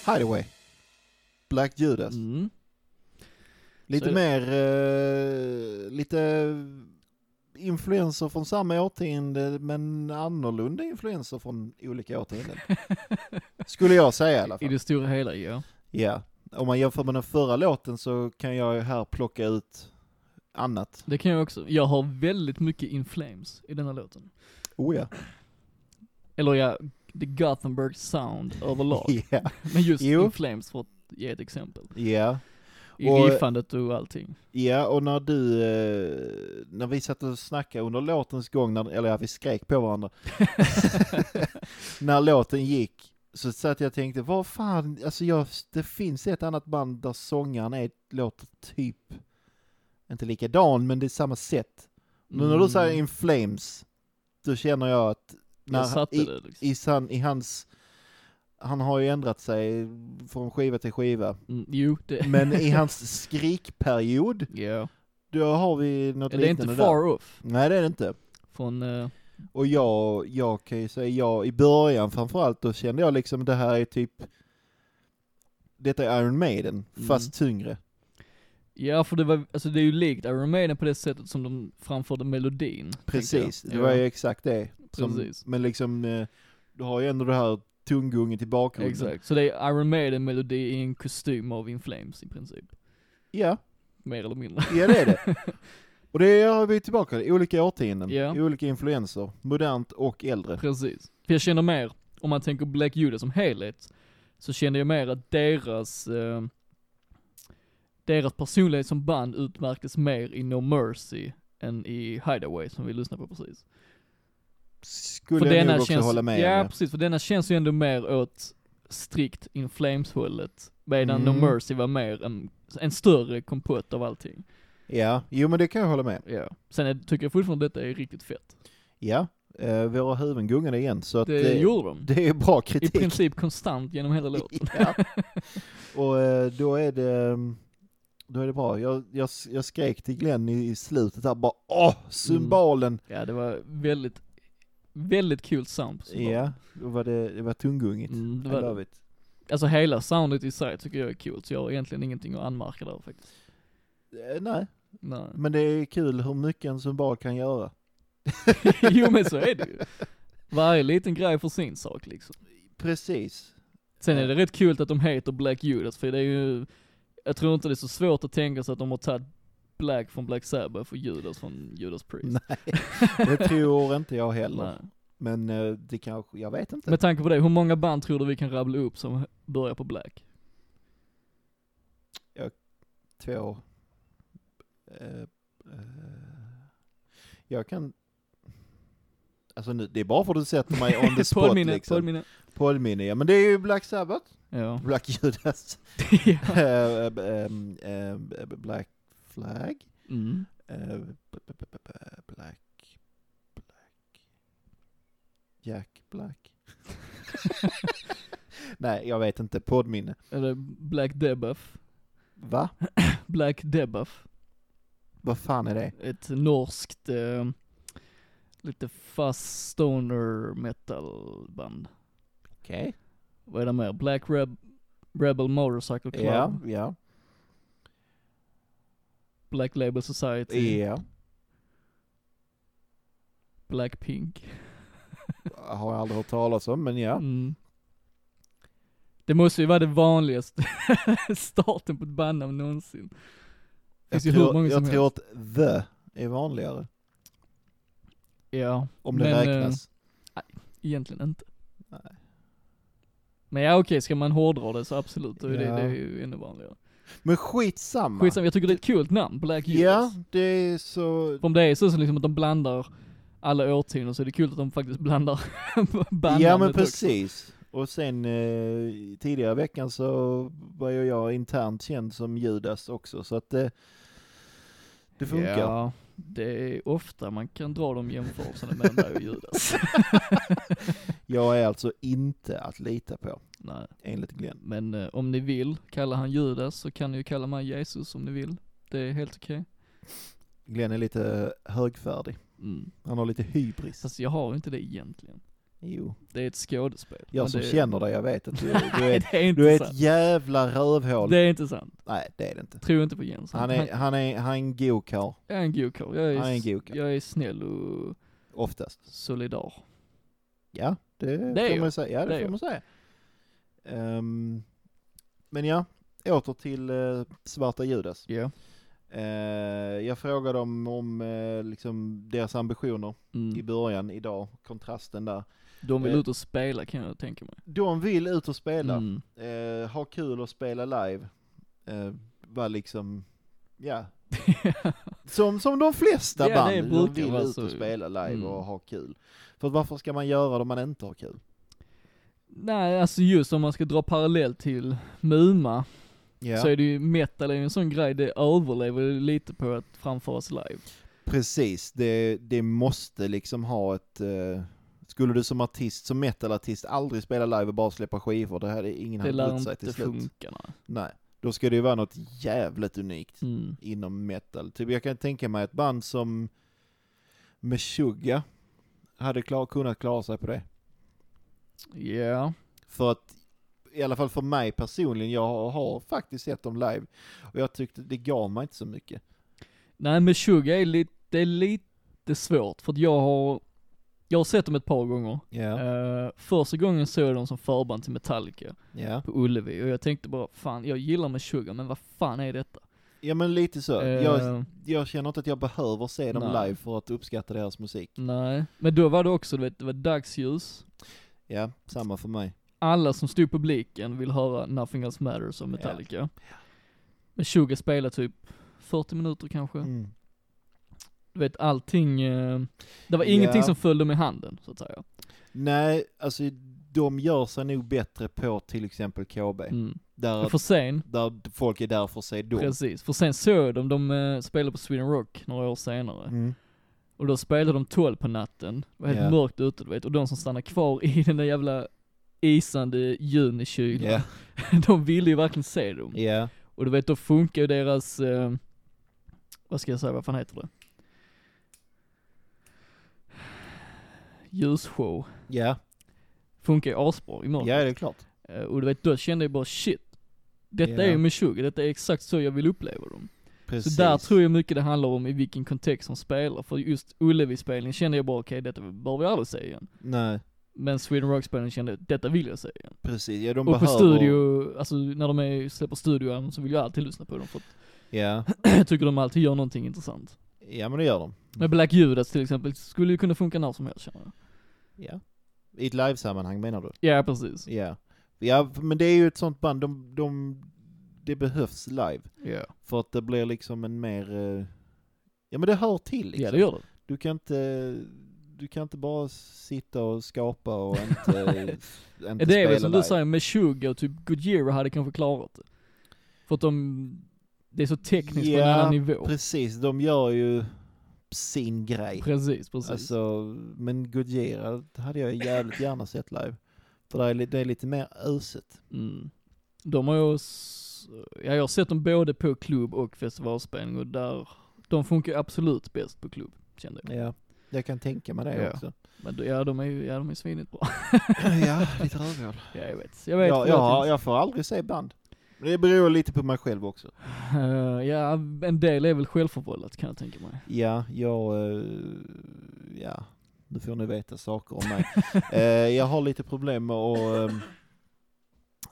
S2: Hideaway. Black Judas.
S1: Mm.
S2: Lite
S1: Så-
S2: mer, eh, lite influenser från samma årtionde men annorlunda influenser från olika årtionden. Skulle jag säga i alla
S1: I
S2: fall.
S1: det stora hela, ja.
S2: Ja, om man jämför med den förra låten så kan jag ju här plocka ut annat.
S1: Det kan jag också. Jag har väldigt mycket In Flames i denna låten.
S2: Oh ja.
S1: Eller ja, The Gothenburg Sound överlag.
S2: Ja,
S1: Men just
S2: Jo.
S1: In Flames för att ge ett exempel.
S2: ja.
S1: I
S2: Och-
S1: riffandet och allting.
S2: Ja, och när du, eh, när vi satt och snackade under låtens gång, när, eller ja, vi skrek på varandra. när låten gick så satt jag och tänkte, vad fan, alltså jag, det finns ett annat band där sångaren är, låter typ, inte likadan, men det är samma sätt. Nu när du
S1: Mm.
S2: säger In Flames, då känner jag att, när,
S1: Jag satte
S2: i,
S1: det liksom.
S2: i, san, i hans, han har ju ändrat sig från skiva till skiva,
S1: Mm, jo, det...
S2: men i hans skrikperiod
S1: ja.
S2: då har vi något
S1: Det är
S2: liknande
S1: inte
S2: där.
S1: far off
S2: Nej det är det inte.
S1: från... eh,
S2: Och jag, jag kan ju säga, jag i början framförallt, då kände jag liksom det här är typ, detta är Iron Maiden,
S1: Mm.
S2: fast tyngre.
S1: ja, för det var, alltså det är ju likt Iron Maiden på det sättet som de framförde melodin. tänkte
S2: Precis,
S1: jag.
S2: det
S1: Ja,
S2: var ju exakt det. Som,
S1: Precis.
S2: men liksom, eh, du har ju ändå det här tunggunget i bakgrunden.
S1: Exakt, så det är Iron Maiden-melodi i en kostym av In Flames i princip.
S2: Ja,
S1: Mer eller mindre.
S2: ja det är det. Och det har vi tillbaka till, olika årtionden,
S1: Ja.
S2: olika influenser, modernt och äldre.
S1: Precis. För jag känner mer, om man tänker Black Judas som helhet, så känner jag mer att deras, eh, deras personlighet som band utmärktes mer i No Mercy än i Hideaway som vi lyssnade på precis.
S2: Skulle jag nog också hålla med
S1: ja,
S2: om, ja.
S1: precis, för denna känns ju ändå mer åt strikt In Flames-hållet, medan
S2: Mm.
S1: No Mercy var mer en, en större kompott av allting.
S2: Ja, jo men det kan jag hålla med.
S1: Ja. Sen är, tycker jag fortfarande detta är riktigt fett.
S2: Ja, eh, våra huvuden gungade igen så att eh,
S1: Det,
S2: det,
S1: gjorde de.
S2: det är bra
S1: I
S2: kritik.
S1: princip konstant genom hela låten.
S2: ja. Och eh, då är det, mm, då är det bra. Jag, jag, jag skrek till Glenn i, i slutet här bara åh,
S1: Mm.
S2: cymbalen!
S1: Ja, det var väldigt, väldigt kul sound på cymbalen.
S2: Ja, då var det, det var tunggungigt.
S1: Mm, det
S2: I
S1: var,
S2: love it.
S1: alltså hela soundet i sig tycker jag är kul, så jag har egentligen ingenting att anmärka där faktiskt.
S2: Eh, nej,
S1: Nej.
S2: men det är kul hur mycket en cymbal kan göra.
S1: jo men så är det ju. Varje liten grej för sin sak liksom.
S2: Precis.
S1: Sen är det rätt kul att de heter Black Judas, för det är ju, jag tror inte det är så svårt att tänka sig att de har tagit Black från Black Sabbath och Judas från Judas Priest.
S2: Nej, det tror inte jag heller.
S1: Nej.
S2: Men eh, det kanske, jag vet inte.
S1: Med tanke på det, hur många band tror du vi kan rabbla upp som börjar på Black?
S2: två. Eh, eh, jag kan... Alltså nu, det är bara för att du sätter mig on the spot
S1: Påminne,
S2: liksom.
S1: påminne.
S2: Påminne, ja. Men det är ju Black Sabbath,
S1: Ja.
S2: Black Judas,
S1: ja.
S2: eh, eh, ehm, eh, Black Flag,
S1: Mm.
S2: eh, b- b- b- b- Black... Black... Jack Black. Nej, jag vet inte. Poddminne.
S1: Eller Black Debuff.
S2: Va?
S1: Black Debuff.
S2: Vad fan är det?
S1: ett norskt, eh, lite fast stoner metal band.
S2: Okej.
S1: Vad är det mer? Black Reb- Rebel Motorcycle Club,
S2: Ja, ja.
S1: Black Label Society,
S2: Ja.
S1: Black Pink.
S2: Har jag aldrig hört talas om, men ja.
S1: Mm. Det måste ju vara det vanligaste starten på ett bandnamn någonsin.
S2: Jag
S1: Finns ju hur
S2: tror,
S1: många som
S2: jag tror att the är vanligare,
S1: Ja,
S2: om det
S1: Men, eh,
S2: räknas.
S1: egentligen inte.
S2: Nej.
S1: Men ja okej, ska man hårdra det så absolut, då är
S2: Ja.
S1: det, det är ju ännu vanligare.
S2: Men skitsamma.
S1: Skitsamma, jag tycker det är ett kul namn, Black Judas.
S2: Ja, det är så...
S1: För om det är så, så liksom att de blandar alla årtionden så är det kul att de faktiskt blandar bandnamnet
S2: Ja men
S1: också.
S2: precis. Och sen eh, tidigare i veckan så var ju jag internt känd som Judas också, så att det, det funkar.
S1: Ja, det är ofta man kan dra de jämförelserna mellan dig och Judas.
S2: Jag är alltså inte att lita på,
S1: Nej,
S2: enligt Glenn.
S1: men eh, om ni vill kalla han Judas så kan ni ju kalla mig Jesus om ni vill. Det är helt okej.
S2: Glenn är lite högfärdig.
S1: Mm.
S2: Han har lite hybris.
S1: Fast jag har ju inte det egentligen.
S2: Jo.
S1: Det är ett skådespel.
S2: Jag
S1: Men
S2: som
S1: det,
S2: känner dig, jag vet att du, du,
S1: Nej,
S2: är,
S1: det är inte
S2: du är ett
S1: sant.
S2: jävla rövhål.
S1: Det är inte sant.
S2: Nej, det är det inte.
S1: Tro inte på Jens.
S2: Han är, han är, han är en go karl,
S1: jag är en god karl. Jag, är
S2: Han är en
S1: s-
S2: god karl.
S1: jag är snäll och
S2: oftast.
S1: solidar.
S2: Ja, det,
S1: är
S2: får
S1: jag.
S2: man säga. Ja, det,
S1: Det är
S2: får man säga. Ehm, men ja, åter till eh, Svarta Judas.
S1: Ja.
S2: Eh, jag frågade dem om eh, liksom deras ambitioner i
S1: Mm.
S2: början, idag, kontrasten där.
S1: De vill
S2: Eh.
S1: ut och spela kan jag tänka mig.
S2: De vill ut och spela,
S1: Mm.
S2: eh, ha kul och spela live. Eh, var liksom, ja. Som, som de flesta
S1: Ja, det
S2: band, de
S1: brukar
S2: vill
S1: vara
S2: ut
S1: så.
S2: och spela live
S1: Mm.
S2: och ha kul. För varför ska man göra det om man inte har kul?
S1: Nej, alltså just om man ska dra parallell till Muma,
S2: Ja.
S1: så är det ju, metal är ju en sån grej, det överlever ju lite på att framföras live.
S2: Precis, det, det måste liksom ha ett... Eh, skulle du som artist, som metalartist aldrig spela live och bara släppa skivor, det här är ingen
S1: Det
S2: hade
S1: lär
S2: brytt sig
S1: inte
S2: till slut.
S1: funka. nej.
S2: Nej, då ska det ju vara något jävligt unikt
S1: Mm.
S2: inom metal. Typ jag kan tänka mig ett band som Meshuggah hade klar, kunnat klara sig på det.
S1: Ja,
S2: För att, i alla fall för mig personligen, jag har, har faktiskt sett dem live och jag tyckte det gav mig inte så mycket.
S1: nej men Suga är lite, det är lite svårt, för att jag har, jag har sett dem ett par gånger.
S2: Ja,
S1: Eh, första gången såg jag dem som förband till Metallica
S2: ja.
S1: på Ullevi och jag tänkte bara, fan jag gillar med Suga men vad fan är detta?
S2: Ja men lite så.
S1: Eh.
S2: Jag, jag känner inte att jag behöver se dem
S1: Nej.
S2: live för att uppskatta deras musik.
S1: Nej, men då var det också, du vet, det var dagsljus,
S2: Ja, samma för mig.
S1: alla som stod i publiken vill höra Nothing Else Matters av Metallica. Men Sugar spelar typ 40 minuter kanske.
S2: Mm.
S1: Du vet allting, eh, det var
S2: Ja.
S1: ingenting som följde med handen så att säga.
S2: Nej, alltså de gör sig nog bättre på till exempel KB.
S1: Mm.
S2: Där,
S1: För sen,
S2: där folk är där för att se dem.
S1: precis, för sen såg jag dem, de eh, spelade på Sweden Rock några år senare.
S2: Mm.
S1: Och då spelade de 12 på natten, det var helt
S2: Ja.
S1: mörkt ute du vet, och de som stannade kvar i den där jävla isande junikylan,
S2: Ja,
S1: de ville ju verkligen se dem.
S2: ja,
S1: Och du vet, då funkar ju deras, eh, vad ska jag säga, vad fan heter det? Ljusshow.
S2: ja,
S1: Funkar ju asbra i
S2: ja
S1: mörkret.
S2: det är klart.
S1: Eh, och du vet, då kände jag bara shit. Detta
S2: Ja.
S1: är ju Meshuggah, detta är exakt så jag vill uppleva dem.
S2: Precis.
S1: Så där tror jag mycket det handlar om i vilken kontext som spelar, för just Ullevi-spelningen kände jag bara okej, detta bör vi aldrig se igen.
S2: Nej,
S1: Men Sweden Rock-spelningen kände jag, detta vill jag se igen.
S2: precis. Ja, de
S1: Och på
S2: behöver...
S1: studio, alltså när de är, släpper studioalbum så vill jag alltid lyssna på dem för att
S2: Ja.
S1: jag tycker de alltid gör någonting intressant.
S2: ja, men det gör de.
S1: Men Black Judas till exempel skulle ju kunna funka när som helst känner jag.
S2: Ja. I ett livesammanhang menar du?
S1: Ja precis.
S2: Ja. Ja, men det är ju ett sånt band, de, de, det behövs live.
S1: Ja.
S2: För att det blir liksom en mer, eh, ja men det hör till liksom.
S1: Ja det gör det.
S2: Du kan inte, du kan inte bara sitta och skapa och inte, inte
S1: det är
S2: spela
S1: väl som
S2: live.
S1: du säger med Sugar och typ Gojira hade kanske klarat det. För att de, det är så tekniskt på
S2: Ja,
S1: en annan nivå.
S2: Precis, de gör ju sin grej.
S1: Precis, precis.
S2: Alltså, men Gojira det hade jag jävligt gärna sett live. För det är, li- det är lite mer öset.
S1: Mm. De har ju, s- ja, jag har sett dem både på klubb och festivalspelning och där, de funkar ju absolut bäst på klubb kände jag.
S2: Ja, jag kan tänka mig det
S1: Ja.
S2: också.
S1: Men då- ja de är ju, ja de är svinigt bra.
S2: ja, lite rövhål.
S1: ja jag vet. Jag vet.
S2: Ja,
S1: förlåt,
S2: jag,
S1: Jens.
S2: jag får aldrig se band. Det beror lite på mig själv också.
S1: Eh, ja en del är väl självförvållat kan jag tänka mig.
S2: Ja, jag... eh, Ja, nu får ni veta saker om mig. Eh, jag har lite problem med att eh,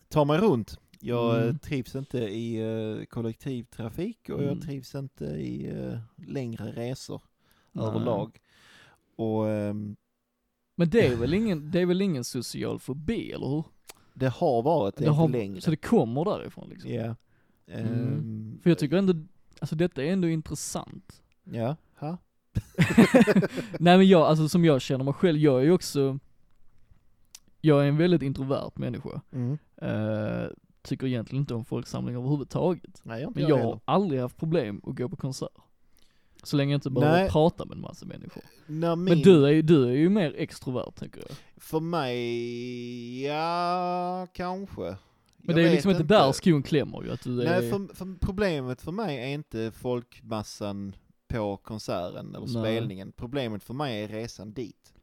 S2: ta mig runt. Jag eh,
S1: Mm.
S2: trivs inte i eh, kollektivtrafik och jag
S1: Mm.
S2: trivs inte i eh, längre resor
S1: Nej.
S2: överlag. Och eh,
S1: Men det är väl ingen, det är väl ingen social fobi, eller hur?
S2: det har varit det
S1: Det har-
S2: inte längre.
S1: Så det kommer därifrån liksom.
S2: Ja. Ehm,
S1: För jag tycker ändå, alltså detta är ändå intressant.
S2: Ja, ha?
S1: Nej men jag, alltså som jag känner mig själv, jag är ju också, jag är en väldigt introvert människa.
S2: Mm.
S1: Eh, tycker egentligen inte om folksamlingar överhuvudtaget.
S2: Nej, jag har inte
S1: Men
S2: jag
S1: jag
S2: heller.
S1: har aldrig haft problem att gå på konsert. Så länge jag inte behöver
S2: Nej.
S1: prata med en massa människor.
S2: När
S1: Men
S2: min-
S1: du är ju, du är ju mer extrovert tänker jag.
S2: För mig, ja, kanske.
S1: Men det är liksom inte, där skon klämmer ju, att du är...
S2: Nej, för, för problemet för mig är inte folkmassan på konserten eller
S1: Nej.
S2: spelningen. Problemet för mig är resan dit.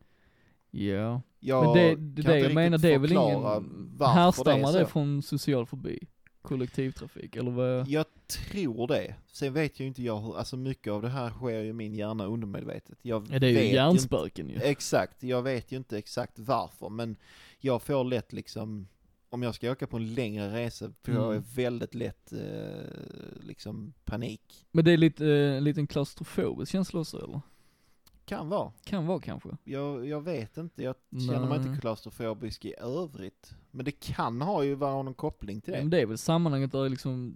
S1: Ja.
S2: Jag
S1: Men det, det,
S2: kan
S1: det
S2: inte
S1: jag menar
S2: riktigt
S1: det är väl
S2: förklara
S1: ingen,
S2: varför
S1: härstammar
S2: det
S1: det,
S2: är så.
S1: från social fobi? Kollektivtrafik eller vad?
S2: Jag tror det. Sen vet jag ju inte jag hur, alltså mycket av det här sker ju i min hjärna undermedvetet. Jag
S1: Ja, det är
S2: vet
S1: ju
S2: inte
S1: hjärnspöken ju.
S2: Exakt, jag vet ju inte exakt varför men jag får lätt liksom, om jag ska åka på en längre resa får jag
S1: Mm.
S2: väldigt lätt eh, liksom panik.
S1: Men det är lite, eh, en liten klaustrofobisk känsla också eller?
S2: Kan vara.
S1: Kan vara kanske.
S2: Jag, jag vet inte, jag känner mig
S1: Nej.
S2: inte klaustrofobisk i övrigt. Men det kan ha ju vara någon koppling till
S1: Men
S2: det.
S1: det är väl sammanhanget där det är liksom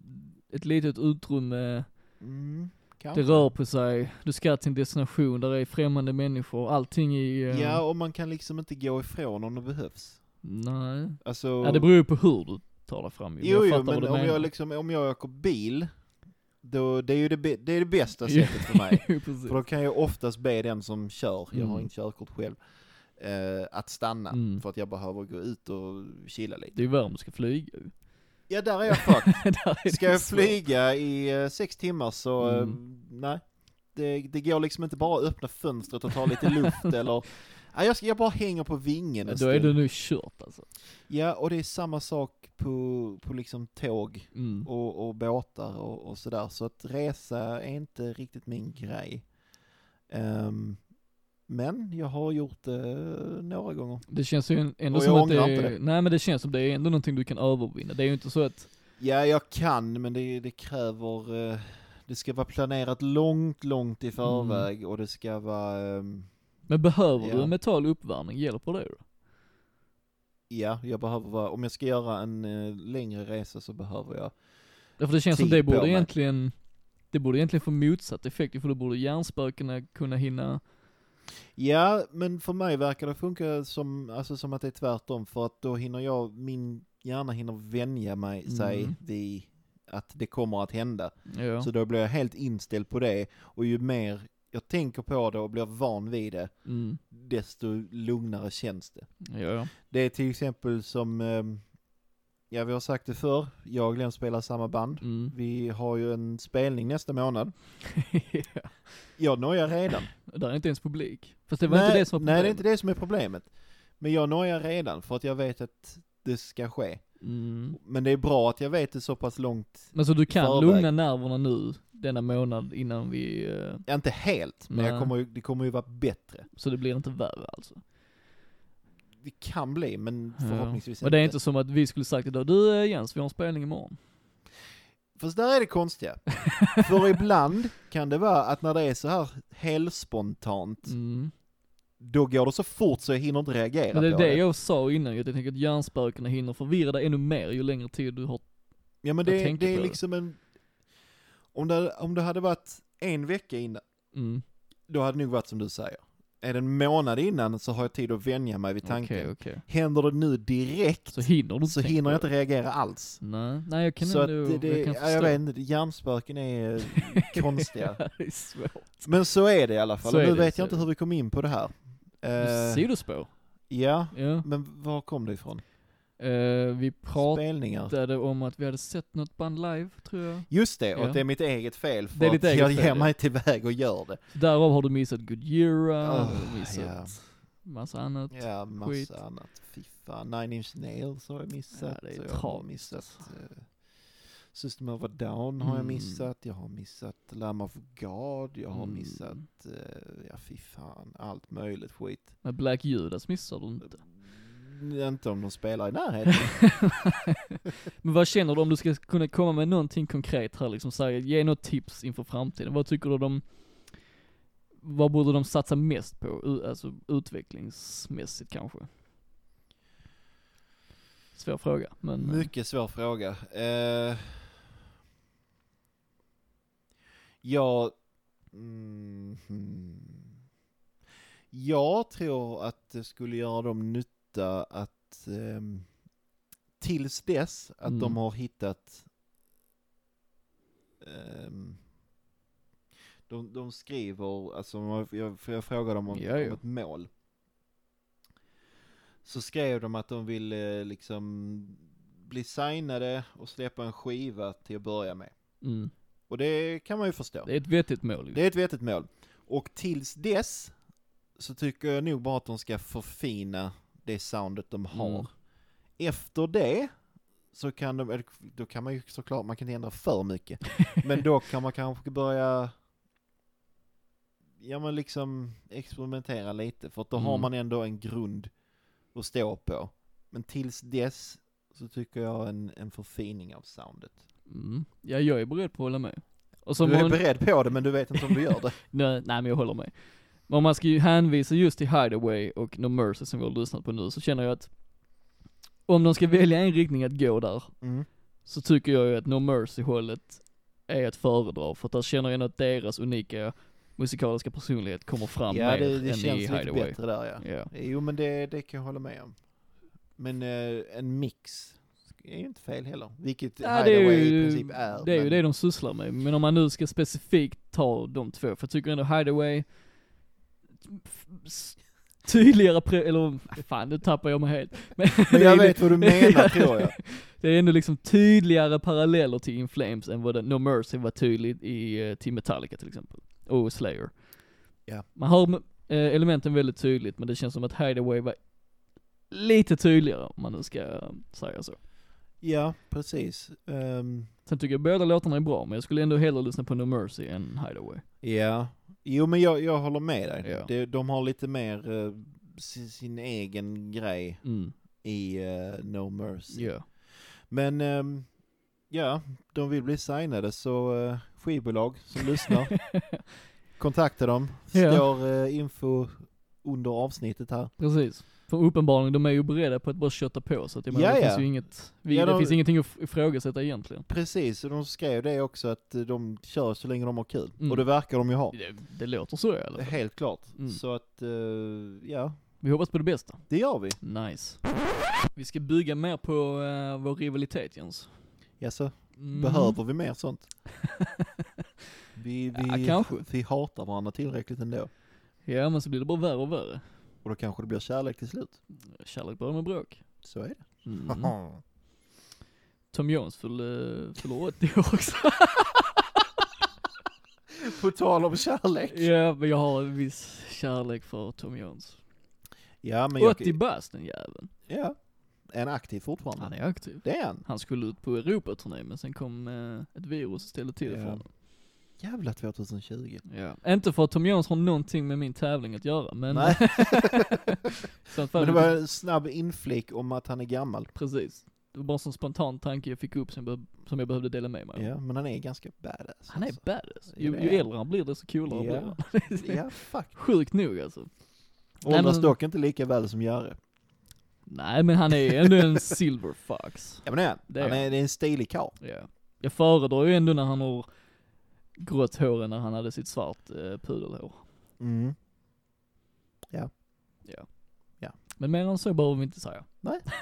S1: ett litet utrymme,
S2: Mm,
S1: det
S2: kanske.
S1: rör på sig, du ska till en destination där det är främmande människor, allting i... eh,
S2: Ja, och man kan liksom inte gå ifrån om det behövs.
S1: Nej.
S2: Alltså,
S1: Ja det beror ju på hur du tar dig fram ju.
S2: jo,
S1: jag
S2: jo,
S1: fattar
S2: men
S1: vad du
S2: om
S1: menar.
S2: jag, liksom, om jag åker bil, då, det är ju det, bä- det, är det bästa sättet för mig.
S1: Jo, precis.
S2: För då kan jag oftast be den som kör, jag har
S1: Mm.
S2: inte körkort själv, eh, att stanna.
S1: Mm.
S2: För att jag behöver gå ut och chilla lite.
S1: Det är ju värre om du ska flyga ju.
S2: Ja, där är jag fucked.
S1: Där är
S2: Ska
S1: det
S2: jag
S1: svårt.
S2: flyga i eh, sex timmar så, eh,
S1: Mm.
S2: nej. Det, det går liksom inte bara att öppna fönstret och ta lite luft eller, nej jag, ska, jag bara hänger på vingen en
S1: Då är
S2: stund.
S1: du nu kört alltså.
S2: Ja, och det är samma sak på, på liksom tåg
S1: Mm.
S2: och, och båtar och, och sådär. Så att resa är inte riktigt min grej. Ehm, men jag har gjort det eh, några gånger.
S1: Det känns ju ändå
S2: Och
S1: som
S2: jag
S1: att det
S2: ångrar inte
S1: är, nej men det känns som det är ändå någonting du kan övervinna. Det är ju inte så att,
S2: Ja, jag kan, men det, det kräver... eh, det ska vara planerat långt, långt i förväg och det ska vara... ehm,
S1: men behöver
S2: Ja.
S1: du en mental uppvärmning, hjälper det då?
S2: ja, jag behöver vara... Om jag ska göra en eh, längre resa så behöver jag...
S1: Därför det känns som
S2: Tid
S1: det
S2: på
S1: borde
S2: mig.
S1: egentligen, det borde egentligen få motsatt effekt för då borde hjärnspökena kunna hinna,
S2: Ja, men för mig verkar det funka som, alltså, som att det är tvärtom för att då hinner jag, min hjärna hinner vänja mig,
S1: Mm.
S2: sig vid att det kommer att hända.
S1: ja.
S2: Så då blir jag helt inställd på det och ju mer jag tänker på det och blir van vid det,
S1: Mm.
S2: desto lugnare känns det.
S1: ja, ja.
S2: Det är till exempel som, ehm, ja vi har sagt det förr, jag och Glenn spelar samma band.
S1: Mm.
S2: Vi har ju en spelning nästa månad.
S1: ja.
S2: Jag nojar redan.
S1: Där är inte ens publik. Fast det var inte det som var
S2: Nej, det är inte det som är problemet. Men jag nojar redan för att jag vet att det ska ske.
S1: Mm.
S2: Men det är bra att jag vet det så pass långt,
S1: Men så du kan
S2: förväg.
S1: lugna nerverna nu, denna månad innan vi, eh,
S2: ja, inte helt, men jag
S1: Nej.
S2: kommer, ju- det kommer ju vara bättre.
S1: så det blir inte värre alltså.
S2: Det kan bli, men
S1: Ja.
S2: förhoppningsvis
S1: Och det är inte som att vi skulle sagt idag, du eh, Jens, vi har en spelning imorgon.
S2: Fast där är det konstiga. För ibland kan det vara att när det är så här helspontant,
S1: Mm.
S2: då går det så fort så jag hinner inte reagera
S1: Men det är
S2: på
S1: det jag sa innan ju, att jag tänker att hjärnspökena hinner förvirra dig ännu mer ju längre tid du har.
S2: Ja men
S1: jag
S2: det,
S1: tänker
S2: det är
S1: på det.
S2: liksom en... Om det, om det hade varit en vecka innan,
S1: Mm.
S2: då hade det nog varit som du säger. Är det en månad innan så har jag tid att vänja mig vid
S1: Okej,
S2: tanken.
S1: okej.
S2: Händer det nu direkt
S1: Så
S2: så,
S1: hinner du inte tänka
S2: hinner jag
S1: på
S2: inte reagera alls.
S1: det. Nej, nej jag kan
S2: så att
S1: ändå,
S2: det, det,
S1: jag kan
S2: ja,
S1: förstå.
S2: jag vet inte, hjärnspöken är eh, konstiga.
S1: det är svårt.
S2: Men så är det i alla fall.
S1: Så
S2: Och
S1: är
S2: nu
S1: det,
S2: vet
S1: så
S2: jag
S1: är
S2: inte
S1: det.
S2: hur vi kom in på det här. Eh,
S1: Sidospår.
S2: ja,
S1: Ja.
S2: men var kom det ifrån?
S1: Eh, vi pratade
S2: Spelningar?
S1: om att vi hade sett något band live, tror jag.
S2: Just det, och
S1: Ja.
S2: det är mitt eget fel för
S1: Det är ditt
S2: att
S1: eget
S2: jag
S1: fel,
S2: ger
S1: ja.
S2: mig tillväg och gör det.
S1: Därav har du missat Gojira,
S2: Ah,
S1: du har missat
S2: ja.
S1: massa annat.
S2: Ja, massa
S1: Skit.
S2: annat. Fy fan, Nine Inch Nails har jag missat.
S1: Ja, det är
S2: och jag har
S1: tragiskt,
S2: missat eh, System of a Down har jag
S1: Mm.
S2: missat. Jag har missat Lamb of God. Jag har
S1: Mm.
S2: missat, eh, ja fy fan, allt möjligt skit.
S1: Men Black Judas missar du inte.
S2: Mm, Inte om de spelar i närheten.
S1: Men vad känner du om du ska kunna komma med någonting konkret här liksom, så här, ge något tips inför framtiden. Vad tycker du de, vad borde de satsa mest på, U- alltså utvecklingsmässigt kanske? Svår fråga, men eh,
S2: Mycket svår fråga. Eh, jag... Mm, hmm. jag tror att det skulle göra dem nytta att ehm, tills dess att
S1: Mm.
S2: de har hittat ehm, de, de skriver, alltså om jag, jag, för jag frågade dem om,
S1: Ja, ja.
S2: om ett mål. Så skrev de att de vill eh, liksom bli signade och släppa en skiva till att börja med.
S1: mm,
S2: Och det kan man ju förstå.
S1: det är ett vettigt mål ju.
S2: Det är ett vettigt mål. Och tills dess så tycker jag nog bara att de ska förfina det soundet de har.
S1: Mm.
S2: Efter det så kan de, eller då kan man ju såklart, man kan inte ändra för mycket. Men då kan man kanske börja, ja men liksom experimentera lite. För att då har
S1: Mm.
S2: man ändå en grund att stå på. Men tills dess så tycker jag en, en förfining av soundet.
S1: Mm. Ja, jag är beredd på att hålla med. Och som
S2: Du är
S1: hon-
S2: beredd på det men du vet inte om du gör det.
S1: Nej, nej men jag håller med. Men om man ska ju hänvisa just till Hideaway och No Mercy som vi har lyssnat på nu så känner jag att om de ska välja en riktning att gå där
S2: Mm.
S1: så tycker jag ju att No Mercy hållet är att föredra för att där känner jag ändå att deras unika musikaliska personlighet kommer fram
S2: Ja
S1: mer
S2: det, det
S1: än i
S2: känns lite
S1: Hideaway.
S2: bättre där ja.
S1: Ja.
S2: Jo men det, det kan jag hålla med om. Men eh, en mix är ju inte fel heller. Vilket
S1: Ja, det är
S2: Hideaway
S1: ju,
S2: i princip är.
S1: det är ju
S2: men-
S1: det de sysslar med. Men om man nu ska specifikt ta de två, för jag tycker ändå Hideaway f- s- tydligare pre- eller fan nu tappar jag mig helt. Men,
S2: Men jag
S1: det är-
S2: vet vad du menar tror jag.
S1: Det är ändå liksom tydligare paralleller till In Flames än vad den- No Mercy var tydlig i, eh, till Metallica till exempel. Och Slayer.
S2: Ja.
S1: Man har eh, elementen väldigt tydligt men det känns som att Hideaway var lite tydligare om man nu ska eh, säga så.
S2: Ja, precis. Ehm,
S1: Sen tycker jag båda låtarna är bra men jag skulle ändå hellre lyssna på No Mercy än Hideaway.
S2: ja. Jo men jag, jag håller med dig.
S1: Ja.
S2: Det, de har lite mer eh, sin, sin egen grej
S1: Mm,
S2: i eh, No Mercy.
S1: ja.
S2: Men ehm, ja, de vill bli signade så eh, skivbolag som lyssnar, kontakta dem.
S1: Ja.
S2: Står eh, info under avsnittet här.
S1: Precis. För uppenbarligen, de är ju beredda på att bara kötta på så att jag menar,
S2: Ja,
S1: det
S2: ja.
S1: finns ju inget, vi,
S2: Ja,
S1: det
S2: de-
S1: finns ingenting att ifrågasätta egentligen.
S2: Precis, och de skrev det också att eh, de kör så länge de har kul.
S1: Mm.
S2: Och det verkar de ju ha.
S1: Det, det låter så i alla fall.
S2: Helt klart.
S1: Mm.
S2: Så att, eh, ja,
S1: Vi hoppas på det bästa.
S2: det gör vi.
S1: Nice. Vi ska bygga mer på eh, vår rivalitet Jens.
S2: Ja, så
S1: Mm.
S2: behöver vi mer sånt? Vi,
S1: Ja,
S2: vi,
S1: kanske.
S2: vi hatar varandra tillräckligt ändå.
S1: Ja men så blir det bara värre och värre.
S2: Och då kanske det blir kärlek till slut.
S1: Kärlek börjar med bråk.
S2: Så är det.
S1: Mm. Tom Jones fyller, fyller 80 år också.
S2: På tal om kärlek.
S1: ja men jag har en viss kärlek för Tom Jones.
S2: Ja, men
S1: 80
S2: jag,
S1: bast den jäveln.
S2: ja. Är han aktiv fortfarande?
S1: Han är aktiv.
S2: Det är han.
S1: Han skulle ut på Europaturné men sen kom eh, ett virus och ställde till det för
S2: Ja.
S1: honom.
S2: Jävla 2020.
S1: Ja. Inte för att Tom Jones har någonting med min tävling att göra men...
S2: Nej.
S1: så att fan-
S2: Men det var en snabb inflik om att han är gammal.
S1: Precis. Det var bara en sån spontan tanke jag fick upp som jag, be- som jag behövde dela med mig av.
S2: Ja, men han är ganska badass.
S1: Han är
S2: alltså.
S1: badass.
S2: Ja,
S1: Ju,
S2: det
S1: ju
S2: är.
S1: äldre han blir desto coolare
S2: Ja.
S1: blir han. Det är
S2: alltså. Ja, fuck.
S1: Sjukt nog alltså. men-
S2: Åldras dock inte lika väl som Göre.
S1: Nej men han är ändå en silver fox.
S2: Ja men det är han.
S1: Det är
S2: Han är, det är en stilig karl.
S1: Ja. Jag föredrar ju ändå när han har grått hår än när han hade sitt svart eh, pudelhår.
S2: Mm.
S1: Men mer än så behöver vi inte säga.
S2: Nej.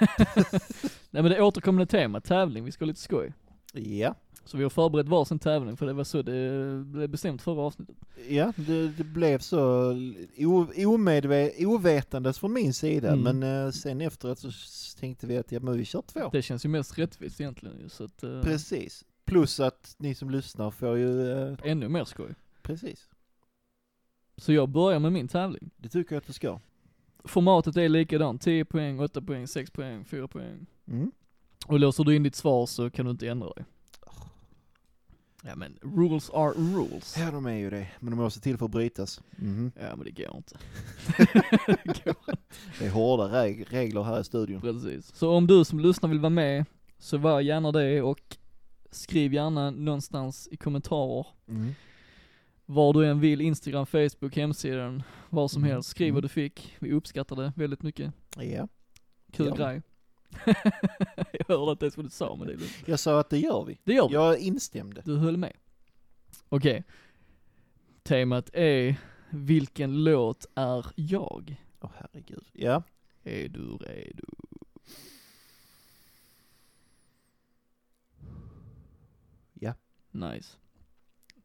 S1: Nej men det återkommande temat, tävling, vi ska ha lite skoj.
S2: Ja.
S1: Så vi har förberett varsin tävling för det var så det blev bestämt förra avsnittet.
S2: Ja, det, det blev så o, omedve, ovetandes från min sida,
S1: Mm.
S2: men eh, sen efteråt så s- tänkte vi att ja, men vi kör två.
S1: Det känns ju mest rättvist egentligen ju, så att, eh,
S2: Precis. Plus att ni som lyssnar får ju, eh,
S1: ännu mer skoj.
S2: precis.
S1: Så jag börjar med min tävling.
S2: Det tycker jag att du ska.
S1: Formatet är likadant, 10 poäng, 8 poäng, 6 poäng, 4 poäng.
S2: Mm.
S1: Och låser du in ditt svar så kan du inte ändra dig. Ja men rules are rules.
S2: Ja, de är ju det, men de måste till för att brytas. Mhm.
S1: Ja men det går inte.
S2: Det är hårda reg- regler här i studion.
S1: Precis. Så om du som lyssnar vill vara med, så var gärna det och skriv gärna någonstans i kommentarer,
S2: Mm.
S1: var du än vill, Instagram, Facebook, hemsidan, vad som
S2: Mm.
S1: helst. Skriv vad
S2: Mm.
S1: du fick, vi uppskattar det väldigt mycket.
S2: Ja.
S1: Kul
S2: Ja.
S1: grej. jag hörde inte ens vad du sa men det är lugnt.
S2: Jag sa att det gör vi.
S1: Det gör vi.
S2: Jag instämde.
S1: Du höll med. Okej. Temat är, vilken låt är jag?
S2: Åh herregud. Ja.
S1: Är du redo?
S2: Ja.
S1: Nice.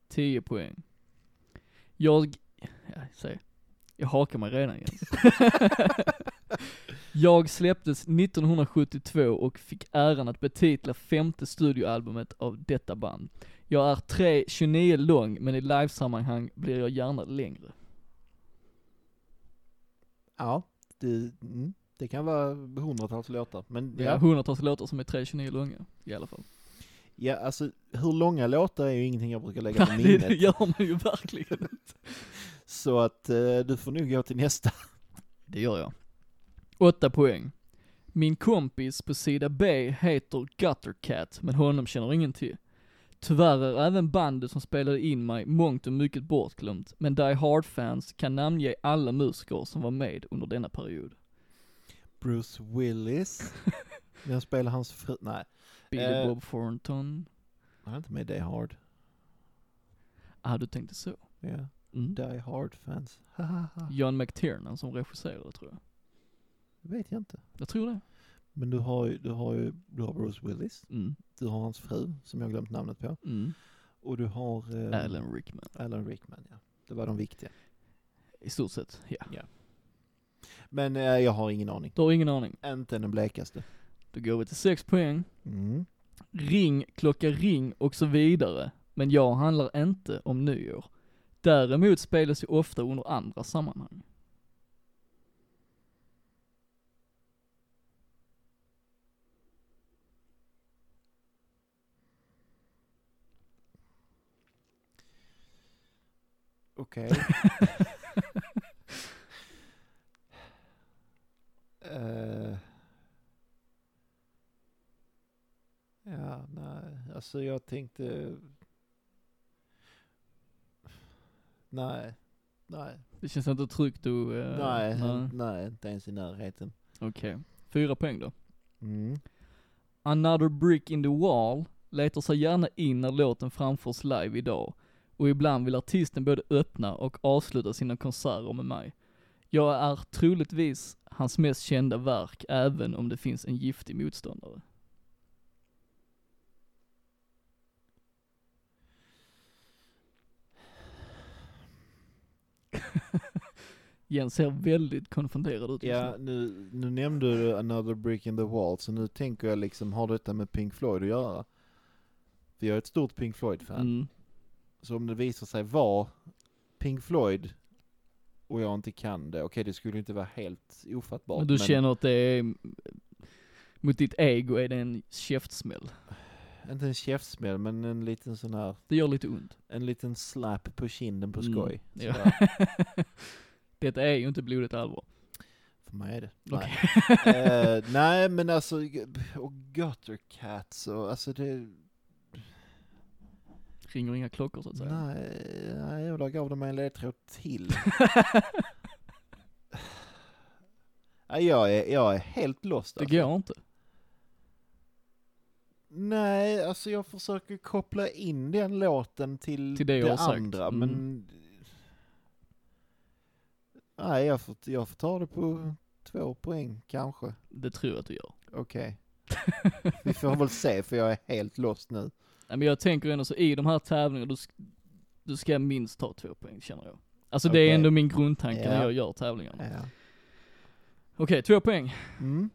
S1: 10 poäng. Jag, ja, säg. Jag hakar mig redan Jens. jag släpptes 1972 och fick äran att betitla femte studioalbumet av detta band. Jag är 3,29 lång men i livesammanhang blir jag gärna längre.
S2: Ja, det, mm, det kan vara hundratals låtar. Men
S1: Ja.
S2: ja,
S1: Hundratals låtar som är 3.29 långa i alla fall.
S2: ja, alltså hur långa låtar är ju ingenting jag brukar lägga på
S1: Nej, det
S2: minnet.
S1: gör man ju verkligen.
S2: Så att eh, du får nog gå till nästa.
S1: Det gör jag. 8 poäng. Min kompis på sida B heter Guttercat, men honom känner ingen till. Tyvärr är även bandet som spelade in mig mångt och mycket bortglömt, men Die Hard-fans kan namnge alla musiker som var med under denna period.
S2: Bruce Willis. Jag spelar hans fru. Nej,
S1: Billy
S2: Eh.
S1: Bob Thornton.
S2: han är inte med i Die Hard.
S1: Ah, du tänkte så.
S2: Ja,
S1: Mm.
S2: Die Hard-fans. Hahaha.
S1: John McTiernan som regisserade tror jag.
S2: Det vet jag inte.
S1: Jag tror det.
S2: Men du har ju, du har ju, du har Bruce Willis.
S1: Mm.
S2: Du har hans fru, som jag har glömt namnet på.
S1: Mm.
S2: Och du har... Eh,
S1: Alan Rickman.
S2: Alan Rickman, ja. Det var de viktiga.
S1: I stort sett, ja.
S2: Men eh, jag har ingen aning.
S1: Du har ingen aning.
S2: Inte den blekaste.
S1: Då går vi till 6 poäng.
S2: Mm.
S1: ring, klocka ring och så vidare. Men jag handlar inte om nyår. Däremot spelas ju ofta under andra sammanhang.
S2: Okej. Eh. ja, nej. Alltså jag tänkte... Nej. Nej.
S1: Det känns inte tryggt att... eh,
S2: nej. Nej, inte ens i närheten.
S1: Okej. Fyra poäng då.
S2: Mm.
S1: Another Brick in the Wall letar sig gärna in när låten framförs live idag. Och ibland vill artisten både öppna och avsluta sina konserter med mig. Jag är troligtvis hans mest kända verk, även om det finns en giftig motståndare. Jens ser väldigt konfunderad ut just
S2: Ja, nu, nu nämnde du Another Brick in the Wall, så nu tänker jag liksom, har detta med Pink Floyd att göra? För jag är ett stort Pink
S1: nu.
S2: Floyd-fan.
S1: Mm.
S2: Så om det visar sig vara Pink Floyd och jag inte kan det, okej det skulle ju inte vara helt ofattbart.
S1: Men du känner att det är, mot ditt ego är det en käftsmäll.
S2: Inte en käftsmäll, men en liten sån här,
S1: Det gör lite ont.
S2: en liten slap på kinden på
S1: Mm,
S2: skoj.
S1: ja.
S2: Sådär.
S1: Detta är ju inte blodigt allvar.
S2: För mig är det.
S1: Okej.
S2: Nej. Eh, nej men alltså, och Guttercats och alltså det,
S1: Ringer inga klockor så att säga.
S2: nej, nej, jag gav dem en ledtråd till. Nej, jag är, jag är helt lost
S1: det
S2: alltså.
S1: går inte.
S2: Nej, alltså jag försöker koppla in den låten till,
S1: Till det jag har sagt.
S2: andra,
S1: Mm.
S2: men... Nej, jag får, jag får ta det på två poäng kanske.
S1: Det tror jag att du gör.
S2: Okej. Vi får väl se, för jag är helt lost nu.
S1: Nej, men jag tänker ändå så i de här tävlingarna, du, sk- du ska minst ta två poäng känner jag. Alltså det
S2: Okej.
S1: är ändå min grundtanke när
S2: Ja.
S1: jag gör tävlingarna.
S2: Ja.
S1: Okej, två poäng.
S2: Mm.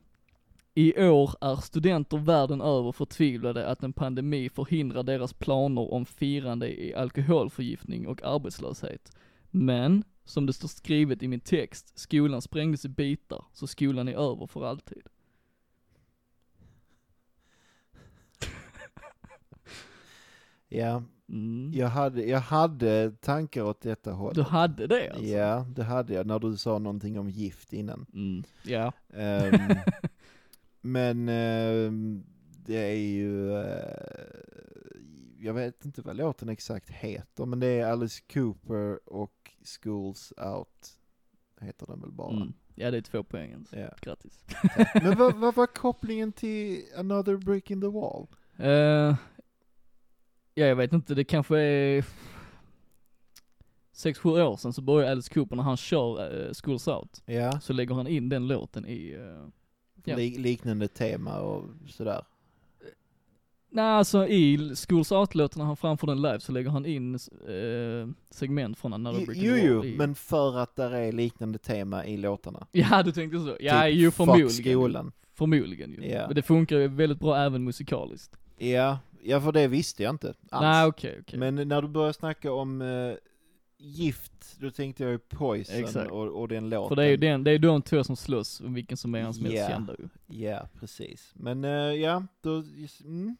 S1: I år är studenter världen över förtvivlade att en pandemi förhindrar deras planer om firande i alkoholförgiftning och arbetslöshet. Men, som det står skrivet i min text, skolan sprängdes i bitar, så skolan är över för alltid.
S2: ja,
S1: Mm.
S2: jag hade, jag hade tankar åt detta hållet.
S1: Du hade det alltså?
S2: Ja, det hade jag, när du sa någonting om gift innan.
S1: Mm. Ja.
S2: Ehm, men ehm, det är ju, eh, jag vet inte vad låten exakt heter, men det är Alice Cooper och Schools Out, heter den väl bara.
S1: Mm. Ja, det är två poäng alltså.
S2: Ja.
S1: Grattis.
S2: Men vad, vad var kopplingen till Another Brick in the Wall?
S1: Eh, ja, jag vet inte, det kanske är 6-7 år sedan så började Alice Cooper när han kör uh, Schools Out.
S2: Ja,
S1: Så lägger han in den låten i... eh, Ja.
S2: Lik, liknande tema och sådär.
S1: nej alltså i Schools Out-låten när han framför den live så lägger han in eh, segment från Another
S2: Jo,
S1: Brick in the
S2: jo,
S1: Wall
S2: jo,
S1: i-
S2: men för att där är liknande tema i låtarna.
S1: Ja du tänkte så? Ja
S2: Typ,
S1: ju
S2: fuck
S1: förmodligen.
S2: skolan.
S1: Förmodligen ju.
S2: Ja.
S1: Men det funkar ju väldigt bra även musikaliskt.
S2: Ja, ja för det visste jag inte alls.
S1: Nej okej okej.
S2: Men när du börjar snacka om eh, gift, då tänkte jag ju Poison
S1: Exakt.
S2: Och, och den låten.
S1: För det är ju den, det är de två som slåss, om vilken som är hans
S2: Ja.
S1: mest kända ju.
S2: Ja, precis. Men eh, ja, då... Mm,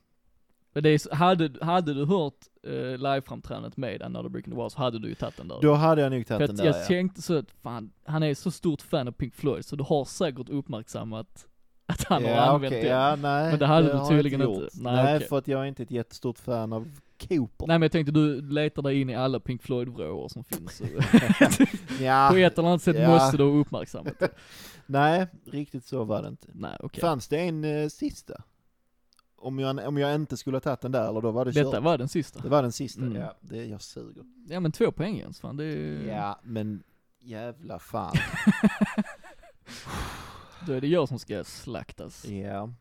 S1: Men det är, så- hade, hade du hört uh, liveframträdandet med Another Brick in the Wall så hade du ju tagit den där.
S2: då hade jag nog
S1: För
S2: tagit den
S1: att
S2: där
S1: jag
S2: ja.
S1: tänkte så att fan, han är så stort fan av Pink Floyd så du har säkert uppmärksammat att han
S2: ja,
S1: har använt
S2: okej,
S1: den.
S2: Ja, nej,
S1: Men det hade du
S2: har jag
S1: tydligen inte.
S2: gjort. Nej,
S1: Nej, okej.
S2: för att jag är inte ett jättestort fan av Cooper.
S1: Nej men jag tänkte du letar dig in i alla Pink Floyd-vrår som finns. så På
S2: ja,
S1: ett eller annat sätt
S2: Ja.
S1: måste du ha uppmärksammat det.
S2: nej, riktigt så var det inte.
S1: Nej okej.
S2: Fanns det en eh, sista? Om jag, om jag inte skulle ha tagit den där, eller då var det
S1: Detta
S2: kört.
S1: var den sista.
S2: Det var den sista,
S1: Mm.
S2: ja. Det, jag suger.
S1: Ja men två poäng ens fan, det är...
S2: Ja, men jävla fan.
S1: Då är det jag som ska slaktas.
S2: Ja.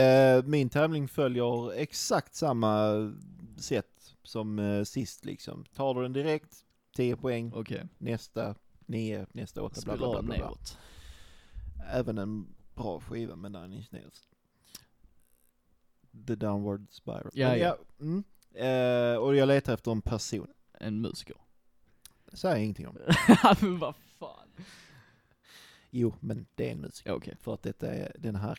S2: Eh, min tävling följer exakt samma sätt som eh, sist liksom. Tar du den direkt, 10 poäng,
S1: Okej,
S2: nästa 9, nästa 8, bla bla bla.
S1: spiral
S2: bla, bla.
S1: neråt.
S2: Även en bra skiva med Nine Inch Nails. The Downward Spiral.
S1: Ja,
S2: Men
S1: ja.
S2: mm. eh, och jag letar efter en person.
S1: En musiker.
S2: Det säger jag ingenting om.
S1: men vad fan.
S2: Jo, men det är en musik.
S1: Ja, Okej.
S2: För att detta är, den här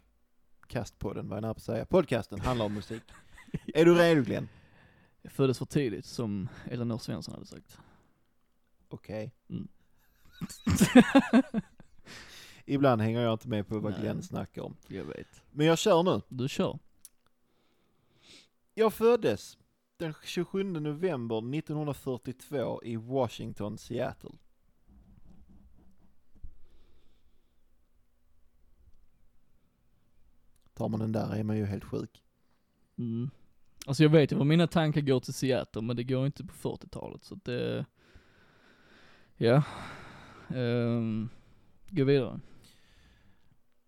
S2: kastpodden, vad jag är nära på att säga, podcasten handlar om musik. är du redo Glenn?
S1: Jag föddes för tidigt som Elinor Svensson hade sagt.
S2: Okej.
S1: Mm.
S2: Ibland hänger jag inte med på vad
S1: Nej.
S2: Glenn snackar om.
S1: Jag vet.
S2: Men jag kör nu.
S1: Du kör.
S2: Jag föddes den 27 november 1942 i Washington, Seattle. Tar man den där är man ju helt sjuk.
S1: Mm. Alltså jag vet ju vad mina tankar går till Seattle, men det går inte på 40-talet så att det... Ja. Um, gå vidare.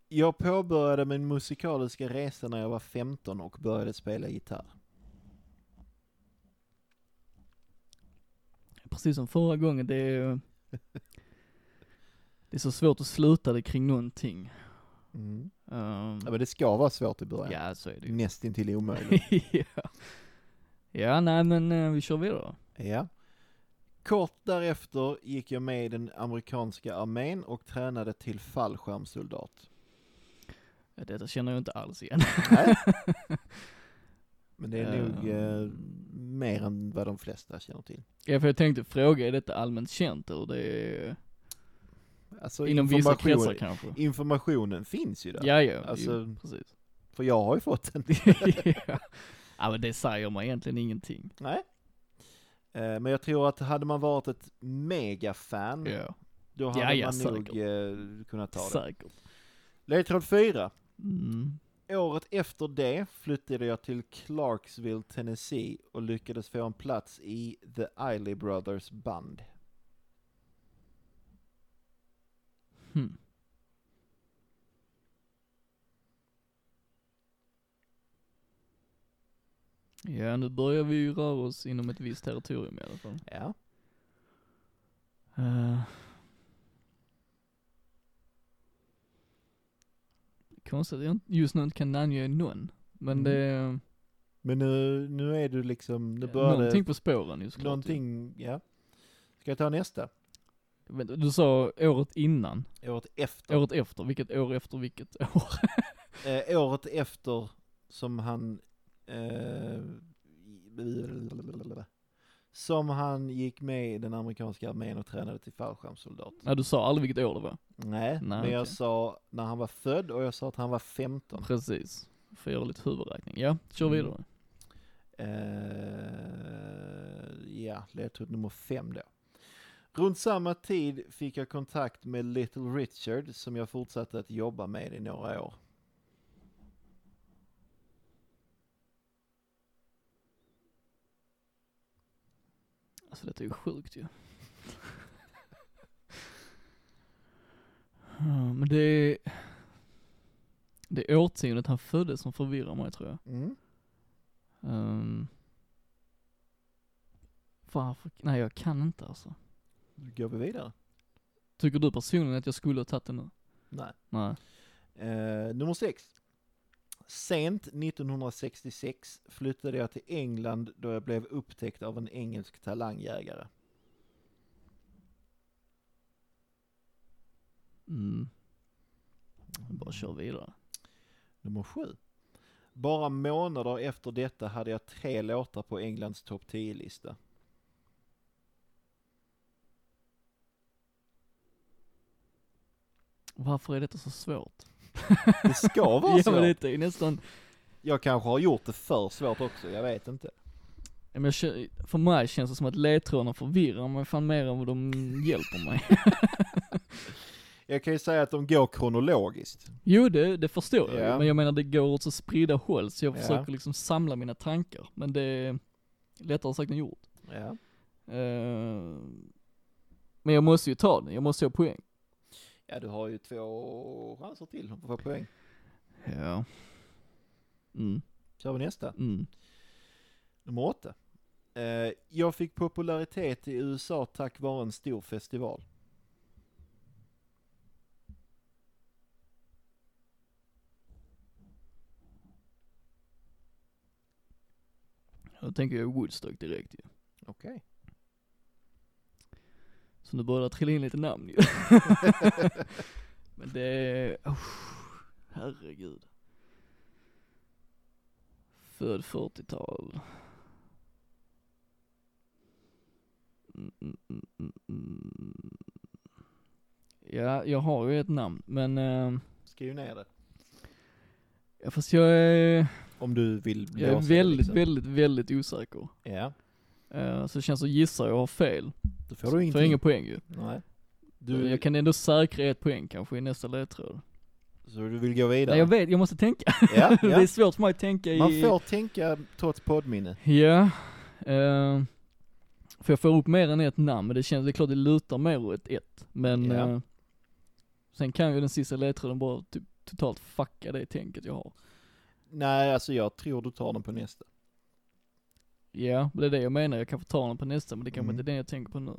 S2: Jag påbörjade min musikaliska resa när jag var 15 och började spela gitarr.
S1: Precis som förra gången, det är... Det är så svårt att sluta det kring någonting.
S2: Mm.
S1: Ehm,
S2: Ja, men det ska vara svårt i början.
S1: ja, så är det ju.
S2: Mm, Nästintill omöjligt.
S1: ja. ja, nej men eh, vi kör vidare.
S2: Ja. Kort därefter gick jag med i den amerikanska armén och tränade till fallskärmssoldat.
S1: Ja, Detta känner jag inte alls igen.
S2: Nej. Men det är
S1: Eh.
S2: nog eh, mer än vad de flesta känner till.
S1: ja, för jag tänkte fråga, är detta allmänt känt eller det är
S2: Alltså
S1: inom vissa
S2: information-
S1: kretsar kanske?
S2: informationen finns ju där.
S1: Ja, ja,
S2: Alltså-
S1: jo, precis.
S2: För jag har ju fått den.
S1: ja. ja, men det säger man egentligen ingenting.
S2: Nej. Eh, Men jag tror att hade man varit ett megafan,
S1: Ja,
S2: då hade
S1: Ja, ja,
S2: man
S1: säkert.
S2: nog eh, kunnat ta det.
S1: säkert.
S2: Ledtråd 4.
S1: Mm.
S2: Året efter det flyttade jag till Clarksville, Tennessee och lyckades få en plats i The Isley Brothers band.
S1: Hmm. Ja, nu börjar vi ju röra oss inom ett visst territorium i alla fall.
S2: Ja.
S1: Eh. Konstigt att jag inte- just nu inte kan namnge någon. Men
S2: Mm.
S1: det,
S2: Men nu, nu är du liksom, nu börjar det-
S1: någonting på spåren ju såklart.
S2: någonting, ja. Ska jag ta nästa?
S1: Vänta, Du sa året innan,
S2: Året efter.
S1: året efter, vilket år efter vilket år?
S2: Eh, året efter som han, eh, som han gick med i den amerikanska armén och tränade till fallskärmssoldat.
S1: Nej du sa aldrig vilket år det var.
S2: Nej, men
S1: okej.
S2: jag sa när han var född och jag sa att han var 15.
S1: Precis. Får göra lite huvudräkning. Ja, kör
S2: Mm.
S1: vidare.
S2: Eh, ja, ledtråd nummer fem då. Runt samma tid fick jag kontakt med Little Richard som jag fortsatte att jobba med i några år.
S1: Alltså detta är ju sjukt ju. Ja, Men det är, det är årtiondet han föddes som förvirrar mig tror jag.
S2: Mm.
S1: Um, varför? Nej jag kan inte alltså.
S2: Nu går vi vidare.
S1: Tycker du personligen att jag skulle ha tagit den nu?
S2: Nej.
S1: Nej.
S2: Eh, nummer sex. Sent 1966 flyttade jag till England då jag blev upptäckt av en engelsk talangjägare.
S1: Mm. Bara kör vidare.
S2: Nummer sju. Bara månader efter detta hade jag tre låtar på Englands topp 10-lista.
S1: Varför är detta så svårt?
S2: Det ska vara
S1: Ja men
S2: svårt.
S1: det är nästan,
S2: Jag kanske har gjort det för svårt också, jag vet inte.
S1: Ja, men jag, kö- för mig känns det som att ledtrådarna förvirrar mig fan mer än vad de hjälper mig.
S2: Jag kan ju säga att de går kronologiskt.
S1: Jo det, det förstår jag
S2: Ja.
S1: ju, men jag menar det går åt så sprida håll så jag
S2: Ja.
S1: försöker liksom samla mina tankar. Men det är lättare sagt än gjort.
S2: Ja.
S1: Eh, men jag måste ju ta den, jag måste ju ha poäng.
S2: ja, du har ju två chanser till att få poäng.
S1: Ja. Mm,
S2: Kör vi nästa.
S1: mm.
S2: Nummer åtta. Eh, jag fick popularitet i USA tack vare en stor festival.
S1: Då tänker jag Woodstock direkt ju.
S2: Okej.
S1: Så nu börjar det trilla in lite namn ju. Men det är, oh, herregud. Född 40-tal. Mm, mm, mm, mm, mm. Ja, jag har ju ett namn, men eh,
S2: Skriv ner det.
S1: ja, fast jag är,
S2: Om du vill
S1: jag är
S2: låsa det,
S1: väldigt,
S2: liksom.
S1: väldigt, väldigt osäker.
S2: Ja,
S1: Eh, så det känns som gissar jag har fel.
S2: då får du
S1: Får jag
S2: ingenting.
S1: ingen poäng ju.
S2: Nej.
S1: Du...
S2: Du,
S1: Jag kan ändå säkra ett poäng kanske i nästa ledtråd.
S2: Så du vill gå vidare?
S1: Nej jag vet, jag måste tänka.
S2: Ja,
S1: Det är
S2: ja.
S1: svårt för mig att tänka i...
S2: Man får tänka trots poddminne.
S1: Ja. eh, för jag får upp mer än ett namn, men det känns, det är klart det lutar mer åt ett. Men
S2: Ja.
S1: eh, sen kan ju den sista ledtråden bara typ totalt fucka det tänket jag har.
S2: Nej, alltså jag tror du tar den på nästa.
S1: Ja, men det är det jag menar, jag kanske tar den på nästa, men det kanske
S2: Mm.
S1: inte är den jag tänker på nu.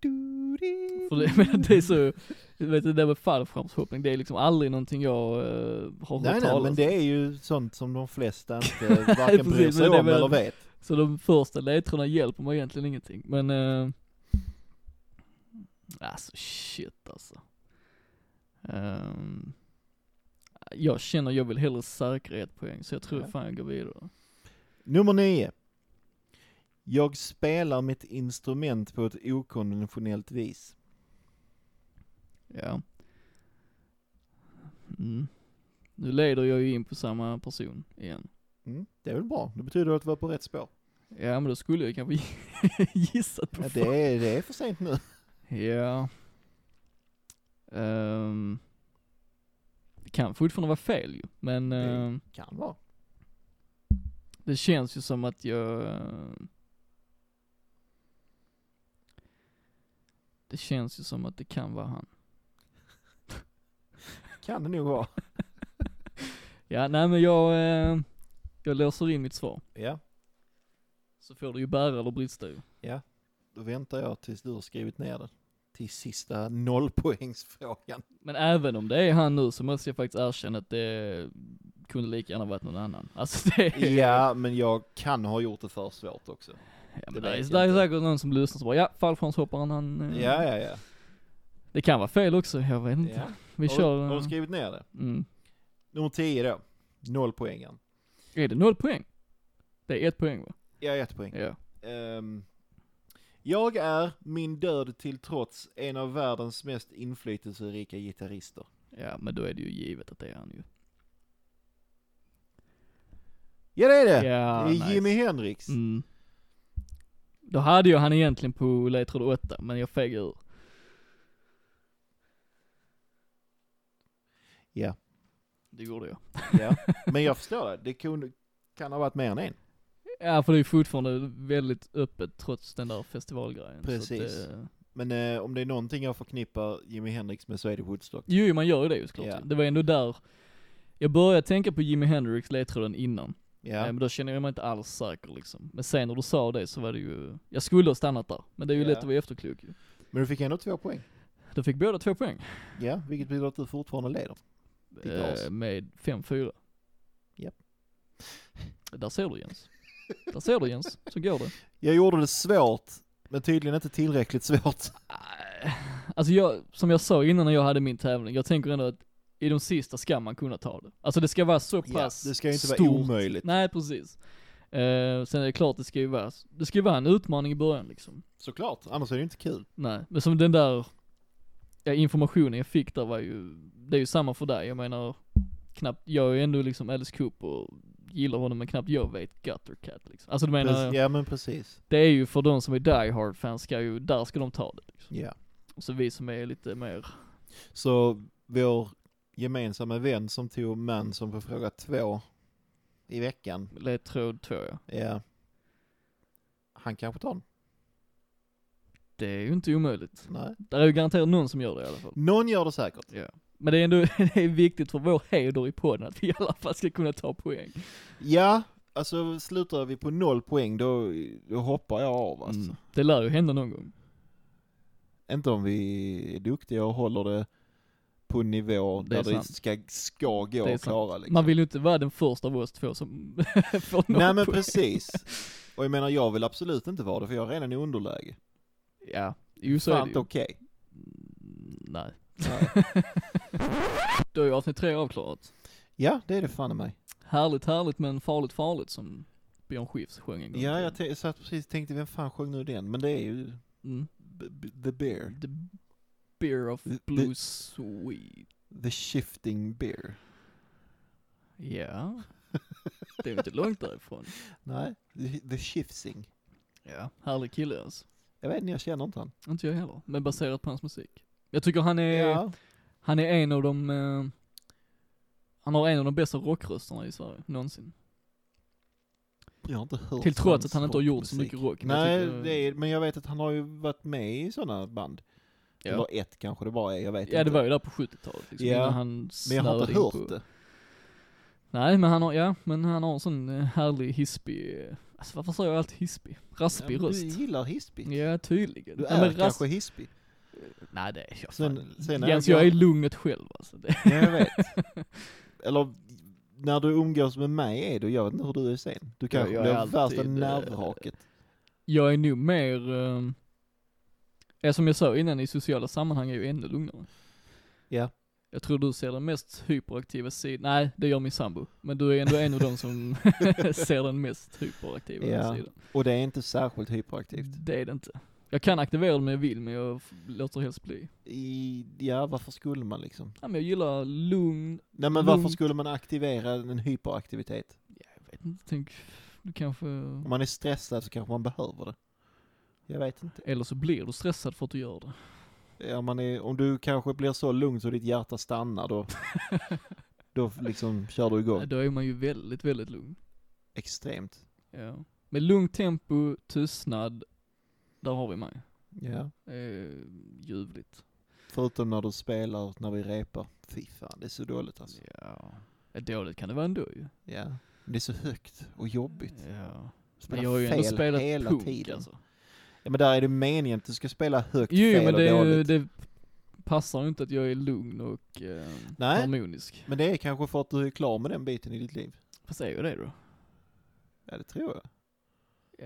S2: Du- di-
S1: För det, men det är så, du vet det där med fallskärmshoppning, det är liksom aldrig någonting jag eh, har
S2: Nej,
S1: hört
S2: nej,
S1: talas
S2: men
S1: om.
S2: det är ju sånt som de flesta inte varken bryr
S1: Precis, men
S2: sig
S1: det är
S2: om
S1: väl-
S2: eller vet.
S1: Så de första ledtrådarna hjälper mig egentligen ingenting, men... eh, alltså shit alltså. Ehm, jag känner jag vill hellre säkra ett poäng, så jag tror
S2: Ja.
S1: fan jag går vidare.
S2: Nummer nio. Jag spelar mitt instrument på ett okonventionellt vis.
S1: Ja. Mm. Nu leder jag ju in på samma person igen.
S2: Mm, det är väl bra, det betyder att vi är på rätt spår.
S1: Ja men då skulle jag kanske gissat på
S2: Ja, det, är, det är för sent nu.
S1: Ja. Ehm, det kan fortfarande vara fel ju, men
S2: Det-
S1: ehm,
S2: Kan vara.
S1: det känns ju som att jag... ehm, Det känns ju som att det kan vara han.
S2: Kan det nog vara.
S1: Ja, nej men jag, ehm, jag låser in mitt svar.
S2: Ja,
S1: Så får du ju bära eller brista ju.
S2: då väntar jag tills du har skrivit ner det. Till sista nollpoängsfrågan.
S1: Men även om det är han nu så måste jag faktiskt erkänna att det kunde lika gärna varit någon annan. Alltså det är...
S2: Ja, men jag kan ha gjort det för svårt också.
S1: Ja,
S2: Det
S1: men det är,
S2: vet
S1: det
S2: jag
S1: är
S2: inte.
S1: säkert någon som lyssnar som bara ja, fallskärmshopparen han... eh,
S2: Ja, ja, ja.
S1: Det kan vara fel också, jag vet inte.
S2: ja.
S1: Mm. Vi
S2: har,
S1: kör...
S2: du, har
S1: eh,
S2: du skrivit ner det?
S1: mm.
S2: Nummer 10 då. Nollpoängen.
S1: Är det noll poäng? Det är ett poäng va?
S2: Ja, ett poäng.
S1: Ja.
S2: Ehm, jag är, min död till trots, en av världens mest inflytelserika gitarrister.
S1: Ja, men då är det ju givet att det är han ju.
S2: Ja, det är det!
S1: Ja,
S2: det är
S1: nice.
S2: Jimi Hendrix.
S1: Mm. Då hade jag han egentligen på ledtråd 8, men jag fegade ur.
S2: Ja.
S1: Det gjorde jag.
S2: Ja. Men jag förstår det, det kunde, kan ha varit mer än en.
S1: Ja, för det är fortfarande väldigt öppet trots den där festivalgrejen. så att
S2: Precis.
S1: det-
S2: Men eh, om det är någonting jag förknippar Jimi Hendrix med så är det Woodstock.
S1: Jo, jo, man gör ju det ju såklart.
S2: Ja.
S1: Det var ändå där, jag började tänka på Jimi Hendrix ledtråden innan.
S2: Ja,
S1: Eh, Men då känner jag mig inte alls säker liksom. Men sen när du sa det så var det ju, jag skulle ha stannat där. Men det är ju
S2: Ja.
S1: lätt att vara efterklok ju.
S2: men du fick ändå två poäng.
S1: Då fick båda två poäng.
S2: Ja, vilket betyder att du fortfarande leder. Ditt
S1: eh,
S2: as.
S1: med 5-4.
S2: Japp.
S1: Där ser du Jens. Där ser du Jens, så går det.
S2: Jag gjorde det svårt Men tydligen inte tillräckligt svårt.
S1: Nej. Alltså jag, som jag sa innan när jag hade min tävling, jag tänker ändå att i de sista ska man kunna ta det. Alltså det ska vara så
S2: Ja,
S1: pass
S2: det ska ju inte vara
S1: stort.
S2: omöjligt.
S1: Nej precis. Eh, sen är det klart det ska ju vara, det ska ju vara en utmaning i början liksom.
S2: Såklart, annars är det inte kul.
S1: Nej, men som den där ja, informationen jag fick där var ju, det är ju samma för dig. Jag menar, knappt, jag är ju ändå liksom Alice Cooper och gillar honom men knappt jag vet Gutter Cat liksom. Alltså du menar,
S2: Prec- ja men precis.
S1: det är ju för de som är Die Hard-fans ska ju, där ska de ta det liksom.
S2: Ja.
S1: Och så vi som är lite mer,
S2: Så vår gemensamma vän som tog Manson på fråga två i veckan.
S1: ledtråd tror jag.
S2: Ja. Han kanske tar den?
S1: Det är ju inte omöjligt.
S2: Nej.
S1: Det är ju garanterat någon som gör det i alla fall.
S2: Någon gör det säkert.
S1: Ja. Men det är ändå, det är viktigt för vår heder i podden att vi i alla fall ska kunna ta poäng.
S2: Mm. Ja, alltså slutar vi på noll poäng då, då hoppar jag av alltså.
S1: Mm. Det lär ju hända någon gång.
S2: Inte om vi är duktiga och håller det på en nivå
S1: Det är
S2: där det
S1: sant.
S2: ska, ska gå
S1: är
S2: att
S1: sant.
S2: klara liksom.
S1: Man vill ju inte vara den första av oss två som får någon
S2: Nej men
S1: poäng.
S2: precis. Och jag menar jag vill absolut inte vara det för jag är redan i underläge.
S1: Ja, jo så är det
S2: Fan
S1: ju.
S2: okej.
S1: Mm, Nej.
S2: Nej.
S1: Då är ju avsnitt tre avklarat.
S2: Ja, det är det fan i mig.
S1: Härligt härligt men farligt farligt som Björn Skifs sjöng en gång.
S2: Ja,
S1: till.
S2: jag t- satt precis och tänkte vem fan sjöng nu den? Men det är ju
S1: mm.
S2: b- b- The Bear.
S1: The beer of
S2: The-
S1: blue sweet.
S2: The Shifting Bear.
S1: Ja. Det är ju inte långt därifrån.
S2: Nej, The, the Shifting.
S1: Ja. Härlig kille alltså.
S2: Jag vet inte, jag känner inte han.
S1: Inte jag heller, men baserat på hans musik. Jag tycker han är,
S2: Ja.
S1: han är en av de, eh, han har en av de bästa rockrösterna i Sverige, någonsin.
S2: Jag har inte hört
S1: Till trots
S2: hans
S1: att han inte har gjort så
S2: rockmusik.
S1: mycket rock. men
S2: Nej,
S1: jag tycker-
S2: det är, men jag vet att han har ju varit med i sådana band.
S1: Ja.
S2: Eller ett kanske det bara är, jag vet
S1: Ja
S2: inte.
S1: det var ju där på 70-talet liksom,
S2: Ja,
S1: innan han
S2: men jag har inte
S1: snöade in
S2: hört
S1: på-
S2: det.
S1: Nej men han har, ja, men han har en sån eh, härlig hispig, eh, alltså varför säger jag alltid hispig?
S2: Ja,
S1: Raspig
S2: men
S1: röst.
S2: du gillar hispigt.
S1: Ja tydligen.
S2: Du
S1: Ja,
S2: är
S1: men
S2: kanske hispig.
S1: Nej det är jag
S2: Sen,
S1: fan.
S2: sen
S1: Jens jag är lugnet själv alltså. Det...
S2: Ja, jag vet. Eller när du umgås med mig är du, jag vet inte hur du är sen. Du kanske
S1: jag är
S2: blir
S1: alltid,
S2: värsta
S1: eh,
S2: nervraket.
S1: Jag är nog mer, eh, är som jag sa innan i sociala sammanhang är jag ju ännu lugnare.
S2: Ja.
S1: Jag tror du ser den mest hyperaktiva sidan, nej det gör min sambo. Men du är ändå en av de som ser den mest hyperaktiva
S2: Ja.
S1: sidan.
S2: Och det är inte särskilt hyperaktivt.
S1: Det är det inte. Jag kan aktivera det om jag vill men jag f- låter helst bli.
S2: I, ja, varför skulle man liksom?
S1: Ja, men jag gillar lugn,
S2: Nej men varför
S1: Lugnt.
S2: skulle man aktivera en hyperaktivitet?
S1: ja, jag vet inte, tänk, du kanske,
S2: Om man är stressad så kanske man behöver det. Jag vet inte.
S1: eller så blir du stressad för att du gör det.
S2: Ja, man är, om du kanske blir så lugn så ditt hjärta stannar då, då liksom kör du
S1: Nej,
S2: igång.
S1: Då är man ju väldigt, väldigt lugn.
S2: Extremt.
S1: Ja. Med lugnt tempo, tystnad, där har vi mig.
S2: Ja.
S1: Eh, ljuvligt.
S2: Förutom när du spelar, när vi repar. Fy fan, det är så dåligt alltså.
S1: Ja. Ja, Dåligt kan det vara ändå ju.
S2: Ja. Det är så högt och jobbigt.
S1: Ja. Mm. Men
S2: Spela
S1: jag har ju ändå
S2: fel
S1: spelat
S2: hela
S1: punk
S2: tiden.
S1: alltså.
S2: Ja, men där är det meningen att du ska spela högt,
S1: Jo
S2: fel
S1: men det,
S2: och
S1: är-
S2: dåligt.
S1: det passar ju inte att jag är lugn och eh,
S2: Nej.
S1: harmonisk.
S2: Men det är kanske för att du är klar med den biten i ditt liv.
S1: Fast är ju det då.
S2: Ja, det tror jag.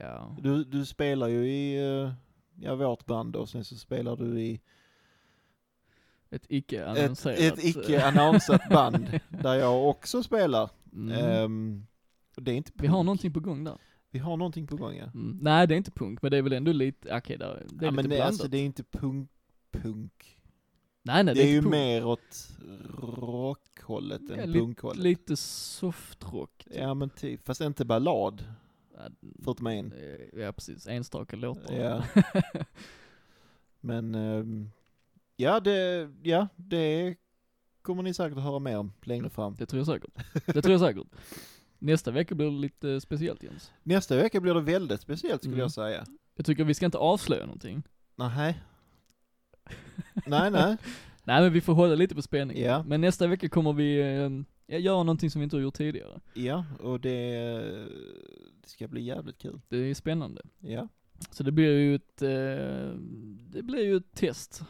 S1: Ja.
S2: Du, du spelar ju i, eh, ja, vårt band och sen så spelar du i
S1: Ett icke
S2: ett,
S1: annonserat.
S2: ett icke-annonsat band där eh, jag också spelar.
S1: Mm.
S2: Ehm, och det är inte
S1: Vi har
S2: punk.
S1: någonting på gång där.
S2: Vi har någonting på gång, ja.
S1: Mm. Nej det är inte punk, men det är väl ändå lite, okej där, det är
S2: ja
S1: lite
S2: men det,
S1: blandat.
S2: alltså, det är inte punk, punk.
S1: nej nej
S2: det är, ju
S1: inte punk.
S2: mer åt rockhållet
S1: Ja,
S2: än
S1: li-
S2: punkhållet.
S1: Lite softrock. typ. Äh,
S2: Ja men typ, fast inte ballad, förutom en.
S1: Eh, Ja precis, enstaka låtar.
S2: Ja. Men, ehm, ja det, ja det kommer ni säkert att höra mer om längre fram.
S1: Det tror jag säkert. Det tror jag säkert. Nästa vecka blir det lite speciellt Jens.
S2: Nästa vecka blir det väldigt speciellt skulle
S1: Mm.
S2: jag säga.
S1: Jag tycker vi ska inte avslöja någonting.
S2: Nej. nej, nej.
S1: Nej men vi får hålla lite på spänningen.
S2: Ja.
S1: Men nästa vecka kommer vi eh, ja, göra någonting som vi inte har gjort tidigare.
S2: Ja, och det, det ska bli jävligt kul.
S1: Det är spännande.
S2: Ja.
S1: Så det blir ju ett, eh, det blir ju ett test.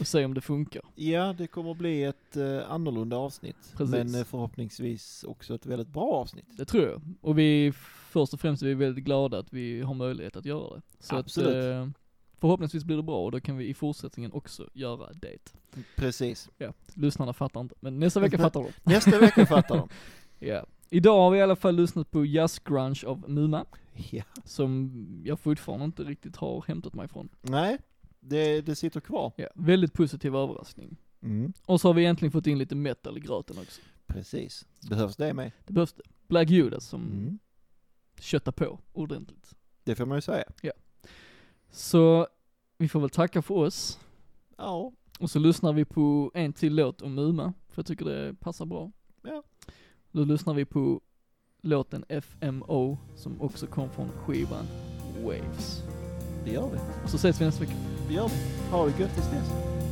S1: Och se om det funkar.
S2: Ja, det kommer bli ett eh, annorlunda avsnitt.
S1: Precis.
S2: Men eh, förhoppningsvis också ett väldigt bra avsnitt.
S1: Det tror jag. Och vi, först och främst är vi väldigt glada att vi har möjlighet att göra det. Så
S2: Absolut.
S1: Att, eh, Förhoppningsvis blir det bra och då kan vi i fortsättningen också göra det.
S2: Precis.
S1: Ja, lyssnarna fattar inte, men nästa vecka fattar de.
S2: Nästa vecka fattar de.
S1: Ja. Idag har vi i alla fall lyssnat på Jazz Grunge av Muma,
S2: Ja.
S1: som jag fortfarande inte riktigt har hämtat mig från.
S2: Nej, det, det sitter kvar.
S1: Ja, väldigt positiv överraskning.
S2: Mm.
S1: Och så har vi egentligen fått in lite metal i gröten också.
S2: Precis. Behövs det med?
S1: Det behövs det. Black Judas som
S2: Mm.
S1: köttar på ordentligt.
S2: Det får man ju säga.
S1: Så vi får väl tacka för oss.
S2: Ja.
S1: Och så lyssnar vi på en till låt om Muma, för jag tycker det passar bra.
S2: Ja.
S1: Då lyssnar vi på låten FMO, som också kom från skivan Waves.
S2: Det gör vi.
S1: Och så ses vi nästa vecka.
S2: Det gör vi. Ha det gött tills dess.